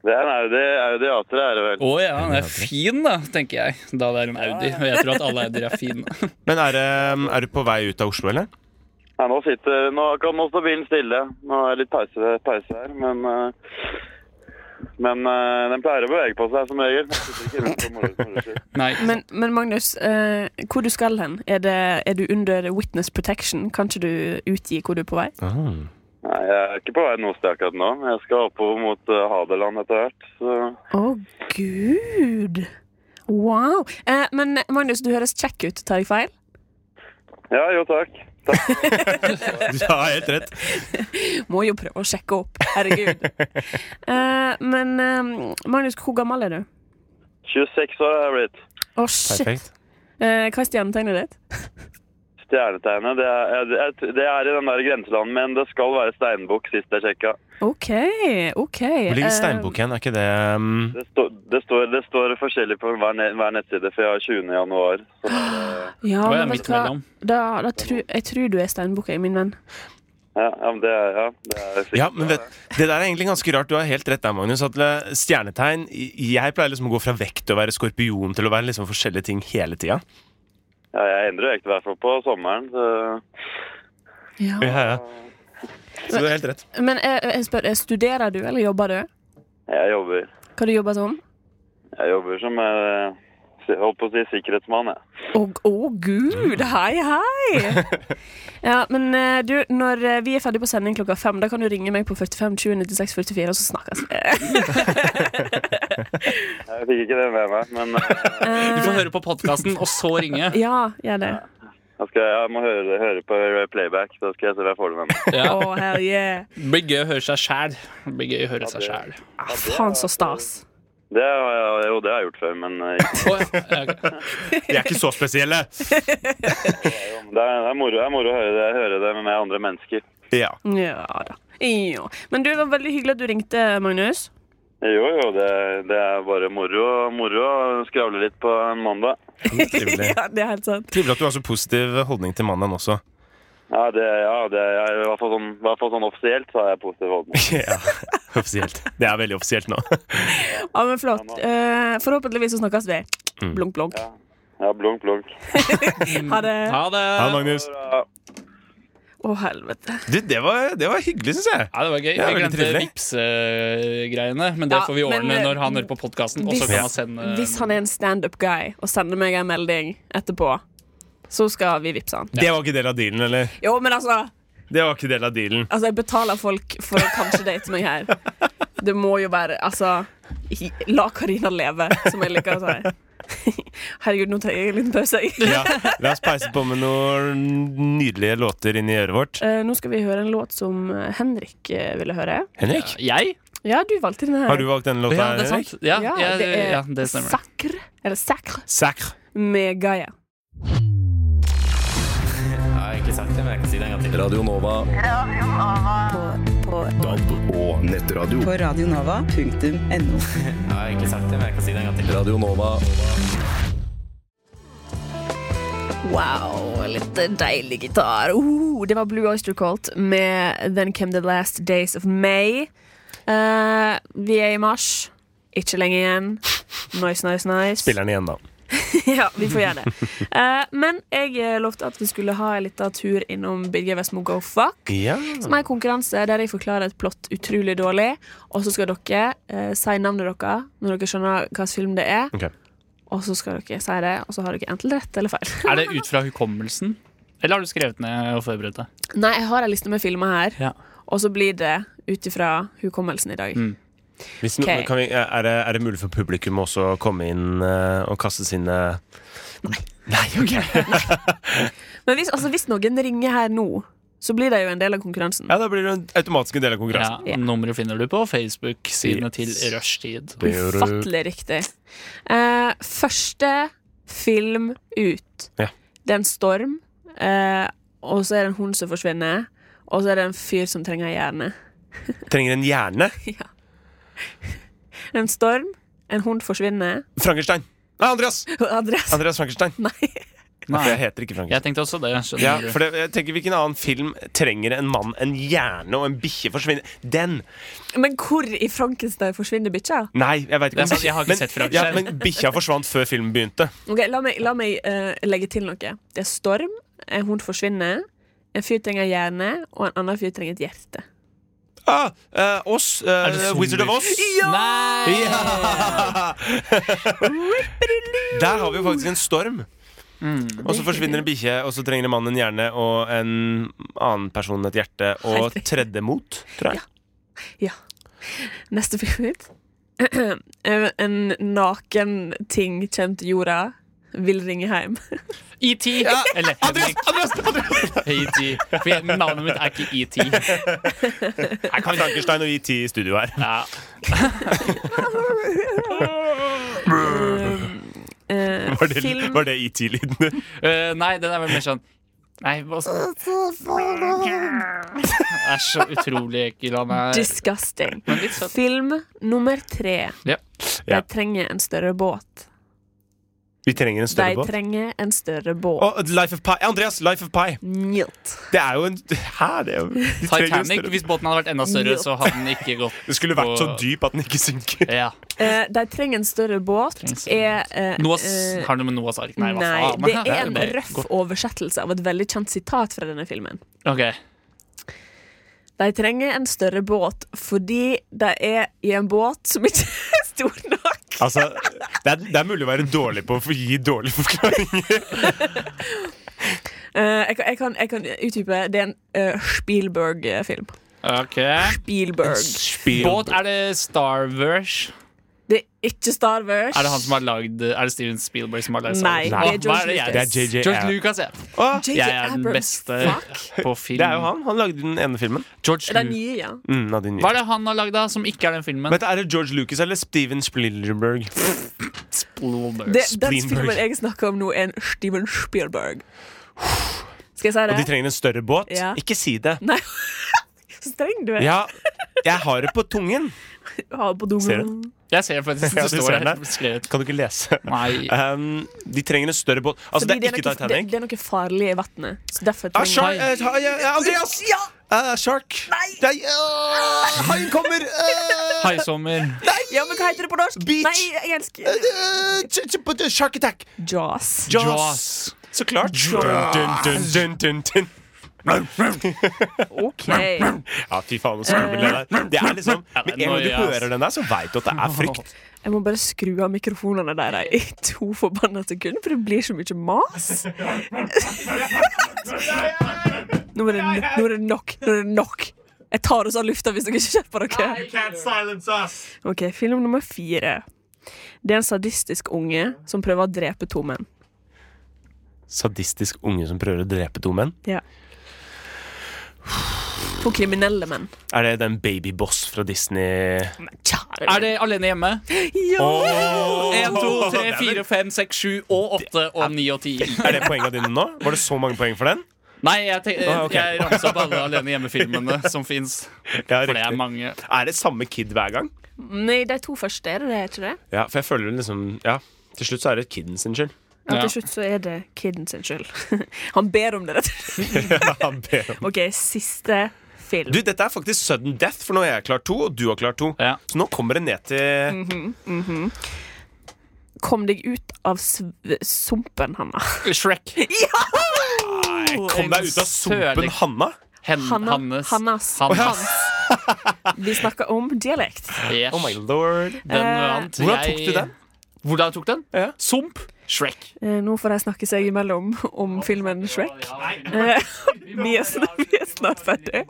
[SPEAKER 6] Det er en Audi, Audi A3, er det vel.
[SPEAKER 3] Å ja, den er fin, da, tenker jeg. Da det er en Audi. Og jeg tror at alle Audier er fine.
[SPEAKER 1] Men er, det- er du på vei ut av Oslo, eller?
[SPEAKER 6] Nei, nå sitter, nå, akkurat nå står bilen stille. Nå er det litt pause, pause her, men eh, Men eh, den pleier å bevege på seg, som regel. Jeg sitter ikke rundt på moro- moroskjul.
[SPEAKER 3] Nei.
[SPEAKER 2] Men, men Magnus, eh, hvor du skal hen? Er, det, er du under witness protection? Kan ikke du utgi hvor du er på vei?
[SPEAKER 6] Nei, jeg er ikke på vei noe sted akkurat nå. Jeg skal oppover mot eh, Hadeland etter hvert. Så
[SPEAKER 2] Å, gud! Wow. Eh, men Magnus, du høres kjekk ut. Tar jeg feil?
[SPEAKER 6] ja, jo takk. Takk.
[SPEAKER 1] Du har helt rett.
[SPEAKER 2] Må jo prøve å sjekke opp. Herregud. eh, men eh, Magnus, hvor gammel er du?
[SPEAKER 6] 26 år er jeg blitt.
[SPEAKER 2] Å, shit.
[SPEAKER 1] Perfekt.
[SPEAKER 2] Eh, hva er stjernetegnet ditt?
[SPEAKER 6] Stjernetegnet, det er, jeg- jeg- det er i den der grenseland, men det skal være steinbukk, sist jeg sjekka.
[SPEAKER 2] OK, OK.
[SPEAKER 1] Hvor ligger
[SPEAKER 2] Eh,
[SPEAKER 1] Steinbukk igjen? Er ikke det um,
[SPEAKER 6] Det, står- det, står- det står forskjellig på hver, ne- hver nettside, for jeg har 20. januar. Så,
[SPEAKER 2] Ja,
[SPEAKER 3] Å, jeg er
[SPEAKER 2] men vet
[SPEAKER 3] midt
[SPEAKER 2] du hva?
[SPEAKER 3] mellom.
[SPEAKER 2] Da, da tror- jeg tror du er steinbukka, min venn.
[SPEAKER 6] ja, ja, men det er, ja, det er sikkert.
[SPEAKER 1] Ja, men vet, Det der er egentlig ganske rart. Du har helt rett der, Magnus. At eh, stjernetegn Jeg pleier liksom å gå fra vekt til å være skorpion til å være liksom forskjellige ting hele tida.
[SPEAKER 6] Ja, jeg endrer vekt i hvert fall på sommeren. Så
[SPEAKER 2] Ja.
[SPEAKER 1] Ja, ja. Så du har helt rett.
[SPEAKER 2] Men jeg, jeg spør, eh, studerer du, eller jobber du?
[SPEAKER 6] jeg jobber.
[SPEAKER 2] Hva du jobber som?
[SPEAKER 6] Jeg jobber som eh, si- holdt på å si sikkerhetsmann, jeg.
[SPEAKER 2] Å, å, gud, hei, hei! Ja, men eh, du, når eh, vi er ferdig på sending klokka fem, da kan du ringe meg på 45 20 96 44, og så snakkes vi.
[SPEAKER 6] Jeg fikk ikke det med meg, men eh,
[SPEAKER 3] Du får høre på podkasten, og så ringe.
[SPEAKER 2] Ja, gjør det.
[SPEAKER 6] jeg, skal, jeg må høre, det- høre på playback, så skal jeg se hva jeg får det med meg.
[SPEAKER 2] Å,
[SPEAKER 3] Ja.
[SPEAKER 2] hell yeah.
[SPEAKER 3] Det blir gøy å høre seg sjæl. Det blir gøy å høre seg sjæl.
[SPEAKER 2] Ah, faen, så stas.
[SPEAKER 6] Det har jeg, jo, det har jeg gjort før, men eh,
[SPEAKER 3] Å,
[SPEAKER 6] ikke-
[SPEAKER 3] ja. ja, ok.
[SPEAKER 1] Vi er ikke så spesielle.
[SPEAKER 6] det er, det er, moro, det er moro å høre det, høre det med andre mennesker.
[SPEAKER 1] Ja.
[SPEAKER 2] Ja da. Ja. Men du, det var veldig hyggelig at du ringte, Magnus.
[SPEAKER 6] Jo, jo, det, det er bare moro, moro å skravle litt på en mandag.
[SPEAKER 1] Trivelig.
[SPEAKER 2] Ja, det er helt sant.
[SPEAKER 1] Trivelig at du har så positiv holdning til mannen også.
[SPEAKER 6] Ja, det, ja, det er i hvert fall sånn, i hvert fall sånn offisielt, så er jeg positiv holdning.
[SPEAKER 1] Ja, offisielt. Det er veldig offisielt nå.
[SPEAKER 2] Ja, Mm. men flott. Eh, forhåpentligvis så snakkes vi. Blunk, blunk.
[SPEAKER 6] Ja, blunk, blunk.
[SPEAKER 2] Ha det.
[SPEAKER 3] Ha det.
[SPEAKER 1] Ha det, Magnus.
[SPEAKER 6] Bra.
[SPEAKER 2] Å, helvete.
[SPEAKER 1] Du, det var, det var hyggelig, syns jeg.
[SPEAKER 3] Ja, det var gøy.
[SPEAKER 1] Ja,
[SPEAKER 3] Jeg
[SPEAKER 1] veldig
[SPEAKER 3] glemte
[SPEAKER 1] trivelig.
[SPEAKER 3] Vipps-greiene, men det
[SPEAKER 2] Ja,
[SPEAKER 3] får vi ordne
[SPEAKER 2] men, eh,
[SPEAKER 3] når han hører på podkasten. Og så
[SPEAKER 2] hvis-
[SPEAKER 3] kan han sende
[SPEAKER 2] Hvis han er en standup-guy og sender meg en melding etterpå, så skal vi vippse han.
[SPEAKER 1] Det var ikke del av dealen, eller?
[SPEAKER 2] Jo, men altså,
[SPEAKER 1] Det var ikke del av dealen.
[SPEAKER 2] altså Jeg betaler folk for å kanskje date meg her. Det må jo være Altså, hi- la Karina leve, som jeg liker å si. Herregud, nå tar jeg en liten pause. jeg.
[SPEAKER 1] Ja, la oss peise på med noen nydelige låter inn i øret vårt.
[SPEAKER 2] Eh, nå skal vi høre en låt som eh, Henrik eh, ville høre.
[SPEAKER 1] Henrik,
[SPEAKER 3] Jeg?
[SPEAKER 2] Ja, du valgte denne. her.
[SPEAKER 1] har du valgt denne låta?
[SPEAKER 3] Ja, det er
[SPEAKER 1] Henrik?
[SPEAKER 3] sant. Ja,
[SPEAKER 2] Ja,
[SPEAKER 3] jeg-
[SPEAKER 2] det er
[SPEAKER 3] ja, det stemmer.
[SPEAKER 2] Sakr, eller Sakr,
[SPEAKER 1] Sacre.
[SPEAKER 2] med Gaia.
[SPEAKER 7] Radio Nova. DAB og nettradio.
[SPEAKER 8] på radionova.no.
[SPEAKER 7] Radio Nova.
[SPEAKER 2] Wow, litt deilig gitar. Oh, det var Blue Oyster Cult med Then Came The Last Days Of May. Eh, vi er i mars. Ikke lenge igjen. Nice, nice, nice.
[SPEAKER 1] Spiller den igjen, da.
[SPEAKER 2] ja, vi får gjøre det. Eh, men jeg eh, lovte at vi skulle ha en liten tur innom Birger Westmo Go Fuck.
[SPEAKER 1] Ja.
[SPEAKER 2] Som er en konkurranse der jeg forklarer et plott utrolig dårlig. Og så skal dere eh, si navnet dere når dere skjønner hvilken film det er.
[SPEAKER 1] Ok.
[SPEAKER 2] Og så skal dere si det, og så har dere enten rett eller feil.
[SPEAKER 3] Er det ut fra hukommelsen? Eller har du skrevet ned og forberedt deg?
[SPEAKER 2] Nei, jeg har en liste med filmer her,
[SPEAKER 3] Ja.
[SPEAKER 2] og så blir det ut ifra hukommelsen i dag.
[SPEAKER 3] Mm.
[SPEAKER 1] Hvis no,
[SPEAKER 2] Ok.
[SPEAKER 1] kan vi, er, det, er det mulig for publikum også å komme inn eh, og kaste sine Nei. ok
[SPEAKER 2] Men hvis, altså, hvis noen ringer her nå, så blir det jo en del av konkurransen.
[SPEAKER 1] Ja, Da blir det en automatisk en del av konkurransen.
[SPEAKER 3] Ja, Nummeret finner du på Facebook-sidene til
[SPEAKER 1] Yes.
[SPEAKER 3] Rushtid.
[SPEAKER 2] Ufattelig riktig. Eh, første film ut.
[SPEAKER 1] Ja.
[SPEAKER 2] Det er en storm, eh, og så er det en hund som forsvinner, og så er det en fyr som trenger en hjerne.
[SPEAKER 1] Trenger en hjerne.
[SPEAKER 2] Det er En storm, en hund forsvinner
[SPEAKER 1] Frankenstein. Nei, Andreas!
[SPEAKER 2] Adresse?
[SPEAKER 1] Andreas Frankenstein.
[SPEAKER 2] Nei.
[SPEAKER 3] Nei,
[SPEAKER 1] For jeg heter ikke Frankenstein.
[SPEAKER 3] jeg tenkte også det. skjønner
[SPEAKER 1] Ja,
[SPEAKER 3] du.
[SPEAKER 1] for det, jeg tenker Hvilken annen film trenger en mann en hjerne og en bikkje forsvinner? Den!
[SPEAKER 2] Men hvor i Frankenstein forsvinner bikkja?
[SPEAKER 1] Nei, jeg vet
[SPEAKER 3] Det
[SPEAKER 1] ikke.
[SPEAKER 3] er sant, jeg har ikke
[SPEAKER 1] men,
[SPEAKER 3] sett Frankenstein.
[SPEAKER 1] ja, men bikkja forsvant før filmen begynte.
[SPEAKER 2] Ok, La meg, la meg eh, legge til noe. Det er storm, en hund forsvinner, en fyr trenger en hjerne, og en annen fyr trenger et hjerte.
[SPEAKER 1] Ah, eh, oss. eh,
[SPEAKER 3] Er det zombier?
[SPEAKER 1] Wizard of Oss.
[SPEAKER 3] Nei!
[SPEAKER 1] Ja! Der har vi jo faktisk en storm.
[SPEAKER 3] Mm.
[SPEAKER 1] Og så forsvinner en bikkje, og så trenger en mann en hjerne og en annen person et hjerte. Og
[SPEAKER 2] Helt riktig.
[SPEAKER 1] tredje mot, tror jeg.
[SPEAKER 2] Neste film ut. Eh, en naken ting kommer til jorda, vil ringe hjem.
[SPEAKER 3] ET! E Eller Henrik. ET. For jeg- navnet mitt er ikke ET. Jeg kan ikke
[SPEAKER 1] Frankenstein og ET i studio her.
[SPEAKER 3] ja.
[SPEAKER 2] Eh, eh,
[SPEAKER 1] Var det,
[SPEAKER 2] film
[SPEAKER 1] var det E ET-lyden din?
[SPEAKER 3] Øh, Nei, den er vel mer sånn Nei, hva så- Det er så utrolig ekkel han er.
[SPEAKER 2] Disgusting.
[SPEAKER 3] Men litt søt.
[SPEAKER 2] Film nummer tre.
[SPEAKER 3] Ja.
[SPEAKER 2] De
[SPEAKER 1] Ja.
[SPEAKER 2] trenger en større båt.
[SPEAKER 1] Vi trenger en
[SPEAKER 2] De
[SPEAKER 1] større båt.
[SPEAKER 2] trenger en større båt.
[SPEAKER 1] Å, Life of Pi. Andreas, Life of Pi.
[SPEAKER 2] Njølt.
[SPEAKER 1] Det er jo en Hæ? Det, er jo, de trenger en
[SPEAKER 3] Titanic.
[SPEAKER 1] større-
[SPEAKER 3] Hvis båten hadde vært enda større, så hadde den ikke gått.
[SPEAKER 1] det skulle vært så
[SPEAKER 3] på-
[SPEAKER 1] dyp at den ikke synker.
[SPEAKER 3] Ja.
[SPEAKER 2] Eh, de trenger en større båt.
[SPEAKER 3] Trengs-
[SPEAKER 2] Er, eh,
[SPEAKER 3] Noahs,
[SPEAKER 2] eh,
[SPEAKER 3] har du med Noahs ark? Nei,
[SPEAKER 2] Nei,
[SPEAKER 3] hva faen?
[SPEAKER 2] det er en
[SPEAKER 3] bare-
[SPEAKER 2] røff oversettelse av et veldig kjent sitat fra denne filmen.
[SPEAKER 3] Ok.
[SPEAKER 2] De trenger en større båt fordi de er i en båt som ikke er stor nok.
[SPEAKER 1] Altså, det er, det er mulig å være dårlig på å gi dårlige forklaringer.
[SPEAKER 2] Eh, jeg, kan, jeg, kan, jeg kan utdype. Det er en eh, Spielberg-film.
[SPEAKER 3] Ok.
[SPEAKER 2] Spielberg.
[SPEAKER 3] Båt, er det Starverse?
[SPEAKER 2] Det er ikke Star Wars.
[SPEAKER 3] Er det han som har lagd Er det Steven Spielberg som har lagd
[SPEAKER 2] Nei,
[SPEAKER 3] Star
[SPEAKER 2] det
[SPEAKER 3] Wars?
[SPEAKER 2] er
[SPEAKER 3] Hva
[SPEAKER 2] George
[SPEAKER 3] jeg-
[SPEAKER 1] Det er JJ
[SPEAKER 3] George
[SPEAKER 1] Abrams.
[SPEAKER 3] Lucas, ja.
[SPEAKER 1] Å,
[SPEAKER 2] J.J.
[SPEAKER 3] Jeg er den
[SPEAKER 2] Abrams.
[SPEAKER 3] beste
[SPEAKER 2] Fuck.
[SPEAKER 3] på film.
[SPEAKER 1] Det er jo han. Han lagde den ene filmen.
[SPEAKER 3] George
[SPEAKER 2] Det er den
[SPEAKER 3] Lu-
[SPEAKER 2] nye, ja.
[SPEAKER 1] Mm, av de nye.
[SPEAKER 3] Hva er det han har lagd, da, som ikke er den filmen?
[SPEAKER 1] Vet du, Er det George Lucas eller Steven Spielberg?
[SPEAKER 3] Spielberg.
[SPEAKER 2] Det, den
[SPEAKER 1] Spielberg.
[SPEAKER 2] filmen jeg snakker om nå, er en Steven Spielberg. Skal jeg si
[SPEAKER 1] Og de
[SPEAKER 2] det?
[SPEAKER 1] trenger en større båt?
[SPEAKER 2] Ja.
[SPEAKER 1] Ikke si det.
[SPEAKER 2] Nei. Så streng du er.
[SPEAKER 1] Ja, jeg har det på tungen.
[SPEAKER 2] Ha på
[SPEAKER 1] Ser
[SPEAKER 2] dungen.
[SPEAKER 1] du?
[SPEAKER 3] Jeg ser det faktisk.
[SPEAKER 1] Ja,
[SPEAKER 3] Det
[SPEAKER 1] du
[SPEAKER 3] står
[SPEAKER 1] ser
[SPEAKER 3] her
[SPEAKER 1] den.
[SPEAKER 3] skrevet.
[SPEAKER 1] Kan du ikke lese?
[SPEAKER 3] Nei.
[SPEAKER 1] Um, de trenger en større båt. Altså,
[SPEAKER 2] Fordi
[SPEAKER 1] det er ikke
[SPEAKER 2] noe, det,
[SPEAKER 1] Titanic.
[SPEAKER 2] det er noe farlig i vannet. Så derfor
[SPEAKER 1] Ah,
[SPEAKER 2] trenger
[SPEAKER 1] shark, eh, ha- ja, ja, Andreas!
[SPEAKER 2] Ja!
[SPEAKER 1] Eh, shark. Nei! Haien kommer! eh,
[SPEAKER 3] Haisommer.
[SPEAKER 2] ja, men hva heter det på norsk?
[SPEAKER 1] Beach.
[SPEAKER 2] Nei, jeg elsker
[SPEAKER 1] eh, ch- ch- Shark attack!
[SPEAKER 2] Jaws.
[SPEAKER 1] Jaws. Så klart. Dun, dun, dun, dun, dun, dun.
[SPEAKER 3] OK.
[SPEAKER 1] Ja, fy faen, så skummel den der. Det er liksom, Med en gang du
[SPEAKER 3] Noia, ass.
[SPEAKER 1] hører den der, så veit du at det er frykt.
[SPEAKER 2] Jeg må bare skru av mikrofonene der i to forbanna sekunder, for det blir så mye mas. Nå er det, nå er det nok. Nå er det nok. Jeg tar oss av lufta hvis dere ikke skjerper dere. OK, film nummer fire. Det er en sadistisk unge som prøver å drepe to menn.
[SPEAKER 1] Sadistisk unge som prøver å drepe to menn.
[SPEAKER 2] Ja. To kriminelle menn.
[SPEAKER 1] Er det den Babyboss fra Disney?
[SPEAKER 2] Men kjære
[SPEAKER 3] Er det alene hjemme?
[SPEAKER 2] Ja!
[SPEAKER 1] Åh!
[SPEAKER 3] 1, 2, 3, 4,
[SPEAKER 1] Det
[SPEAKER 3] 5, 6, 7 og 8 og 9 og 10.
[SPEAKER 1] er vel- Er det poengene dine nå? Var det så mange poeng for den?
[SPEAKER 3] Nei, jeg, tenk,
[SPEAKER 1] Ah, ok.
[SPEAKER 3] jeg ramser opp alle alene hjemme-filmene som fins.
[SPEAKER 1] Ja,
[SPEAKER 3] For det er
[SPEAKER 1] riktig.
[SPEAKER 3] mange.
[SPEAKER 1] Er det samme kid hver gang?
[SPEAKER 2] Nei, de to første er det, er ikke det?
[SPEAKER 1] Ja, for jeg føler liksom Ja, til slutt så er det kiden sin skyld.
[SPEAKER 2] Ja,
[SPEAKER 3] Ja.
[SPEAKER 2] til slutt så er det kiden sin skyld. Han ber om det, rett og slett.
[SPEAKER 1] Han ber om-
[SPEAKER 2] OK, siste film.
[SPEAKER 1] Du, dette er faktisk sudden death, for nå har jeg klart to, og du har klart to.
[SPEAKER 3] Ja.
[SPEAKER 1] Så nå kommer det ned til
[SPEAKER 2] Kom deg ut av sv sumpen, Hanna.
[SPEAKER 3] Shrek.
[SPEAKER 1] Nei,
[SPEAKER 3] Mm-hmm.
[SPEAKER 1] kom deg ut av sumpen,
[SPEAKER 3] Sørlig.
[SPEAKER 1] Hanna!
[SPEAKER 3] Hen,
[SPEAKER 2] Hanna,
[SPEAKER 3] Hannes.
[SPEAKER 2] Hannas.
[SPEAKER 3] Hannes.
[SPEAKER 2] Vi snakker om dialekt.
[SPEAKER 3] Yes.
[SPEAKER 1] Oh my lord.
[SPEAKER 3] Den
[SPEAKER 2] Eh,
[SPEAKER 3] vant.
[SPEAKER 1] Hvordan
[SPEAKER 3] Jeg-
[SPEAKER 1] tok du den?
[SPEAKER 3] Hvordan jeg tok den?
[SPEAKER 1] Ja.
[SPEAKER 3] Sump. Shrek.
[SPEAKER 2] Eh, Nå får de snakke seg imellom om filmen Shrek. Eh, Vi er snart, vi er snart ferdig.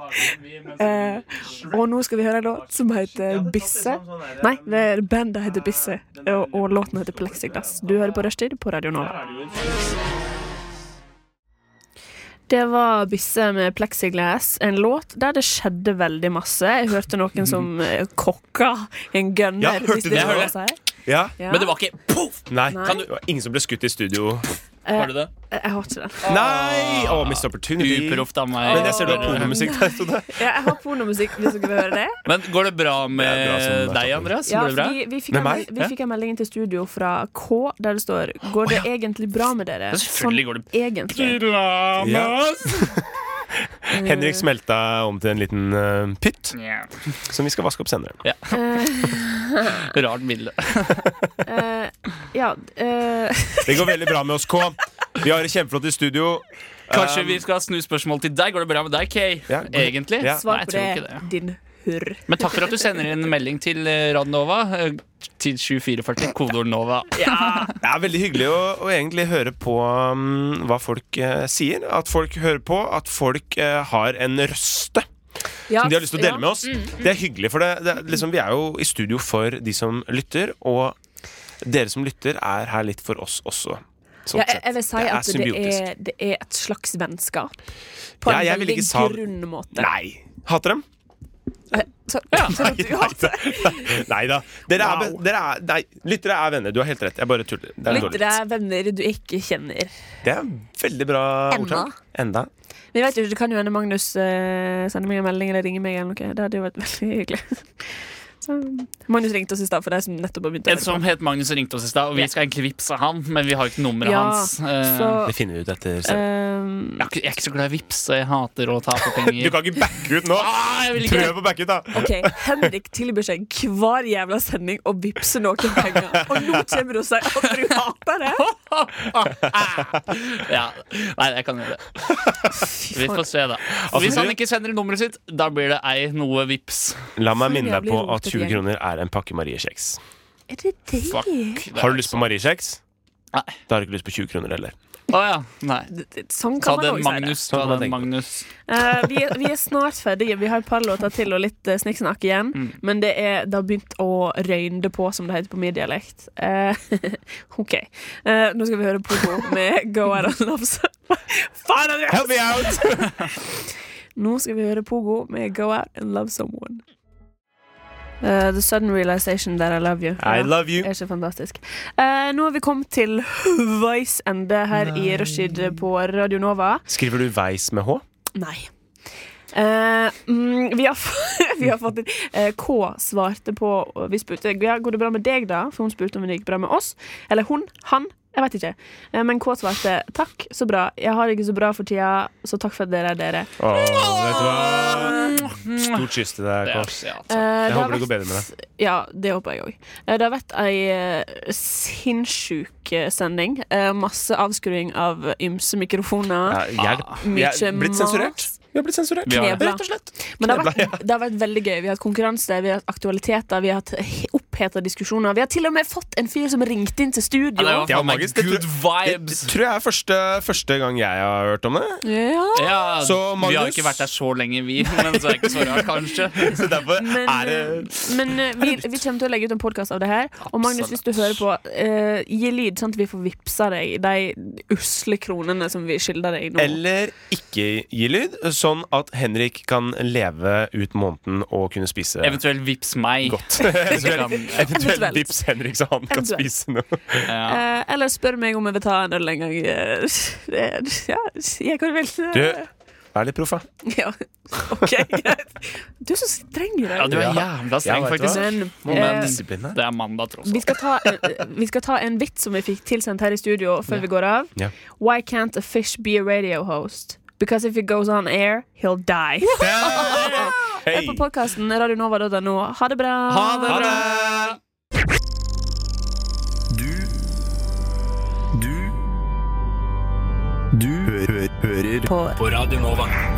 [SPEAKER 2] Eh, Og nå skal vi høre en låt som heter Bisse. Nei, det er bandet heter Bisse, og, og låten heter Plexiglass. Du hører på Rushtid på Radio Nova. Det var Bisse med Plexiglass, en låt der det skjedde veldig masse. Jeg hørte noen som eh, kokka en
[SPEAKER 1] Ja,
[SPEAKER 2] gunner.
[SPEAKER 1] hørte
[SPEAKER 2] hvis
[SPEAKER 1] du
[SPEAKER 2] det
[SPEAKER 1] det?
[SPEAKER 2] er lov å si.
[SPEAKER 1] Ja.
[SPEAKER 2] Ja.
[SPEAKER 3] Men det var ikke poff!
[SPEAKER 1] Nei.
[SPEAKER 2] Nei.
[SPEAKER 1] Kan du? Det var Ingen som ble skutt i studio.
[SPEAKER 3] Var det det?
[SPEAKER 2] Eh, Jeg jeg har ikke den.
[SPEAKER 1] Nei! Å, missed opportunity.
[SPEAKER 3] Uproft av meg.
[SPEAKER 1] Men jeg ser du har pornomusikk der. Så det.
[SPEAKER 2] Ja, Jeg har pornomusikk, hvis dere vil høre det.
[SPEAKER 3] Men går det bra med
[SPEAKER 1] Det er bra som-
[SPEAKER 3] deg, Andreas?
[SPEAKER 2] Ja,
[SPEAKER 3] går det bra?
[SPEAKER 2] fordi vi fikk,
[SPEAKER 1] Med
[SPEAKER 2] en,
[SPEAKER 1] meg?
[SPEAKER 2] mel- vi fikk en melding inn til studio fra K, der det står Går det egentlig bra med dere?
[SPEAKER 3] Ja, selvfølgelig går det
[SPEAKER 2] Egentlig.
[SPEAKER 3] Mm.
[SPEAKER 1] Henrik smelta om til en liten eh, pytt
[SPEAKER 3] Ja.
[SPEAKER 1] som vi skal vaske opp senere.
[SPEAKER 3] Rart bilde.
[SPEAKER 2] Eh, ja eh,
[SPEAKER 1] Det går veldig bra med oss, K. Vi har det kjempeflott i studio.
[SPEAKER 3] Kanskje vi skal snu spørsmål til deg. Går det bra med deg, Kay?
[SPEAKER 1] Ja, går-
[SPEAKER 3] Egentlig?
[SPEAKER 1] Ja.
[SPEAKER 2] Svar på
[SPEAKER 3] Nei, jeg tror
[SPEAKER 2] det,
[SPEAKER 3] ikke det.
[SPEAKER 2] din hurr.
[SPEAKER 3] Men takk for at du sender inn melding til eh, Radio Nova. eh, Til 2440, kodeord Nova.
[SPEAKER 1] Det er veldig hyggelig å, å egentlig høre på mm, hva folk eh, sier. At folk hører på. At folk eh, har en røste
[SPEAKER 2] Ja, Mm,
[SPEAKER 1] som de har lyst til å dele med oss. Det er hyggelig, for det, det, er liksom, vi er jo i studio for de som lytter. Og dere som lytter, er her litt for oss også. Sånn
[SPEAKER 2] Ja, jeg,
[SPEAKER 1] sett.
[SPEAKER 2] jeg vil si
[SPEAKER 1] Det er
[SPEAKER 2] at det
[SPEAKER 1] symbiotisk.
[SPEAKER 2] er, det er et slags vennskap. På
[SPEAKER 1] Ja,
[SPEAKER 2] en
[SPEAKER 1] jeg vil
[SPEAKER 2] veldig
[SPEAKER 1] ikke sa-
[SPEAKER 2] grunn måte.
[SPEAKER 1] Nei. Hater dem?
[SPEAKER 2] Så, så at du har
[SPEAKER 1] Nei da. Dere er, be- dere er, nei, lyttere er venner. Du har helt rett. Jeg bare tuller. Det er, en
[SPEAKER 2] Lytter
[SPEAKER 1] dårlig vits.
[SPEAKER 2] deg venner du ikke kjenner.
[SPEAKER 1] det er en veldig bra ordtak. Enda.
[SPEAKER 2] Men jeg vet jo ikke, Det kan jo hende Magnus eh, sender meg en melding eller ringer meg. eller noe Det hadde jo vært veldig hyggelig. Så, Magnus ringte oss i stad for deg som nettopp har begynt å
[SPEAKER 3] En som het Magnus, ringte oss i stad, og vi skal egentlig vippse han, men vi har ikke nummeret
[SPEAKER 2] Ja,
[SPEAKER 3] hans. Eh,
[SPEAKER 2] Så
[SPEAKER 1] Det finner vi ut etter senere.
[SPEAKER 2] ehm,
[SPEAKER 3] Jeg er ikke- jeg er ikke så glad i vips. Jeg hater å ta på
[SPEAKER 2] Eh,
[SPEAKER 3] penger.
[SPEAKER 1] Du kan ikke backe ut nå!
[SPEAKER 3] ah, jeg vil ikke
[SPEAKER 1] Prøv å backe ut, da!
[SPEAKER 2] OK, Henrik tilbyr seg hver jævla sending å vippse noen penger. Og nå kommer du og sier at du hater det!
[SPEAKER 3] ja. Nei, jeg kan gjøre det. Vi får se, da. Hvis han ikke sender inn nummeret sitt, da blir det ei noe vips.
[SPEAKER 1] La meg
[SPEAKER 2] For
[SPEAKER 1] minne deg
[SPEAKER 2] jævlig
[SPEAKER 1] på at
[SPEAKER 2] rotete
[SPEAKER 1] 20
[SPEAKER 2] gjeng.
[SPEAKER 1] kroner er en pakke Mariekjeks.
[SPEAKER 2] Er det det?
[SPEAKER 3] Fuck. Det er-
[SPEAKER 1] Har du lyst på Mariekjeks?
[SPEAKER 3] Nei.
[SPEAKER 1] Da har du ikke lyst på 20 kroner heller.
[SPEAKER 3] Å ja. Nei.
[SPEAKER 2] D- d- Sånn kan
[SPEAKER 3] Ta
[SPEAKER 2] man
[SPEAKER 3] den,
[SPEAKER 2] også si det.
[SPEAKER 3] Magnus. Ta
[SPEAKER 1] Sånn kan man
[SPEAKER 3] den,
[SPEAKER 1] tenke på.
[SPEAKER 3] Magnus.
[SPEAKER 2] Eh, vi, er, vi er snart ferdige. Vi har et par låter til og litt eh, snikksnakk igjen.
[SPEAKER 3] Mm.
[SPEAKER 2] Men det, er, det har begynt å røynde på, som det heter på min dialekt. Eh, OK. Eh, nå skal vi høre Pogo med Go Out and Love Song. Faen, Andreas!
[SPEAKER 1] Help me out!
[SPEAKER 2] Nå skal vi høre Pogo med Go Out and Love Someone. Uh, the sudden realization that I love you.
[SPEAKER 1] I love
[SPEAKER 2] Det
[SPEAKER 1] you.
[SPEAKER 2] er ikke fantastisk. Eh, nå har vi kommet til veis ende her i Rushtid på Radio Nova.
[SPEAKER 1] Skriver du veis med H?
[SPEAKER 2] Nei. Eh, mm, vi, har, f- vi har fått inn eh, K svarte på og Vi spurte ja, går det bra med deg, da? For hun spurte om det gikk bra med oss. Eller hun. Han. Jeg vet ikke. Eh, men K svarte takk, så bra. Jeg har det ikke så bra for tida, så takk for at dere er dere.
[SPEAKER 1] Åh, vet du hva? Stort kyss til deg,
[SPEAKER 3] Det er,
[SPEAKER 1] Kors.
[SPEAKER 3] ja, altså.
[SPEAKER 2] Eh, Jeg
[SPEAKER 1] håper det går bedre med
[SPEAKER 2] deg. Ja, det håper jeg òg. Det har vært ei eh, sinnssyk eh, sending. Eh, Masse avskruing av ymse mikrofoner.
[SPEAKER 1] Ja, hjelp. Vi
[SPEAKER 2] Ah. Mye
[SPEAKER 1] er blitt
[SPEAKER 2] mas.
[SPEAKER 1] sensurert. Vi har blitt sensurert.
[SPEAKER 3] Vi har
[SPEAKER 2] det.
[SPEAKER 1] Rett og slett.
[SPEAKER 2] Men det har,
[SPEAKER 1] Knebla,
[SPEAKER 2] vært, det har vært veldig gøy. Vi har hatt konkurranse, vi har hatt aktualiteter, vi har hatt he- oppheta diskusjoner. Vi har til og med fått en fyr som ringte inn til studio.
[SPEAKER 3] Ja,
[SPEAKER 1] Det
[SPEAKER 3] det
[SPEAKER 1] var
[SPEAKER 3] var
[SPEAKER 1] magisk. Det
[SPEAKER 3] good
[SPEAKER 1] Det
[SPEAKER 3] vibes.
[SPEAKER 1] tror jeg er første, første gang jeg har hørt om det.
[SPEAKER 2] Ja.
[SPEAKER 3] Ja,
[SPEAKER 1] Så,
[SPEAKER 3] vi har
[SPEAKER 1] Magnus-
[SPEAKER 3] ikke vært der så lenge, vi. Men så er det ikke så rart, kanskje.
[SPEAKER 1] Så derfor
[SPEAKER 2] Men,
[SPEAKER 1] er det
[SPEAKER 2] eh, men eh, vi, vi kommer til å legge ut en podkast av det her. Og Magnus, hvis du hører på, eh, gi lyd, sånn at vi får vippsa deg de usle kronene som vi skylder deg nå.
[SPEAKER 1] Eller ikke gi lyd, sånn at Henrik kan leve ut måneden og kunne spise
[SPEAKER 3] Eventuelt vips meg.
[SPEAKER 1] godt.
[SPEAKER 3] Så kan-
[SPEAKER 1] Eventuelt
[SPEAKER 2] Eventuelt.
[SPEAKER 1] vips Henrik, så han kan
[SPEAKER 2] Eventuelt.
[SPEAKER 1] spise noe.
[SPEAKER 3] Ja.
[SPEAKER 2] Eh, eller spør meg om jeg vil ta en øl en gang. eh, det- Ja, jeg kan vel
[SPEAKER 1] Du, vær litt proff, da.
[SPEAKER 2] Ja, OK, greit. Du er så streng i
[SPEAKER 3] ja, du
[SPEAKER 2] dag.
[SPEAKER 3] er
[SPEAKER 1] Ja.
[SPEAKER 3] jævla streng,
[SPEAKER 1] Ja, vet du
[SPEAKER 3] faktisk.
[SPEAKER 1] hva?
[SPEAKER 2] Men
[SPEAKER 1] Må være
[SPEAKER 2] eh,
[SPEAKER 1] disiplin her.
[SPEAKER 3] Det er mandag, tross
[SPEAKER 2] vi
[SPEAKER 3] alt.
[SPEAKER 2] skal, ta, eh, vi skal ta en vits som vi fikk tilsendt her i studio før vi går av.
[SPEAKER 1] Ja.
[SPEAKER 2] Why can't a fish be a radio host? Because if he goes on air, he'll die.
[SPEAKER 1] Hei.
[SPEAKER 2] Hør på podkasten radionova.no. Ha det bra.
[SPEAKER 3] Ha det bra!
[SPEAKER 7] Du Du Du hø hø hører på. på Radio Nova.